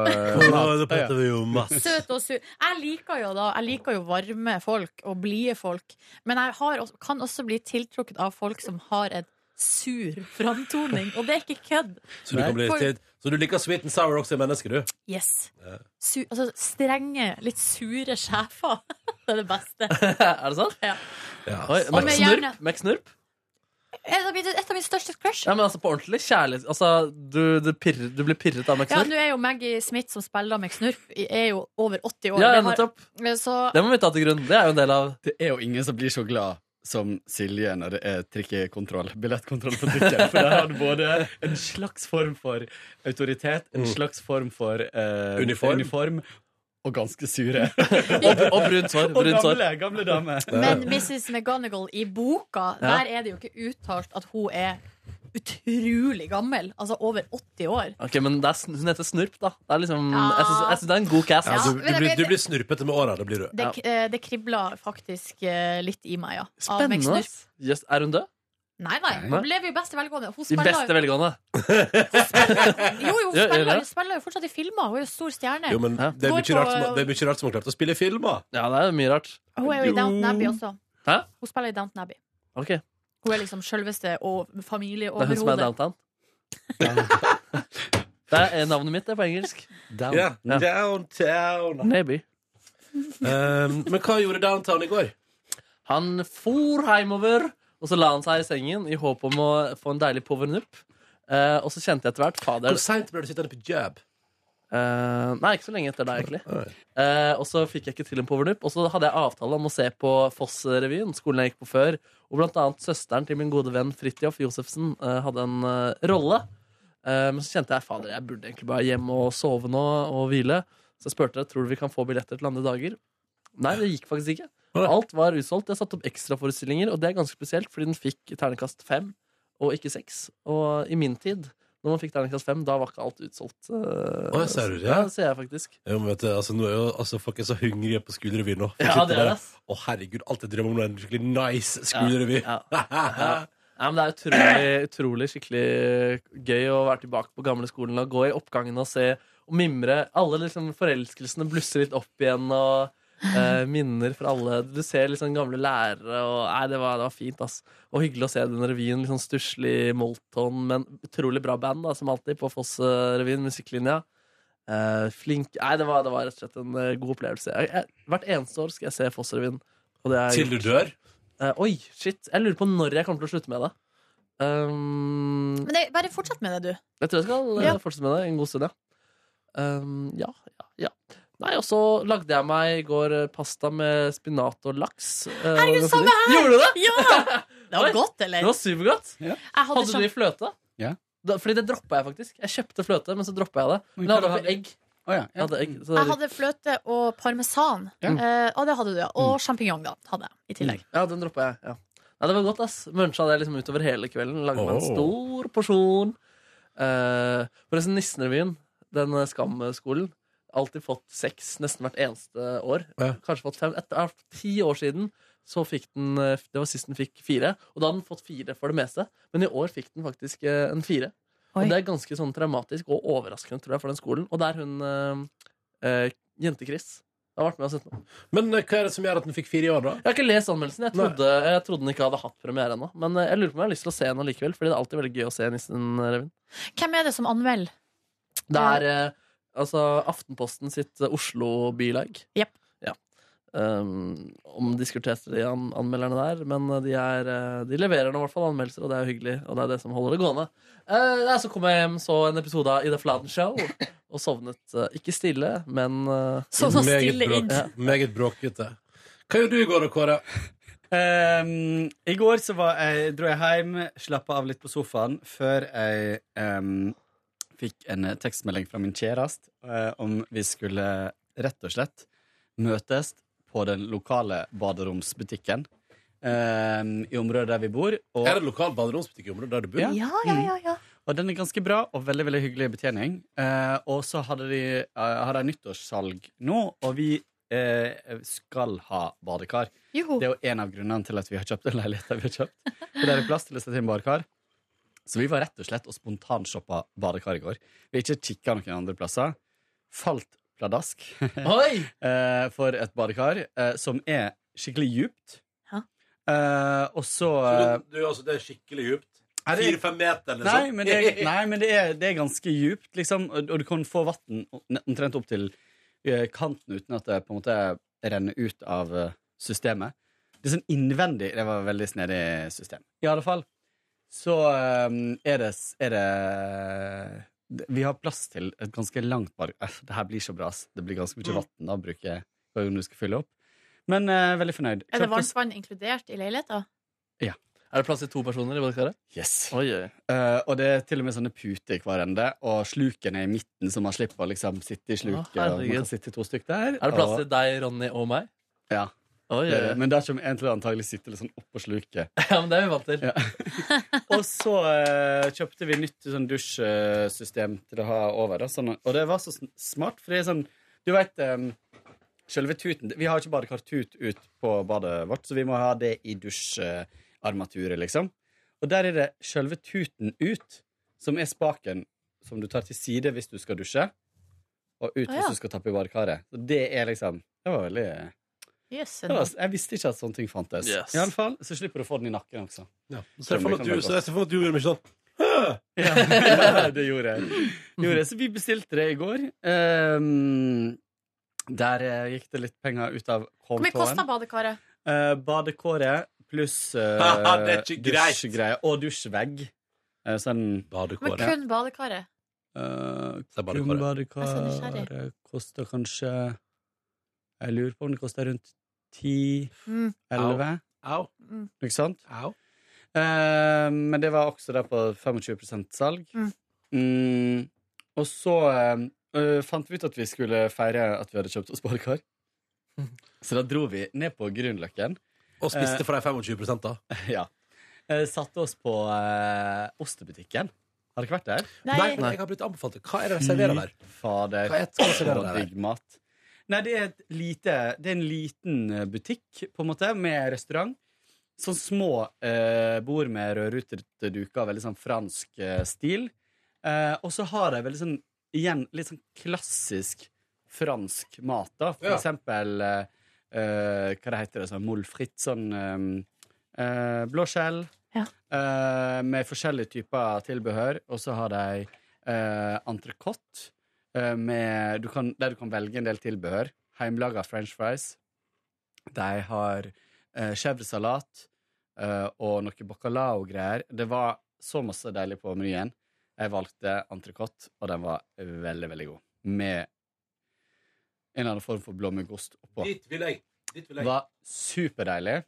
Speaker 2: Nå, det prater
Speaker 9: ja.
Speaker 2: vi jo masse.
Speaker 3: Søt og sur. Jeg liker jo da Jeg liker jo varme folk og blide folk, men jeg har, også- kan også bli tiltrukket av folk som har en sur framtoning, og det er ikke kødd.
Speaker 2: Så du, kan bli,
Speaker 3: Nei.
Speaker 2: irritert. så du liker sweet and sour også i mennesket, du?
Speaker 3: Yes. Su, altså strenge, litt sure sjefer. (laughs) Det er det beste.
Speaker 4: (laughs) Er det sant?
Speaker 2: Ja.
Speaker 4: Oi,
Speaker 3: Og
Speaker 4: Max
Speaker 3: med
Speaker 4: Snurp?
Speaker 3: hjerne.
Speaker 4: Max Snurp?
Speaker 3: Et av mine, et av mine største crush.
Speaker 4: Ja, men altså på ordentlig kjærlighet Altså, du, du, pirrer, du blir pirret av Max
Speaker 3: Ja,
Speaker 4: Snurp?
Speaker 3: nå er jo Maggie Smith, som spiller med Snurp, er jo over 80 år.
Speaker 4: Ja, ja,
Speaker 3: Det har-
Speaker 4: nettopp.
Speaker 3: så
Speaker 4: Det må vi ta til grunn. Det er jo en del av
Speaker 9: Det er jo ingen som blir så glad som Silje når det er trikkekontroll. Billettkontroll på trikken. For der har du både en slags form for autoritet,
Speaker 2: Mm.
Speaker 9: en slags form for eh,
Speaker 2: Uniform.
Speaker 9: og ganske
Speaker 2: (laughs)
Speaker 9: sure.
Speaker 4: Og, og brunt hår.
Speaker 9: Og
Speaker 4: Brunt hår.
Speaker 9: gamle, gamle dame.
Speaker 3: Men Mrs. McGonagall i boka, der er det jo ikke uttalt at hun er utrolig gammel. Altså over 80 år.
Speaker 4: Ok, Men det er, sn- hun heter Snurp, da. Det er liksom,
Speaker 3: Ja.
Speaker 4: jeg syns- jeg syns det er en god cast.
Speaker 2: Ja, altså- du,
Speaker 3: Ah,
Speaker 2: du,
Speaker 3: men
Speaker 2: blir,
Speaker 3: det-
Speaker 2: du blir snurpete med åra, det blir du.
Speaker 3: Det, eh, det kribler faktisk eh, litt i meg, ja. Av Meg
Speaker 4: Spennende.
Speaker 3: Snurp.
Speaker 4: ass. Yes, er hun død?
Speaker 3: Nei, nei, hun lever jo i beste velgående. Hun
Speaker 4: I
Speaker 3: spiller,
Speaker 4: beste velgående.
Speaker 3: jo, jo, hun
Speaker 4: Ja, gjør
Speaker 3: spiller,
Speaker 4: det?
Speaker 3: hun spiller jo fortsatt i filmer. Hun er jo stor stjerne.
Speaker 2: Jo, men
Speaker 4: Ja.
Speaker 2: det er
Speaker 3: Går
Speaker 2: mye
Speaker 3: på-
Speaker 2: rart som, det er mye rart som har klart å spille i filmer.
Speaker 4: Ja, det er mye rart.
Speaker 3: Hun er jo i Downton Abbey også.
Speaker 4: Hæ?
Speaker 3: Hun spiller i Downton Abbey.
Speaker 4: Ok, Det
Speaker 3: Hun er liksom sjølveste og
Speaker 4: er hun som er
Speaker 2: (laughs)
Speaker 3: familieoverhodet.
Speaker 4: downtown. Det er eh, navnet mitt det er på engelsk.
Speaker 2: Ja,
Speaker 4: Ja.
Speaker 2: Downtown.
Speaker 4: Neby.
Speaker 2: Um, men hva gjorde Downtown i går?
Speaker 4: Han for heimover, og så la han seg i sengen i håp om å få en deilig powernup. Eh, og så kjente jeg etter hvert Fader.
Speaker 2: Hvor seint ble du sittende på jobb?
Speaker 4: Eh, nei, ikke så lenge etter deg, egentlig.
Speaker 2: Nei.
Speaker 4: Eh, og så fikk jeg ikke til en powernup. Og så hadde jeg avtale om å se på Foss-revyen, skolen jeg gikk på før. Og blant annet søsteren til min gode venn Fridtjof Josefsen eh, hadde en eh, rolle. Eh, men så kjente jeg fader, jeg burde egentlig bare hjem og sove nå og hvile. Så jeg spurte tror du vi kan få billetter til andre dager. Nei, det gikk faktisk ikke. Alt var utsolgt. Jeg satte opp ekstraforestillinger, og det er ganske spesielt, fordi den fikk ternekast fem, og ikke seks. Og i min tid, når man fikk ternekast fem, da var ikke alt utsolgt. eh,
Speaker 2: Å, jeg ser det,
Speaker 4: så-
Speaker 2: ja.
Speaker 4: Ja, ser jeg faktisk.
Speaker 2: Jo, men vet du, altså, nå er jo altså, folk er så hungrige på skolerevy nå. For
Speaker 4: Ja,
Speaker 2: shit,
Speaker 4: det er
Speaker 2: der.
Speaker 4: det.
Speaker 2: Å, herregud, alt jeg drømmer om, er en skikkelig nice skolerevy. (laughs)
Speaker 4: Ja, Ja, men Det er utrolig, utrolig skikkelig gøy å være tilbake på gamleskolen og gå i oppgangen og se og mimre. Alle liksom forelskelsene blusser litt opp igjen, og eh, minner fra alle. Du ser liksom gamle lærere, og nei, det var, det var fint. ass. Og hyggelig å se den revyen. Litt sånn stusslig molton, men utrolig bra band, da, som alltid, på Foss-revyen, musikklinja. Eh, flink Nei, det var, det var rett og slett en eh, god opplevelse. Jeg, jeg, hvert eneste år skal jeg se Foss-revyen. og det er-
Speaker 2: Til du dør.
Speaker 4: Eh, oi, shit. Jeg lurer på når jeg kommer til å slutte med det. Um,
Speaker 3: Men det, bare fortsett med det, du.
Speaker 4: jeg tror jeg skal eh,
Speaker 3: Ja.
Speaker 4: fortsette med det en god stund, ja. Um, ja, ja, ja. Nei, og så lagde jeg meg i går eh, pasta med spinat og laks.
Speaker 3: Herregud, samme
Speaker 4: her! Gjorde du det?
Speaker 3: Ja! Det
Speaker 4: Oi.
Speaker 3: var godt,
Speaker 4: Det
Speaker 3: eller?
Speaker 4: var supergodt.
Speaker 3: Jeg hadde
Speaker 4: Hadde du
Speaker 3: sjamp-
Speaker 4: i fløte?
Speaker 9: Ja.
Speaker 4: Da, fordi det droppa jeg faktisk. Jeg kjøpte fløte, men så droppa jeg det.
Speaker 9: Oi,
Speaker 4: Men jeg hadde
Speaker 9: hva
Speaker 4: oppi
Speaker 9: hadde
Speaker 4: egg.
Speaker 9: Å ja,
Speaker 4: Jeg
Speaker 9: ja.
Speaker 4: hadde egg så det-
Speaker 3: jeg hadde fløte og parmesan.
Speaker 9: Ja.
Speaker 3: Eh, og det hadde du, ja. Og sjampinjong, da. Hadde jeg i tillegg.
Speaker 4: Ja, den droppa jeg. Ja. Nei, det var godt, ass. Muncha det liksom utover hele kvelden. Lagde meg en
Speaker 2: Åh.
Speaker 4: stor porsjon. Eh, forresten, Nissenrevyen, den eh, Skam-skolen, alltid fått seks nesten hvert eneste år.
Speaker 2: Ja.
Speaker 4: Kanskje fått fem. Etter eh, ti år siden så fikk den eh, Det var sist den fikk fire. Og da hadde den fått fire for det meste, men i år fikk den faktisk eh, en fire.
Speaker 3: Oi.
Speaker 4: Og det er ganske sånn traumatisk og overraskende, tror jeg, for den skolen. Og det er hun eh, eh, Jente-Chris. Har vært med og sett den.
Speaker 2: Men eh, hva er det som gjør at den fikk fire i år, da?
Speaker 4: Jeg har ikke lest anmeldelsen. Jeg trodde, jeg trodde den ikke hadde hatt premiere ennå. Men eh, jeg lurer på om jeg har lyst til å se den allikevel, Fordi det er alltid veldig gøy å se Nissen-revyen.
Speaker 3: Hvem er det som anmelder?
Speaker 4: eh, Det er eh, altså Aftenposten sitt eh, Oslo bylag.
Speaker 3: Jep.
Speaker 4: Ja. Um, omdiskuterte de an anmelderne der, men eh, de, er, eh, de leverer nå i hvert fall anmeldelser, og det er jo hyggelig. Og det er det som holder det gående. Eh, nei, så kom jeg hjem, så en episode av Ida Fladen Show, og sovnet eh, ikke stille, men eh,
Speaker 3: (laughs) Sånn å
Speaker 2: Meget
Speaker 3: stille
Speaker 2: bråk-
Speaker 3: inn.
Speaker 2: Meget bråkete. Hva gjør du i går da, Kåre?
Speaker 9: Ehm, I går så var jeg, dro jeg hjem, slappa av litt på sofaen, før jeg ehm, fikk en tekstmelding fra min kjæreste eh, om vi skulle rett og slett møtes på den lokale baderomsbutikken ehm, i området der vi bor. Og,
Speaker 2: Er det lokal baderomsbutikk i området der du bor?
Speaker 9: Ja.
Speaker 3: Ja, ja, ja. ja.
Speaker 9: og den er ganske bra og veldig veldig hyggelig betjening. Eh, og så hadde de, eh, har de nyttårssalg nå, og vi eh, skal ha badekar.
Speaker 3: Joho.
Speaker 9: Det er jo en av grunnene til at vi har kjøpt den leiligheten vi har kjøpt. For det er plass til å sette inn badekar. Så vi var rett og slett og spontanshoppa badekar i går. Vi har ikke kikka noen andre plasser. Falt pladask
Speaker 4: Oi!
Speaker 9: eh, for et badekar eh, som er skikkelig djupt.
Speaker 3: Ja.
Speaker 9: Eh, og så
Speaker 2: Så Du, altså, det er skikkelig djupt.
Speaker 9: Er det-
Speaker 2: Fire-fem meter, liksom.
Speaker 4: sånn.
Speaker 9: Nei, men, det,
Speaker 2: (laughs)
Speaker 4: (laughs)
Speaker 9: er- nei, men det, er, det er ganske djupt, liksom. Og og du kan få vann omtrent opp til eh, kanten uten at det på en måte renner ut av eh, systemet. Det er sånn innvendig Det var et veldig snedig system. I alle fall så eh, er det, s- er det Vi har plass til et ganske langt bar... Æff, Det her blir så bra. ass. Det blir ganske mye vann å bruke hver gang du skal fylle opp. Men eh, veldig fornøyd.
Speaker 3: Er det
Speaker 9: Klarte oss-
Speaker 3: varmtvann inkludert i leiligheta?
Speaker 4: Er det plass til to personer i badekaret?
Speaker 9: Yes.
Speaker 4: Oi, oi.
Speaker 9: Eh, og det er til og med sånne puter i hver ende, og sluken er i midten, så man slipper å liksom sitte i
Speaker 4: Å,
Speaker 9: sluket.
Speaker 4: herregud.
Speaker 9: og man kan sitte to stykk der.
Speaker 4: Er det plass
Speaker 9: og-
Speaker 4: til deg, Ronny og meg?
Speaker 9: Ja.
Speaker 4: Oi, oi,
Speaker 9: det er
Speaker 4: oi.
Speaker 9: det. Men der kommer en til å antagelig sitte litt sånn oppå sluket.
Speaker 4: Ja, men det er vi vant til.
Speaker 9: Ja. Og så eh, kjøpte vi nytt sånn dusjsystem til å ha over. Da, sånn, og det var så sn- smart, for det er sånn Du vet eh, Selve tuten Vi har ikke badekartut ut på badet vårt, så vi må ha det i dusjarmaturet, liksom. Og der er det selve tuten ut som er spaken som du tar til side hvis du skal dusje, og ut
Speaker 3: Å, ja.
Speaker 9: hvis du skal tappe i badekaret. Så det er liksom Det var veldig det
Speaker 3: Yes,
Speaker 9: var, Jeg visste ikke at sånne ting fantes.
Speaker 4: Yes.
Speaker 9: I alle fall, så slipper du å få den i nakken også.
Speaker 2: Ja. Så jeg ser for meg at du- så jeg ser for meg at du gjorde meg sånn. (laughs)
Speaker 9: Ja, det gjorde jeg. Gjorde jeg. Så vi bestilte det i går. Ehm, der eh, gikk det litt penger ut av
Speaker 3: Hvor mye kosta
Speaker 9: kontoen.
Speaker 3: badekaret?
Speaker 9: Eh, badekåret pluss eh,
Speaker 2: Haha, (laughs) det er ikke greit.
Speaker 9: dusjgreie. Og dusjvegg. Eh, sånn
Speaker 3: Men
Speaker 2: Badekåret.
Speaker 3: kun badekaret.
Speaker 9: eh,
Speaker 2: Det er
Speaker 9: Kun
Speaker 2: badekaret.
Speaker 9: badekaret koster kanskje Jeg lurer på om det koster rundt
Speaker 3: Mm.
Speaker 9: 10-11,
Speaker 2: Au.
Speaker 3: Mm.
Speaker 9: ikke sant?
Speaker 2: Au.
Speaker 9: Eh, men det var også der på 25 salg.
Speaker 3: Mm.
Speaker 9: Mm,
Speaker 2: (laughs)
Speaker 9: og så eh, eh, fant vi ut at vi skulle feire at vi hadde kjøpt oss badekar. Så da dro vi ned på Grünerløkken.
Speaker 2: Og spiste for de 25 da.
Speaker 9: Ja. Eh, Satte oss på eh, ostebutikken. Har dere vært der?
Speaker 3: Nei,
Speaker 2: Nei, jeg har blitt anbefalt det. Hva er det de serverer der?
Speaker 9: Fader.
Speaker 2: Hva er det de serverer
Speaker 9: Og
Speaker 2: der?
Speaker 9: digg mat. Nei, det er, et lite, det er en liten eh, butikk, på en måte, med restaurant. Sånn små eh, bord med rødrutete duker, veldig sånn fransk eh, stil. Eh, og så har de veldig sånn, igjen, litt sånn klassisk fransk mat, da. For
Speaker 2: Ja.
Speaker 9: eksempel eh, eh, Hva det heter det? Sånn moule frites, sånn eh, eh, blåskjell.
Speaker 3: Ja.
Speaker 9: eh, med forskjellige typer tilbehør. Og så har de uh, entrecôte, eh, med- du kan- der du kan velge en del tilbehør. Heimelaga french fries. De har uh, chèvresalat eh, og noe bacalao-greier. Det var så masse deilig på menyen. Jeg valgte entrecôte, og den var veldig, veldig god. Med en eller annen form for blåmuggost oppå.
Speaker 2: Dit vil jeg. Dit vil jeg.
Speaker 9: Var superdeilig.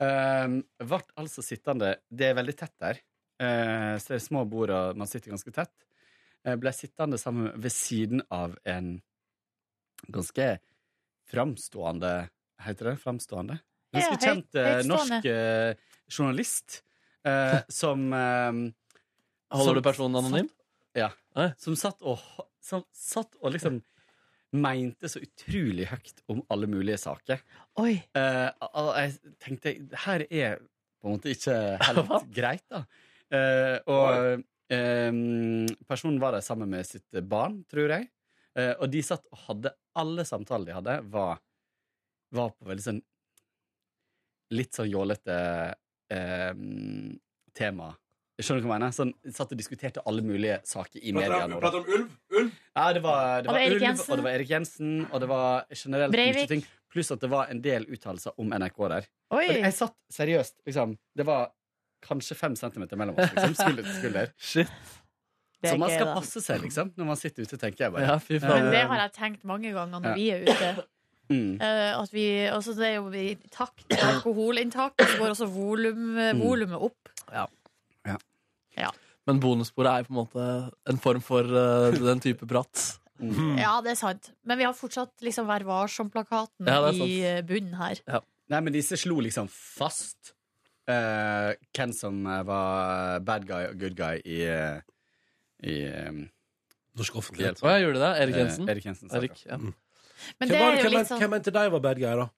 Speaker 9: Um, vart altså sittende Det er veldig tett der. Eh, så det er små bord, og man sitter ganske tett. Eh, ble sittende sammen ved siden av en ganske framstående Heter det framstående? Ganske
Speaker 3: Ja, høy-
Speaker 9: kjent eh,
Speaker 3: høytstående.
Speaker 9: norsk eh, journalist eh, som eh,
Speaker 4: Holder
Speaker 9: Som-
Speaker 4: du personen anonym?
Speaker 9: ja.
Speaker 4: Nei.
Speaker 9: Som satt og, som satt og liksom mente så utrolig høyt om alle mulige saker.
Speaker 3: Oi.
Speaker 9: Eh, al- jeg tenkte det her er på en måte ikke helt greit, da. Eh, og em, personen var der sammen med sitt barn, tror jeg. Eh, og de satt og hadde Alle samtaler de hadde, var, var på veldig sånn Litt sånn jålete em, tema. Skjønner du hva jeg mener? Sånn, satt og diskuterte alle mulige saker i media. nå, da.
Speaker 2: om ulv? Ulv?
Speaker 9: Ja, det var, det
Speaker 3: Og
Speaker 9: var
Speaker 3: det er Erik
Speaker 9: Ulv,
Speaker 3: Jensen.
Speaker 9: og det var Erik Jensen, og det var generelt
Speaker 3: Breivik.
Speaker 9: mye ting. Pluss at det var en del uttalelser om NRK der.
Speaker 3: Oi.
Speaker 9: Og jeg satt seriøst, liksom. Det var kanskje fem centimeter mellom oss, liksom. Skulder til skulder.
Speaker 4: Shit.
Speaker 3: (laughs) Det
Speaker 9: Så
Speaker 3: er
Speaker 9: Sånn man
Speaker 3: gøy,
Speaker 9: skal
Speaker 3: da.
Speaker 9: passe seg, liksom, når man sitter ute, tenker jeg bare.
Speaker 4: Ja, fy
Speaker 3: Men
Speaker 4: faen.
Speaker 3: det har jeg tenkt mange ganger når vi er ute.
Speaker 9: Mm.
Speaker 3: Eh, at vi, altså det er jo i takt med alkoholinntaket, så går også volum, eh, volumet opp.
Speaker 4: Men bonussporet er på en måte en form for eh, den type prat.
Speaker 9: mm.
Speaker 3: Ja, det er sant. Men vi har fortsatt liksom Vær varsom-plakaten
Speaker 4: Ja, det er sant.
Speaker 3: i eh, bunnen her.
Speaker 9: Nei, men disse slo liksom fast eh, hvem som eh, var bad guy og good guy i, eh, i eh,
Speaker 2: Norsk offentlighet.
Speaker 4: Å, jeg gjorde det. Erik Jensen.
Speaker 9: eh, Erik Jensen.
Speaker 4: Erik, ja.
Speaker 3: Men
Speaker 2: Hvem
Speaker 3: det
Speaker 2: var det-
Speaker 3: er jo
Speaker 2: hvem
Speaker 3: litt
Speaker 2: mente-
Speaker 3: sånn
Speaker 2: Hvem mente deg var bad guy, da?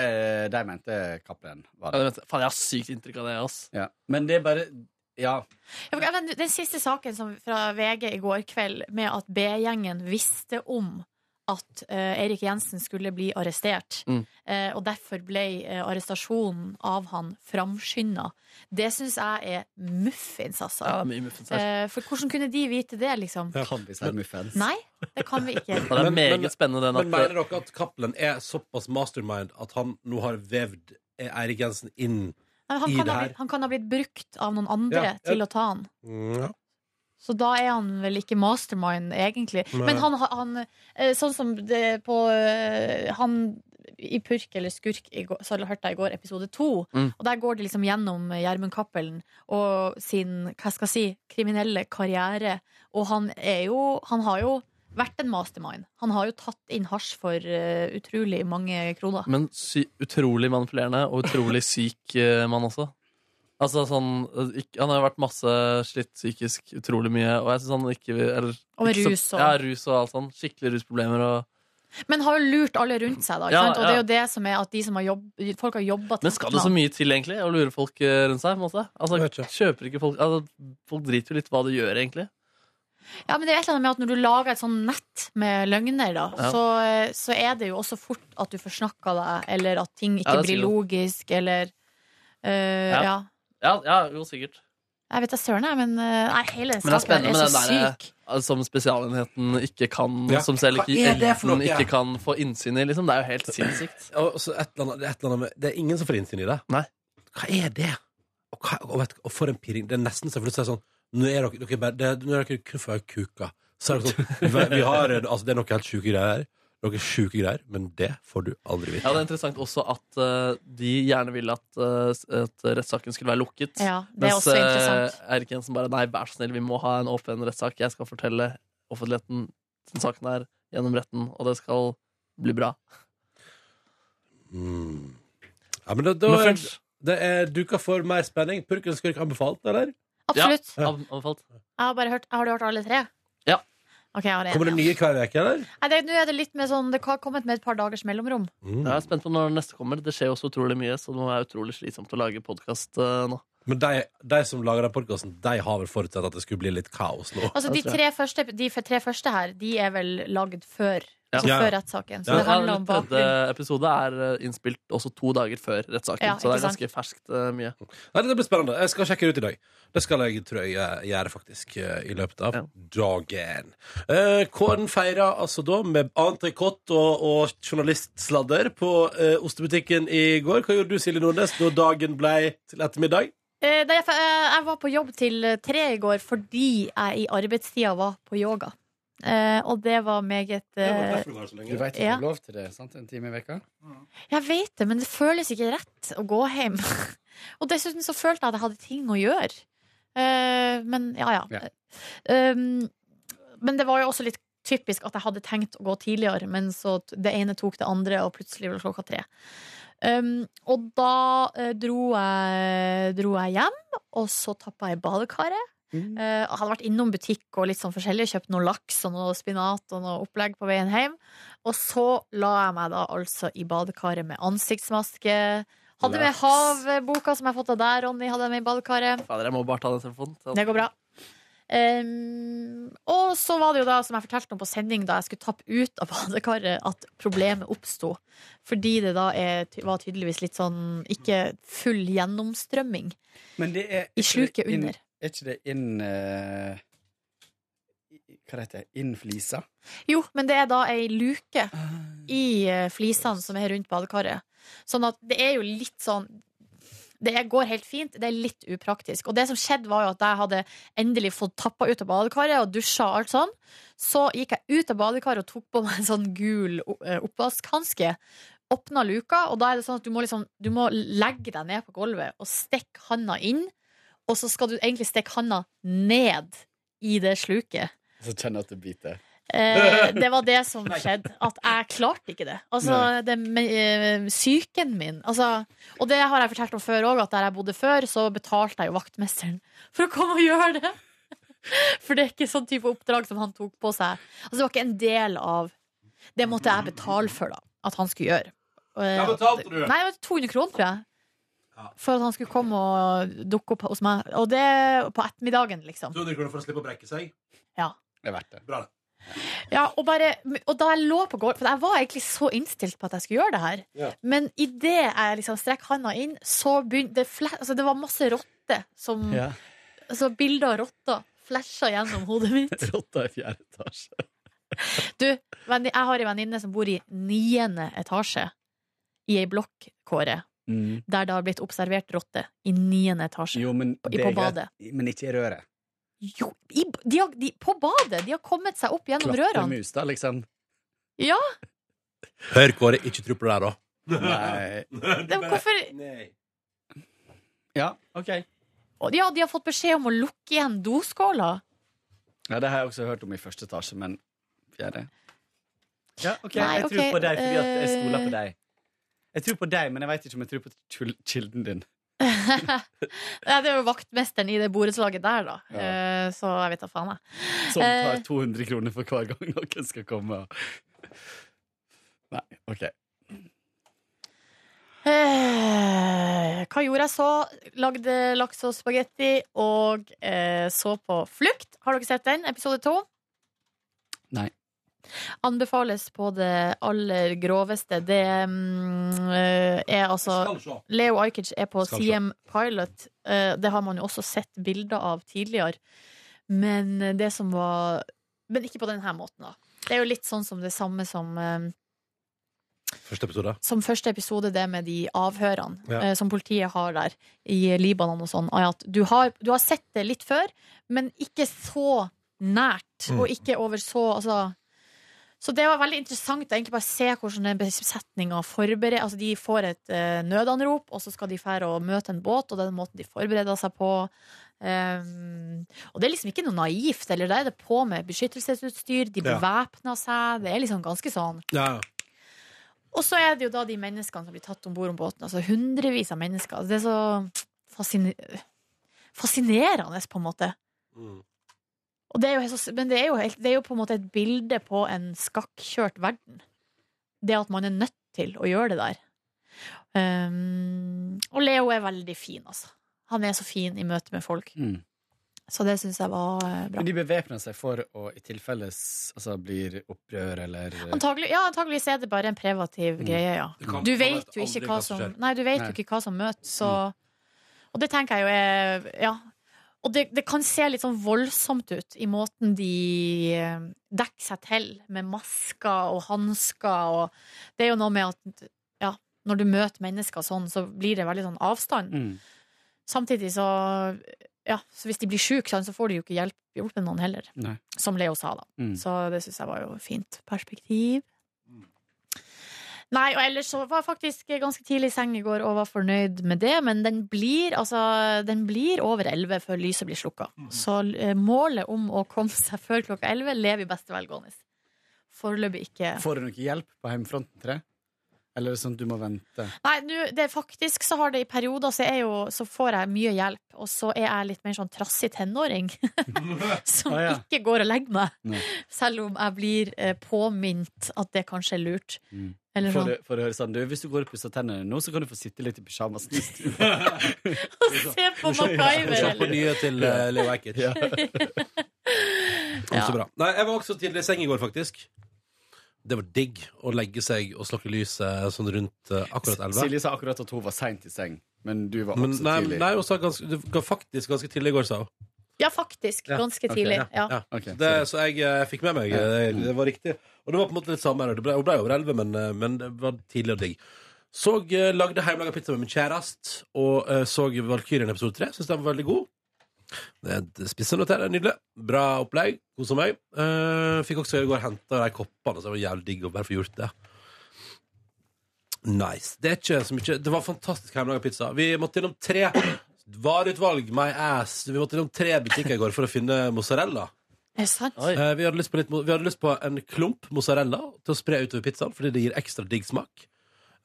Speaker 9: Eh, de mente Cappelen var
Speaker 4: Ja, det
Speaker 9: det.
Speaker 4: vet jeg. Faen, jeg har sykt inntrykk av det, ass.
Speaker 9: Ja. Men det er bare Ja.
Speaker 3: Ja, men den, den siste saken som, fra VG i går kveld, med at B-gjengen visste om at eh, Erik Jensen skulle bli arrestert,
Speaker 4: Mm.
Speaker 3: eh, og derfor ble eh, arrestasjonen av han framskynda, det syns jeg er muffins, altså.
Speaker 4: Ja, det er mye muffins her.
Speaker 3: Eh, for hvordan kunne de vite det, liksom?
Speaker 2: Ja.
Speaker 9: Kan vi si muffens?
Speaker 3: Nei, det kan vi
Speaker 2: (laughs)
Speaker 3: ikke.
Speaker 4: Og det er
Speaker 2: Men-
Speaker 4: meget
Speaker 2: men-
Speaker 4: spennende den
Speaker 2: Men
Speaker 4: at
Speaker 2: mener dere at Cappelen er såpass mastermind at han nå har vevd Eirik Jensen inn?
Speaker 3: Nei, Han
Speaker 2: I
Speaker 3: kan,
Speaker 2: det
Speaker 3: ha
Speaker 2: her.
Speaker 3: blitt, han kan ha blitt brukt av noen andre
Speaker 2: Ja, ja.
Speaker 3: til å ta han.
Speaker 2: Ja.
Speaker 3: Så da er han vel ikke mastermind, egentlig.
Speaker 2: Nei.
Speaker 3: Men han, han eh, Sånn som det på eh, Han i Purk eller Skurk i går, så hørte jeg i går episode to.
Speaker 4: Mm.
Speaker 3: Og der går det liksom gjennom Gjermund Cappelen og sin hva skal jeg si, kriminelle karriere. Og han er jo Han har jo vært en mastermind. Han har jo tatt inn hasj for eh, utrolig mange kroner.
Speaker 4: Men sy utrolig manipulerende og utrolig syk eh, mann også. Altså sånn, eh, ikk- Han har jo vært masse slitt psykisk utrolig mye. Og jeg synes han ikke eller,
Speaker 3: Og med
Speaker 4: ikke så-
Speaker 3: rus og-
Speaker 4: Ja, rus og alt sånn. Skikkelig rusproblemer. Og...
Speaker 3: Men har jo lurt alle rundt seg, da. Ikke
Speaker 4: Ja,
Speaker 3: sant? Og det er
Speaker 4: ja.
Speaker 3: jo det som er at de som har jobb, folk har jobba
Speaker 4: Men skal det så mye til egentlig å lure folk eh, rundt seg? på en måte?
Speaker 2: Jeg vet
Speaker 4: Altså,
Speaker 2: ikke.
Speaker 4: kjøper ikke folk altså, Folk driter jo litt hva de gjør, egentlig.
Speaker 3: Ja, men det er et eller annet med at Når du lager et sånn nett med løgner, da,
Speaker 4: Ja.
Speaker 3: så, eh, så er det jo også fort at du forsnakker deg, eller at ting ikke
Speaker 4: Ja, det
Speaker 3: blir
Speaker 4: sier du.
Speaker 3: logisk, eller øh, ja.
Speaker 4: Ja. Ja, ja jo sikkert.
Speaker 3: Jeg vet da søren, jeg, men øh, nei, hele den
Speaker 4: Men det
Speaker 3: saken
Speaker 4: er spennende
Speaker 3: er,
Speaker 4: med
Speaker 3: så
Speaker 4: den der
Speaker 3: syk.
Speaker 4: eh, som Spesialenheten ikke kan
Speaker 2: Ja.
Speaker 4: Som selv ikke,
Speaker 2: Hva er det for
Speaker 4: eliten
Speaker 2: noe?
Speaker 4: ikke kan få innsyn i. Liksom. Det er jo helt sinnssykt.
Speaker 2: Og så et eller annet, et eller annet med, det er ingen som får innsyn i det.
Speaker 4: Nei.
Speaker 2: Hva er det? Og, hva, og, vet, du, og for en pirring. Det er nesten så for å si sånn Nå er dere, dere, bare, det, nå er dere kun for kuka. Så er det sånn vi, vi har, altså, Det er noe helt sjuke greier her. Noe sjuke greier, men det får du aldri vite.
Speaker 4: Ja, Det er interessant også at eh, de gjerne ville at, eh, s- at rettssaken skulle være lukket.
Speaker 3: Ja, det er også
Speaker 4: eh,
Speaker 3: interessant.
Speaker 4: Erik Jensen bare nei, vær så snill, vi må ha en åpen rettssak. Jeg skal fortelle offentligheten den saken her gjennom retten, og det skal bli bra.
Speaker 2: Mm. Ja, men da, da
Speaker 4: No
Speaker 2: er,
Speaker 4: French.
Speaker 2: det er duka for mer spenning. Purkenskurk anbefalt, eller?
Speaker 3: Absolutt.
Speaker 4: Ja, an- anbefalt.
Speaker 3: Jeg har bare hørt Har du hørt alle tre?
Speaker 4: Ja.
Speaker 3: Ok, jeg har en,
Speaker 2: Kommer det
Speaker 3: ja.
Speaker 2: nye hver uke, eller?
Speaker 3: Nei, det, nå er det litt mer sånn Det har kommet med et par dagers mellomrom.
Speaker 2: Mm.
Speaker 4: Jeg er spent på når den neste kommer. Det skjer jo også utrolig mye, så det må være utrolig slitsomt å lage podkast nå.
Speaker 2: Men de, de som lager den podkasten, de har vel forutsett at det skulle bli litt kaos nå.
Speaker 3: Altså, de
Speaker 4: Det tror
Speaker 3: tre, første, de f- tre første her, de er vel lagd før. Altså
Speaker 2: Ja.
Speaker 3: før rettssaken. Så
Speaker 2: Ja.
Speaker 3: det handler om
Speaker 4: tredje
Speaker 3: bakgrunn.
Speaker 4: episode er eh, innspilt også to dager før rettssaken,
Speaker 3: Ja,
Speaker 4: så
Speaker 3: ikke
Speaker 4: det er
Speaker 3: sant.
Speaker 4: ganske ferskt eh, mye.
Speaker 2: Nei, Det blir spennende. Jeg skal sjekke det ut i dag. Det skal jeg, tror jeg, eh, gjøre faktisk eh, i løpet av
Speaker 4: Ja.
Speaker 2: dagen. Eh, Kåren feira altså da med entrecôte og, og journalistsladder på eh, ostebutikken i går. Hva gjorde du, Silje Nordnes, da dagen blei til ettermiddag?
Speaker 3: Eh, nei, for, eh, jeg var på jobb til eh, tre i går fordi jeg i arbeidstida var på yoga. Eh, og det var meget eh,
Speaker 9: Du veit
Speaker 3: Ja.
Speaker 9: lov til det, sant? En time i veka?
Speaker 3: Jeg vet det, men det føles ikke rett å gå hjem. (laughs) og dessuten så følte jeg at jeg hadde ting å gjøre. Eh, men ja, ja.
Speaker 9: Ja.
Speaker 3: Um, men det var jo også litt typisk at jeg hadde tenkt å gå tidligere, men så t- det ene tok det andre, og plutselig var det klokka tre. Um, og da eh, dro, jeg, dro jeg hjem, og så tappa jeg i badekaret. Eh, og hadde vært innom butikk og litt sånn forskjellig, kjøpt noe laks og noe spinat og noe opplegg på veien hjem. Og så la jeg meg da altså i badekaret med ansiktsmaske. Hadde med
Speaker 9: Laks.
Speaker 3: havboka som jeg har fått av deg, Ronny, hadde jeg med i badekaret.
Speaker 4: Fader, jeg må bare ta den telefonen. Så-
Speaker 3: Det går bra. Ehm, og så var det jo da, som jeg fortalte om på sending, da jeg skulle tappe ut av badekaret, at problemet oppsto. Fordi det da er, ty- var tydeligvis litt sånn ikke full gjennomstrømming
Speaker 9: Men det er
Speaker 3: i sluket under.
Speaker 9: Er ikke det inn eh, i- Hva heter det? Innflisa?
Speaker 3: Jo, men det er da ei luke i eh, flisene som er rundt badekaret. Sånn at det er jo litt sånn det går helt fint, det er litt upraktisk. Og det som skjedde, var jo at jeg hadde endelig fått tappa ut av badekaret og dusja og alt sånn. Så gikk jeg ut av badekaret og tok på meg en sånn gul o- eh, oppvaskhanske. Åpna luka, og da er det sånn at du må, liksom, du må legge deg ned på gulvet og stikke handa inn. Og så skal du egentlig stikke handa ned i det sluket.
Speaker 9: Så kjenner jeg at det biter.
Speaker 3: (laughs) Eh, det var det som skjedde. At jeg klarte ikke det. Altså, det med, eh, Psyken min. Altså, og det har jeg fortalt om før òg, at der jeg bodde før, så betalte jeg jo vaktmesteren for å komme og gjøre det. (laughs) For det er ikke sånn type oppdrag som han tok på seg. Altså, det var ikke en del av Det måtte jeg betale for, da. At han skulle gjøre. Hva betalte du? Nei, det var 200 kroner, tror jeg. For at han skulle komme og dukke opp hos meg. Og det på ettermiddagen, liksom.
Speaker 2: 200 kroner for å slippe å brekke seg.
Speaker 9: Det er verdt det.
Speaker 3: Ja, og, bare, og da jeg lå på gulvet For jeg var egentlig så innstilt på at jeg skulle gjøre det her.
Speaker 2: Ja.
Speaker 3: Men idet jeg liksom strekk handa inn, så begynte det fla- altså, Det var masse rotter som
Speaker 9: Ja.
Speaker 3: altså, Bilder av rotter flasha gjennom hodet
Speaker 9: (laughs)
Speaker 3: mitt.
Speaker 9: Rotta i fjerde etasje.
Speaker 3: Du, venn- jeg har ei venninne som bor i niende etasje i ei blokk, Kåre, der det har blitt observert rotter i niende etasje.
Speaker 9: Mm. Jo, men
Speaker 3: I-
Speaker 9: det er
Speaker 3: på badet.
Speaker 9: greit. Men ikke i røret.
Speaker 3: Jo, i, de har, de, på badet! De har kommet seg opp gjennom rørene.
Speaker 9: Klatremus, da, liksom.
Speaker 2: Hør, Kåre, ikke tro på det der, da.
Speaker 9: Nei.
Speaker 3: Det, hvorfor
Speaker 9: Ja, OK.
Speaker 3: Og Ja, de har fått beskjed om å lukke igjen doskåla.
Speaker 9: Ja, det har jeg også hørt om i første etasje, men fjerde Ja, ok,
Speaker 3: Nei,
Speaker 9: jeg
Speaker 3: ok,
Speaker 9: tror på deg fordi at jeg stoler på
Speaker 3: eh.
Speaker 9: deg. Jeg tror på deg, men jeg veit ikke om jeg tror på kil- kilden din.
Speaker 3: Nei, det er jo vaktmesteren i det borettslaget der, da.
Speaker 9: Ja.
Speaker 3: Eh, Så jeg vet da faen, jeg.
Speaker 9: Som tar
Speaker 3: Eh.
Speaker 9: 200 kroner for hver gang noen skal komme. og- Nei, OK.
Speaker 3: Eh, Hva gjorde jeg så? Lagde laks og spagetti og eh, så på Flukt. Har dere sett den? Episode to?
Speaker 9: Nei.
Speaker 3: Anbefales på det aller groveste. Det mm, eh, er altså
Speaker 2: Skal se.
Speaker 3: Leo Ajkic er på
Speaker 2: Skal vi se.
Speaker 3: CM Pilot. Eh, Det har man jo også sett bilder av tidligere. Men eh, det som var Men ikke på denne måten, da. Det er jo litt sånn som det samme som, eh,
Speaker 2: Første episode.
Speaker 3: som første episode, det med de avhørene
Speaker 2: Ja.
Speaker 3: eh, som politiet har der i Libanon og sånn. er At du har, du har sett det litt før, men ikke så nært,
Speaker 2: Mm.
Speaker 3: og ikke over så altså, så det var veldig interessant å egentlig bare se hvordan den besetninga forbereder Altså, de får et eh, nødanrop, og så skal de fære og møte en båt, og det er den måten de forbereder seg på. Ehm, og det er liksom ikke noe naivt, eller da er det på med beskyttelsesutstyr, de
Speaker 2: Ja.
Speaker 3: bevæpner seg, det er liksom ganske sånn
Speaker 2: Ja, ja.
Speaker 3: Og så er det jo da de menneskene som blir tatt om bord om båten. Altså hundrevis av mennesker. Altså, det er så fascine- fascinerende, på en måte.
Speaker 2: Mm.
Speaker 3: Og det er jo, helt så- men det er, jo helt, det er jo på en måte et bilde på en skakkjørt verden. Det at man er nødt til å gjøre det der. Um, og Leo er veldig fin, altså. Han er så fin i møte med folk.
Speaker 9: Mm.
Speaker 3: Så det syns jeg var eh, bra.
Speaker 9: Men de bevæpner seg for å i tilfelle s- altså, blir opprør eller eh,
Speaker 3: Antagelig, ja, antageligvis er det bare en prevativ
Speaker 9: Mm.
Speaker 3: greie, ja.
Speaker 2: Det kan-
Speaker 3: Du
Speaker 2: kan
Speaker 3: vet
Speaker 2: være
Speaker 3: jo
Speaker 2: aldri
Speaker 3: ikke hva som
Speaker 2: skjer.
Speaker 3: Nei, du vet
Speaker 9: Nei.
Speaker 3: jo ikke hva som møter, så Og det tenker jeg jo er Ja. Og det, det kan se litt sånn voldsomt ut i måten de eh, dekker seg til med masker og hansker og Det er jo noe med at ja, når du møter mennesker sånn, så blir det veldig sånn avstand.
Speaker 9: Mm.
Speaker 3: Samtidig så ja, så Hvis de blir syke, sant, så får de jo ikke hjelp, hjulpet noen heller.
Speaker 9: Nei.
Speaker 3: Som Leo sa, da.
Speaker 9: Mm.
Speaker 3: Så det syns jeg var jo fint perspektiv. Nei, og ellers så var jeg faktisk ganske tidlig i seng i går og var fornøyd med det, men den blir, altså, den blir over elleve før lyset blir slukka.
Speaker 9: Mm.
Speaker 3: Så eh, målet om å komme seg før klokka elleve lever i beste velgående. Foreløpig ikke.
Speaker 9: Får du noe hjelp på hjemmefronten til det? Eller er det sånn at du må vente?
Speaker 3: Nei, nu, det er faktisk så har det i perioder så, er jo, så får jeg mye hjelp, og så er jeg litt mer sånn trassig tenåring. (laughs) som
Speaker 9: Ah, ja.
Speaker 3: ikke går og legger meg.
Speaker 9: Nei.
Speaker 3: Selv om jeg blir eh, påminnet at det kanskje er lurt.
Speaker 9: Mm.
Speaker 3: Eller
Speaker 9: Får
Speaker 3: sånn.
Speaker 9: du, får du høre sånn du, Hvis du går og pusser tennene nå, så kan du få sitte litt i (laughs)
Speaker 3: (laughs)
Speaker 9: pysjamasen.
Speaker 3: Se på MacGyver!
Speaker 2: Se på
Speaker 3: Eller?
Speaker 2: nye til eh, Leo Ajkic.
Speaker 9: (laughs) Ja.
Speaker 2: Så bra. Nei, jeg var også tidlig i seng i går, faktisk. Det var digg å legge seg og slokke lyset sånn rundt eh, akkurat elleve.
Speaker 9: Silje sa akkurat at hun var seint i seng, men du var
Speaker 2: Men
Speaker 9: også
Speaker 2: nei,
Speaker 9: tidlig.
Speaker 2: nei hun sa ganske, det var faktisk ganske tidlig i går, sa hun.
Speaker 3: Ja, faktisk.
Speaker 9: Ja,
Speaker 3: Ganske
Speaker 9: ok,
Speaker 3: tidlig.
Speaker 2: ja,
Speaker 3: Ja.
Speaker 2: ja.
Speaker 9: Ok,
Speaker 2: Det,
Speaker 9: sorry.
Speaker 2: så jeg eh, fikk med meg. eh, Det var riktig. Og det var på en måte litt samme her. det ble- Hun ble over elleve, men, eh, men det var tidlig og digg. Så eh, lagde hjemmelaga pizza med min kjæreste, og eh, så Valkyrien episode tre. Syns den var veldig god. Det er et Spissenotere, nydelig. Bra opplegg. Kosa meg. Eh, fikk også i går henta de koppene, så det var jævlig digg å bare få gjort det. Nice. Det er ikke så mye Det var fantastisk hjemmelaga pizza. Vi måtte gjennom tre vareutvalg, my ass. Vi måtte gjennom tre butikker i går for å finne mozzarella.
Speaker 3: Er det sant?
Speaker 4: Oi.
Speaker 2: Eh, vi, hadde lyst på litt, mo- vi hadde lyst på en klump mozzarella til å spre utover pizzaen, fordi det gir ekstra digg smak.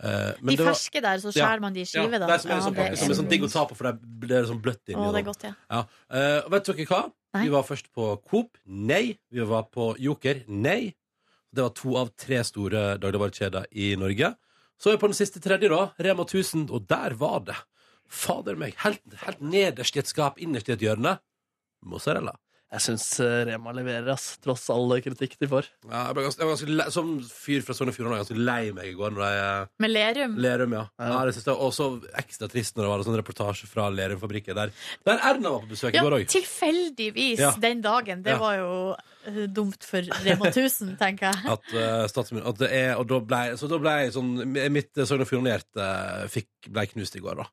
Speaker 2: Eh, men
Speaker 3: De
Speaker 2: det var-
Speaker 3: ferske der, så
Speaker 2: Ja.
Speaker 3: skjærer man de i skive, da.
Speaker 2: Ja, de som er,
Speaker 3: Ja,
Speaker 2: sånn,
Speaker 3: det
Speaker 2: som er sånn digg å ta på, for det er, det er sånn bløtt inni.
Speaker 3: Å, det er
Speaker 2: da.
Speaker 3: godt, ja.
Speaker 2: Ja. Eh, og vet dere hva?
Speaker 3: Nei.
Speaker 2: Vi var først på Coop. Nei. Vi var på Joker. Nei. Det var to av tre store dagligvarekjeder i Norge. Så er vi på den siste tredje, da. Rema 1000. Og der var det. Fader meg. Helt, helt nederst i et skap, innerst i et hjørne. Mozzarella.
Speaker 4: Jeg syns Rema leverer, ass, tross all kritikk de får.
Speaker 2: Ja, jeg ble ganske, jeg var ganske le, som fyr fra Sogn og Fjordane var jeg ganske lei meg i går når jeg eh,
Speaker 3: Med Lerum.
Speaker 2: Lerum, ja. ja det synes jeg var også ekstra trist når det var en sånn reportasje fra Lerum-fabrikken der. Der Erna var på besøk i
Speaker 3: Ja,
Speaker 2: går òg.
Speaker 3: tilfeldigvis
Speaker 2: Ja.
Speaker 3: den dagen. Det
Speaker 2: Ja.
Speaker 3: var jo eh, dumt for Rema 1000, tenker jeg.
Speaker 2: At, eh, statsmin- at det er, og da ble, så da ble jeg sånn Mitt eh, Sogn og Fjordane-hjerte eh, fikk- ble knust i går, da.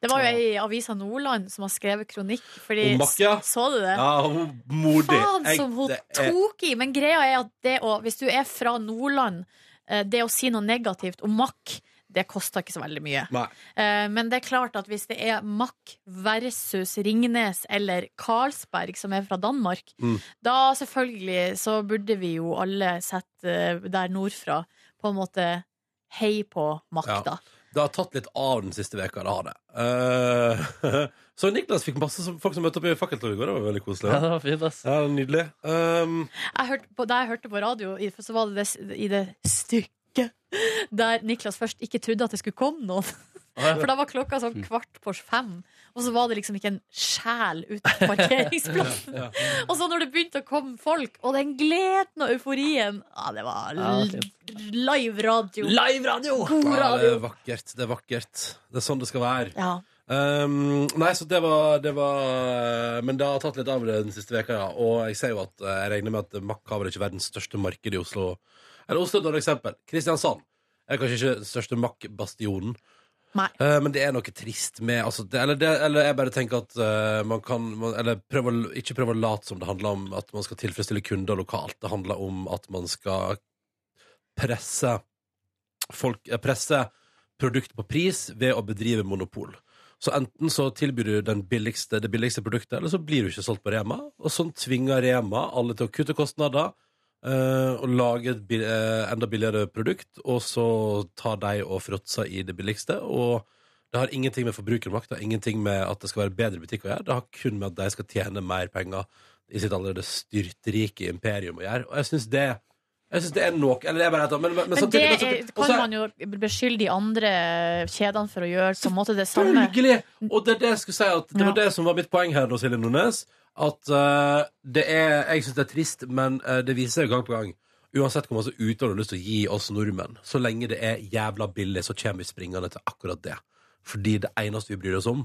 Speaker 3: Det var jo ei i Avisa Nordland som har skrevet kronikk. Fordi,
Speaker 2: Om Bakke, ja.
Speaker 3: Så du det?
Speaker 2: Ja, hun modig.
Speaker 3: Faen
Speaker 2: Jeg-
Speaker 3: som hun
Speaker 2: det er-
Speaker 3: tok i! Men greia er at det å, hvis du er fra Nordland, eh, det å si noe negativt om makk, det koster ikke så veldig mye.
Speaker 2: Nei.
Speaker 3: Eh, Men det er klart at hvis det er makk versus Ringnes eller Karlsberg, som er fra Danmark,
Speaker 2: Mm.
Speaker 3: da selvfølgelig så burde vi jo alle sett eh, der nordfra på en måte hei på makk,
Speaker 2: Ja.
Speaker 3: da.
Speaker 2: Det har tatt litt av den siste veka, det har det. Eh, (laughs) så Niklas fikk masse som, folk som møtte opp i fakkeltoget i går. Det var veldig koselig. Ja.
Speaker 4: Ja, (laughs) det var fint, ass.
Speaker 2: Ja, nydelig. Um,
Speaker 3: jeg hørte på, da jeg hørte på radio, i- så var det det, i det stykket der Niklas først ikke trodde at det skulle komme noen. For da var klokka sånn
Speaker 2: Mm.
Speaker 3: kvart på fem, og så var det liksom ikke en sjel ute på
Speaker 2: (laughs)
Speaker 3: parkeringsplassen. Og så når det begynte å komme folk, og den gleden og euforien Ja, det var
Speaker 4: Ja, det var
Speaker 3: l- live radio.
Speaker 4: Live radio!
Speaker 2: ja,
Speaker 3: God
Speaker 2: det er
Speaker 3: radio.
Speaker 2: vakkert. Det er vakkert. Det er sånn det skal være.
Speaker 3: Ja.
Speaker 2: Um, nei, så det var, det var Men det har tatt litt av det den siste veka, ja. Og jeg ser jo at eh, jeg regner med at Mack har vel ikke verdens største marked i Oslo. Eller Oslo er et dårlig eksempel. Kristiansand er kanskje ikke den største Mack-bastionen.
Speaker 3: Nei.
Speaker 2: Eh, men det er noe trist med altså, det, eller, det, eller jeg bare tenker at eh, man kan man, Eller prøve å, ikke prøve å late som det handler om at man skal tilfredsstille kunder lokalt. Det handler om at man skal presse folk, eh, presse produkt på pris ved å bedrive monopol. Så enten så tilbyr du den billigste, det billigste produktet, eller så blir du ikke solgt på Rema. Og sånn tvinger Rema alle til å kutte kostnader. eh, og lager et bil- eh, enda billigere produkt, og så tar de og fråtser i det billigste. Og det har ingenting med forbrukermakt det har ingenting med at det skal være bedre butikk å gjøre. Det har kun med at de skal tjene mer penger i sitt allerede styrtrike imperium å gjøre. Og jeg syns det jeg synes det er nok Eller det er bare et eller annet, men, men, men
Speaker 3: Men det
Speaker 2: samtidig- men
Speaker 3: er,
Speaker 2: samtidig- og så
Speaker 3: kan
Speaker 2: er-
Speaker 3: man jo beskylde de andre kjedene for å gjøre på en måte det samme.
Speaker 2: Selvfølgelig! Og det er det jeg skulle si at det var
Speaker 3: Ja.
Speaker 2: det som var mitt poeng her nå, Silje Nordnes. At eh, det er Jeg syns det er trist, men eh, det viser seg gang på gang. Uansett hvor masse uthold du har lyst til å gi oss nordmenn, så lenge det er jævla billig, så kommer vi springende til akkurat det. Fordi det eneste vi bryr oss om,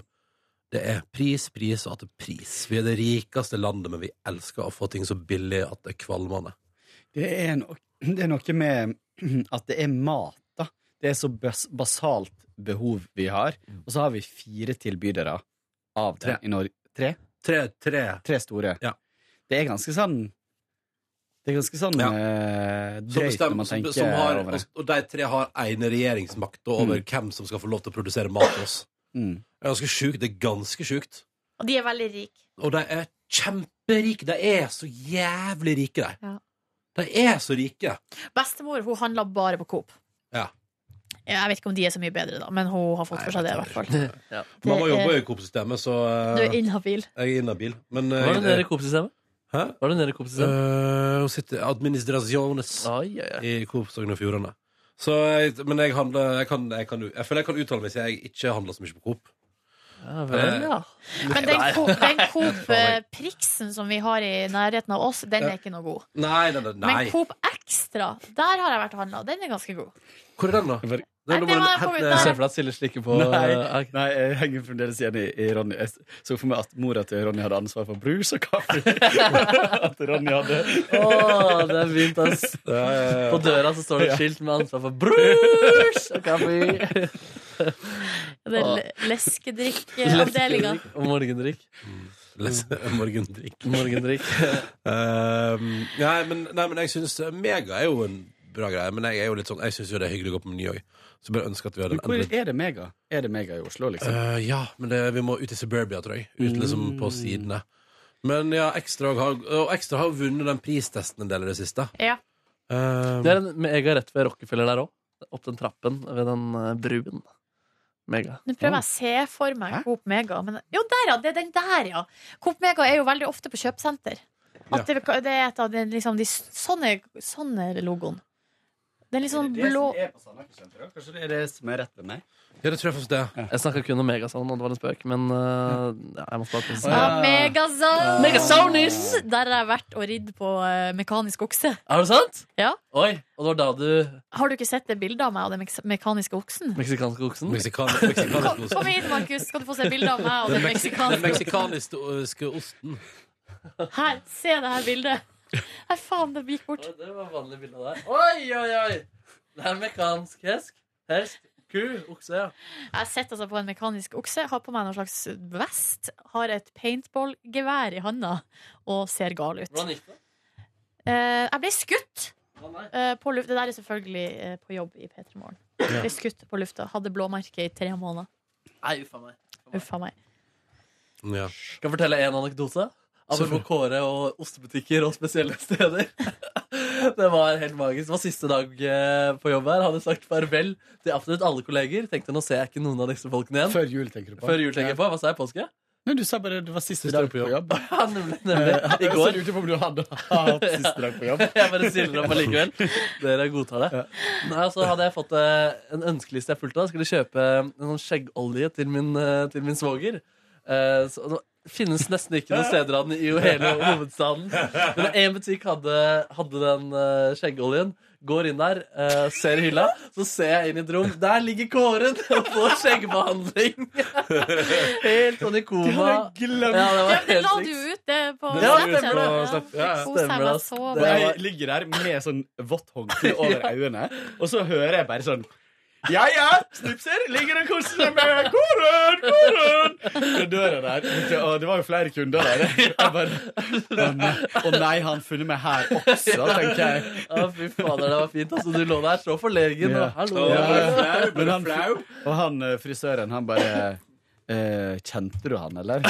Speaker 2: det er pris, pris og at det er pris. Vi er det rikeste landet, men vi elsker å få ting så billig at det er kvalmende.
Speaker 9: Det er, no (clears throat) det er noe med (clears throat) at det er mat, da. Det er så bas basalt behov vi har.
Speaker 2: Mm.
Speaker 9: Og så har vi fire tilbydere av det
Speaker 2: Tre.
Speaker 9: i Norge. Tre?
Speaker 2: Tre, tre.
Speaker 9: Tre store.
Speaker 2: Ja.
Speaker 9: Det er ganske sånn Det er ganske sånn
Speaker 2: Ja.
Speaker 9: eh,
Speaker 2: Som,
Speaker 9: drøyt når
Speaker 2: bestemmer,
Speaker 9: man
Speaker 2: som,
Speaker 9: tenker
Speaker 2: som har,
Speaker 9: over det.
Speaker 2: og de tre har ene regjeringsmakt over hvem som skal få lov til å produsere mat til oss.
Speaker 9: Mm.
Speaker 2: Det er ganske sjukt. Det er ganske sjukt.
Speaker 3: Og de er veldig rike.
Speaker 2: Og de er kjemperike. De er så jævlig rike, de.
Speaker 3: Ja.
Speaker 2: De er så rike.
Speaker 3: Bestemor hun handler bare på Coop.
Speaker 2: Ja.
Speaker 3: Jeg vet ikke om de er så mye bedre, da, men hun har fått for seg det. i hvert fall
Speaker 4: Ja.
Speaker 3: Det
Speaker 2: Mamma jobber
Speaker 3: er-
Speaker 2: jo i Coop-systemet, så
Speaker 3: Du
Speaker 2: eh,
Speaker 3: er inhabil.
Speaker 2: jeg er inhabil. Men eh,
Speaker 4: Var det nede i Coop-systemet?
Speaker 2: Hæ?
Speaker 4: Var det nede i Coop-systemet?
Speaker 2: Eh, Hun sitter i administrasjones
Speaker 4: Ai, ai, ai.
Speaker 2: i Coop Sogn og Fjordane. Så jeg, men jeg handler jeg, kan, jeg, kan, jeg føler jeg kan uttale meg siden jeg ikke handler så mye på Coop. Eh,
Speaker 4: Ja, vel, ja.
Speaker 3: Men den, Coop-
Speaker 2: (laughs)
Speaker 3: den Coop eh, Priksen som vi har i nærheten av oss, den er ikke noe god.
Speaker 2: Nei, nei, nei. nei.
Speaker 3: Men Coop Extra, der har jeg vært og handla. Den er ganske god.
Speaker 2: Hvor er den, da?
Speaker 9: Hvor-
Speaker 2: Den,
Speaker 3: Nei,
Speaker 2: den,
Speaker 3: det var på-
Speaker 4: Jeg
Speaker 2: den,
Speaker 4: ser eh, for deg at Silje slikker på
Speaker 9: Nei,
Speaker 4: eh, ak-
Speaker 9: nei, jeg henger fremdeles igjen i, i Ronny. Jeg så for meg at mora til Ronny hadde ansvar for brus og
Speaker 2: (laughs)
Speaker 9: kaffe. at Ronny hadde
Speaker 4: Å, det er fint, ass. På døra så står det et skilt med ansvar for brus og kaffe.
Speaker 3: Det er le- Leskedrikkavdelinga.
Speaker 4: Og morgendrikk.
Speaker 2: Les- Morgendrikk.
Speaker 4: Morgendrikk.
Speaker 2: Ehm, nei, men, nei, men jeg synes eh, Mega er jo en bra greie, men jeg er jo litt sånn Jeg synes jo det er hyggelig å gå på Meny òg. Så bare ønske at vi hadde
Speaker 9: Men
Speaker 2: en
Speaker 9: hvor
Speaker 2: enda-
Speaker 9: er det mega? Er det mega i Oslo, liksom?
Speaker 2: Eh, Ja, men det, vi må ut i suburbia, tror jeg. Ut liksom på sidene. Men ja, Ekstra har, og Ekstra har vunnet den pristesten en del i det siste.
Speaker 3: Ja.
Speaker 2: Ehm,
Speaker 4: Det er en mega rett ved Rockefeller der òg. Opp den trappen ved den eh, bruen. Mega.
Speaker 3: Nå prøver jeg å se for meg
Speaker 9: Hæ?
Speaker 3: Coop Mega. Men, jo, der, ja! Det er den der, ja. Coop Mega er jo veldig ofte på kjøpesenter. At det, det er et av de, liksom, de Sånn er, sånn er logoen. Den litt sånn blå
Speaker 9: er på Sandhagen-senteret? Kanskje det er det som er rett ved meg?
Speaker 2: ja, det tror jeg faktisk det. er.
Speaker 4: Jeg snakka kun om Megasound, og det var en spøk, men eh, ja, jeg måtte bare presisere.
Speaker 3: ja, Megazone!
Speaker 4: Megazonis!
Speaker 3: Der har jeg vært og ridd på eh, mekanisk okse.
Speaker 4: Er det sant?
Speaker 3: Ja.
Speaker 4: Oi, og det var da du
Speaker 3: Har du ikke sett det bildet av meg og den meks- mekaniske oksen?
Speaker 4: Meksikanske oksen?
Speaker 2: Meksikan,
Speaker 3: (laughs) Kom,
Speaker 2: meksikansk ost.
Speaker 3: kom hit, Markus, skal du få se bilde av meg og den
Speaker 2: Den
Speaker 3: meksikanske
Speaker 2: meksikanske osten.
Speaker 3: Her, se det her bildet. Nei, faen, det gikk bort.
Speaker 4: Det var vanlig bilde av deg. Oi, oi, oi! Det er mekansk hest. Hest. Ku. Okse, ja.
Speaker 3: Jeg sitter altså på en mekanisk okse, har på meg noen slags vest, har et paintballgevær i handa og ser gal ut.
Speaker 4: Hvordan gikk det?
Speaker 3: Eh, jeg ble skutt
Speaker 4: Å, nei.
Speaker 3: eh, på lufta. Det der er selvfølgelig eh, på jobb i P3 Morgen. Ble skutt på lufta. Hadde blåmerke i tre måneder.
Speaker 4: Nei, uffa meg.
Speaker 3: Uff a meg.
Speaker 2: Ja.
Speaker 4: Skal jeg fortelle en anekdote? Apropos Kåre og ostebutikker og spesielle steder. (laughs) Det var helt magisk. Det var siste dag eh, på jobb her. Hadde sagt farvel til absolutt alle kolleger. Tenkte nå ser jeg ikke noen av disse folkene igjen.
Speaker 9: Før jul, tenker du på?
Speaker 4: Før jul tenker jeg på. Hva sa jeg? Påske? (laughs)
Speaker 9: Nei, du sa bare det var siste
Speaker 2: Siste
Speaker 9: dag på (laughs) jobb.
Speaker 4: Ja, nemlig. nemlig. I går.
Speaker 9: Jeg lurte på om du hadde hatt siste dag på jobb.
Speaker 4: (laughs) Jeg bare stiller opp allikevel. Dere godtar det. Nei, og så hadde jeg fått eh, en ønskeliste jeg fulgte av. Skulle kjøpe en sånn skjeggolje til min, eh, til min svoger. Eh, så det finnes nesten ikke noen steder av den i jo hele hovedstaden. Men én butikk hadde, hadde den eh, skjeggoljen. Går inn der, eh, ser hylla, så ser jeg inn i et rom. Der ligger Kåren og får skjeggbehandling! (laughs) Helt sånn i koma. Ja, det
Speaker 3: Ja,
Speaker 4: var
Speaker 3: men
Speaker 4: helt
Speaker 3: la du
Speaker 4: sykt.
Speaker 3: ut det på
Speaker 4: Ja,
Speaker 3: Snapchat?
Speaker 4: stemmer
Speaker 3: Ja.
Speaker 2: Ja, ja.
Speaker 3: Koser jeg
Speaker 4: Stemmer
Speaker 3: meg
Speaker 4: det,
Speaker 3: så
Speaker 4: ass.
Speaker 9: Og
Speaker 3: bra.
Speaker 9: jeg ligger der med sånn vått håndkle over øynene, og så hører jeg bare sånn ja, ja! Snipser! Ligger og koser seg med koren! Koren! Ved døra der. Og det var jo flere kunder der. Jeg bare Å nei, å nei han har funnet meg her også, tenker jeg.
Speaker 4: Ja, fy fader, det var fint. Altså, du lå der så forlegen.
Speaker 9: Ja.
Speaker 4: og Hallo.
Speaker 9: Ja. Men han, og han eh, frisøren, han bare eh, Kjente du
Speaker 4: (laughs)
Speaker 9: han, eller?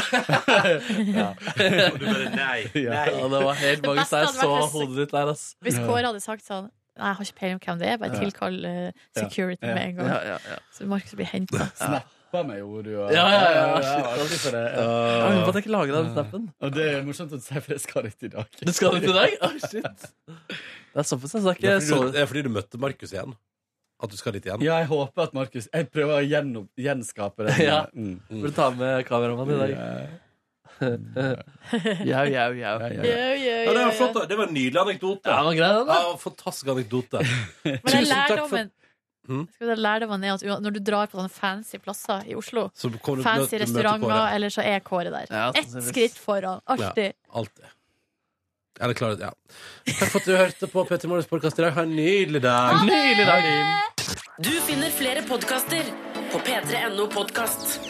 Speaker 8: Og du bare nei.
Speaker 9: (laughs) Ja.
Speaker 8: nei.
Speaker 4: Ja, det var helt
Speaker 3: Det
Speaker 4: magisk.
Speaker 3: beste
Speaker 4: Jeg
Speaker 3: hadde
Speaker 4: så
Speaker 3: vært hvis-
Speaker 4: hodet ditt der, ass.
Speaker 3: Hvis Kåre hadde sagt sånn Nei, jeg har ikke peiling på hvem det er, bare tilkall eh, security
Speaker 9: Ja.
Speaker 3: med en gang.
Speaker 4: Ja, ja, ja.
Speaker 3: Så Markus blir henta.
Speaker 9: Snappa meg, jo, du. og-
Speaker 4: Ja, ja, ja, shit,
Speaker 9: jeg var aldri for det.
Speaker 4: Jeg angrer på at jeg ikke lagra den snappen.
Speaker 9: Og det er morsomt at du sier, for jeg skal dit i dag.
Speaker 4: Du skal dit i dag? Å, shit. Det er såpass,
Speaker 2: Ehm,
Speaker 4: altså. Det
Speaker 2: Det
Speaker 4: er
Speaker 2: er
Speaker 4: ikke så
Speaker 2: fordi du, det er fordi du møtte Markus igjen. At du skal dit igjen.
Speaker 9: Ja, jeg håper at Markus Jeg prøver å gjennom, gjenskape det.
Speaker 4: Ja.
Speaker 9: Mm.
Speaker 4: Burde ta med kameramannen i dag. Jau, jau, jau.
Speaker 9: Ja, ja,
Speaker 4: Ja,
Speaker 9: ja.
Speaker 2: Ja, det, var flott, da. det var en nydelig anekdote.
Speaker 4: den var grei, den. da.
Speaker 2: Ja, fantastisk anekdote.
Speaker 3: Men den
Speaker 2: Tusen takk for-
Speaker 3: lærdommen
Speaker 2: Hm?
Speaker 3: Skal vi ta lærdommen er at ua- Når du drar på sånne fancy plasser i Oslo,
Speaker 2: Så kom du- mø- du
Speaker 3: fancy
Speaker 2: møter
Speaker 3: restauranter,
Speaker 2: Kåre.
Speaker 3: eller så er Kåre der.
Speaker 4: Ja,
Speaker 3: Ett
Speaker 4: sannsynligvis.
Speaker 3: skritt foran. Alltid.
Speaker 2: Alltid. Eller klarer det, ja. Takk for at du hørte på Petter Morgens podkast i dag. Ha en nydelig dag.
Speaker 4: Nydelig dag.
Speaker 1: Du finner flere podkaster på p3.no podkast.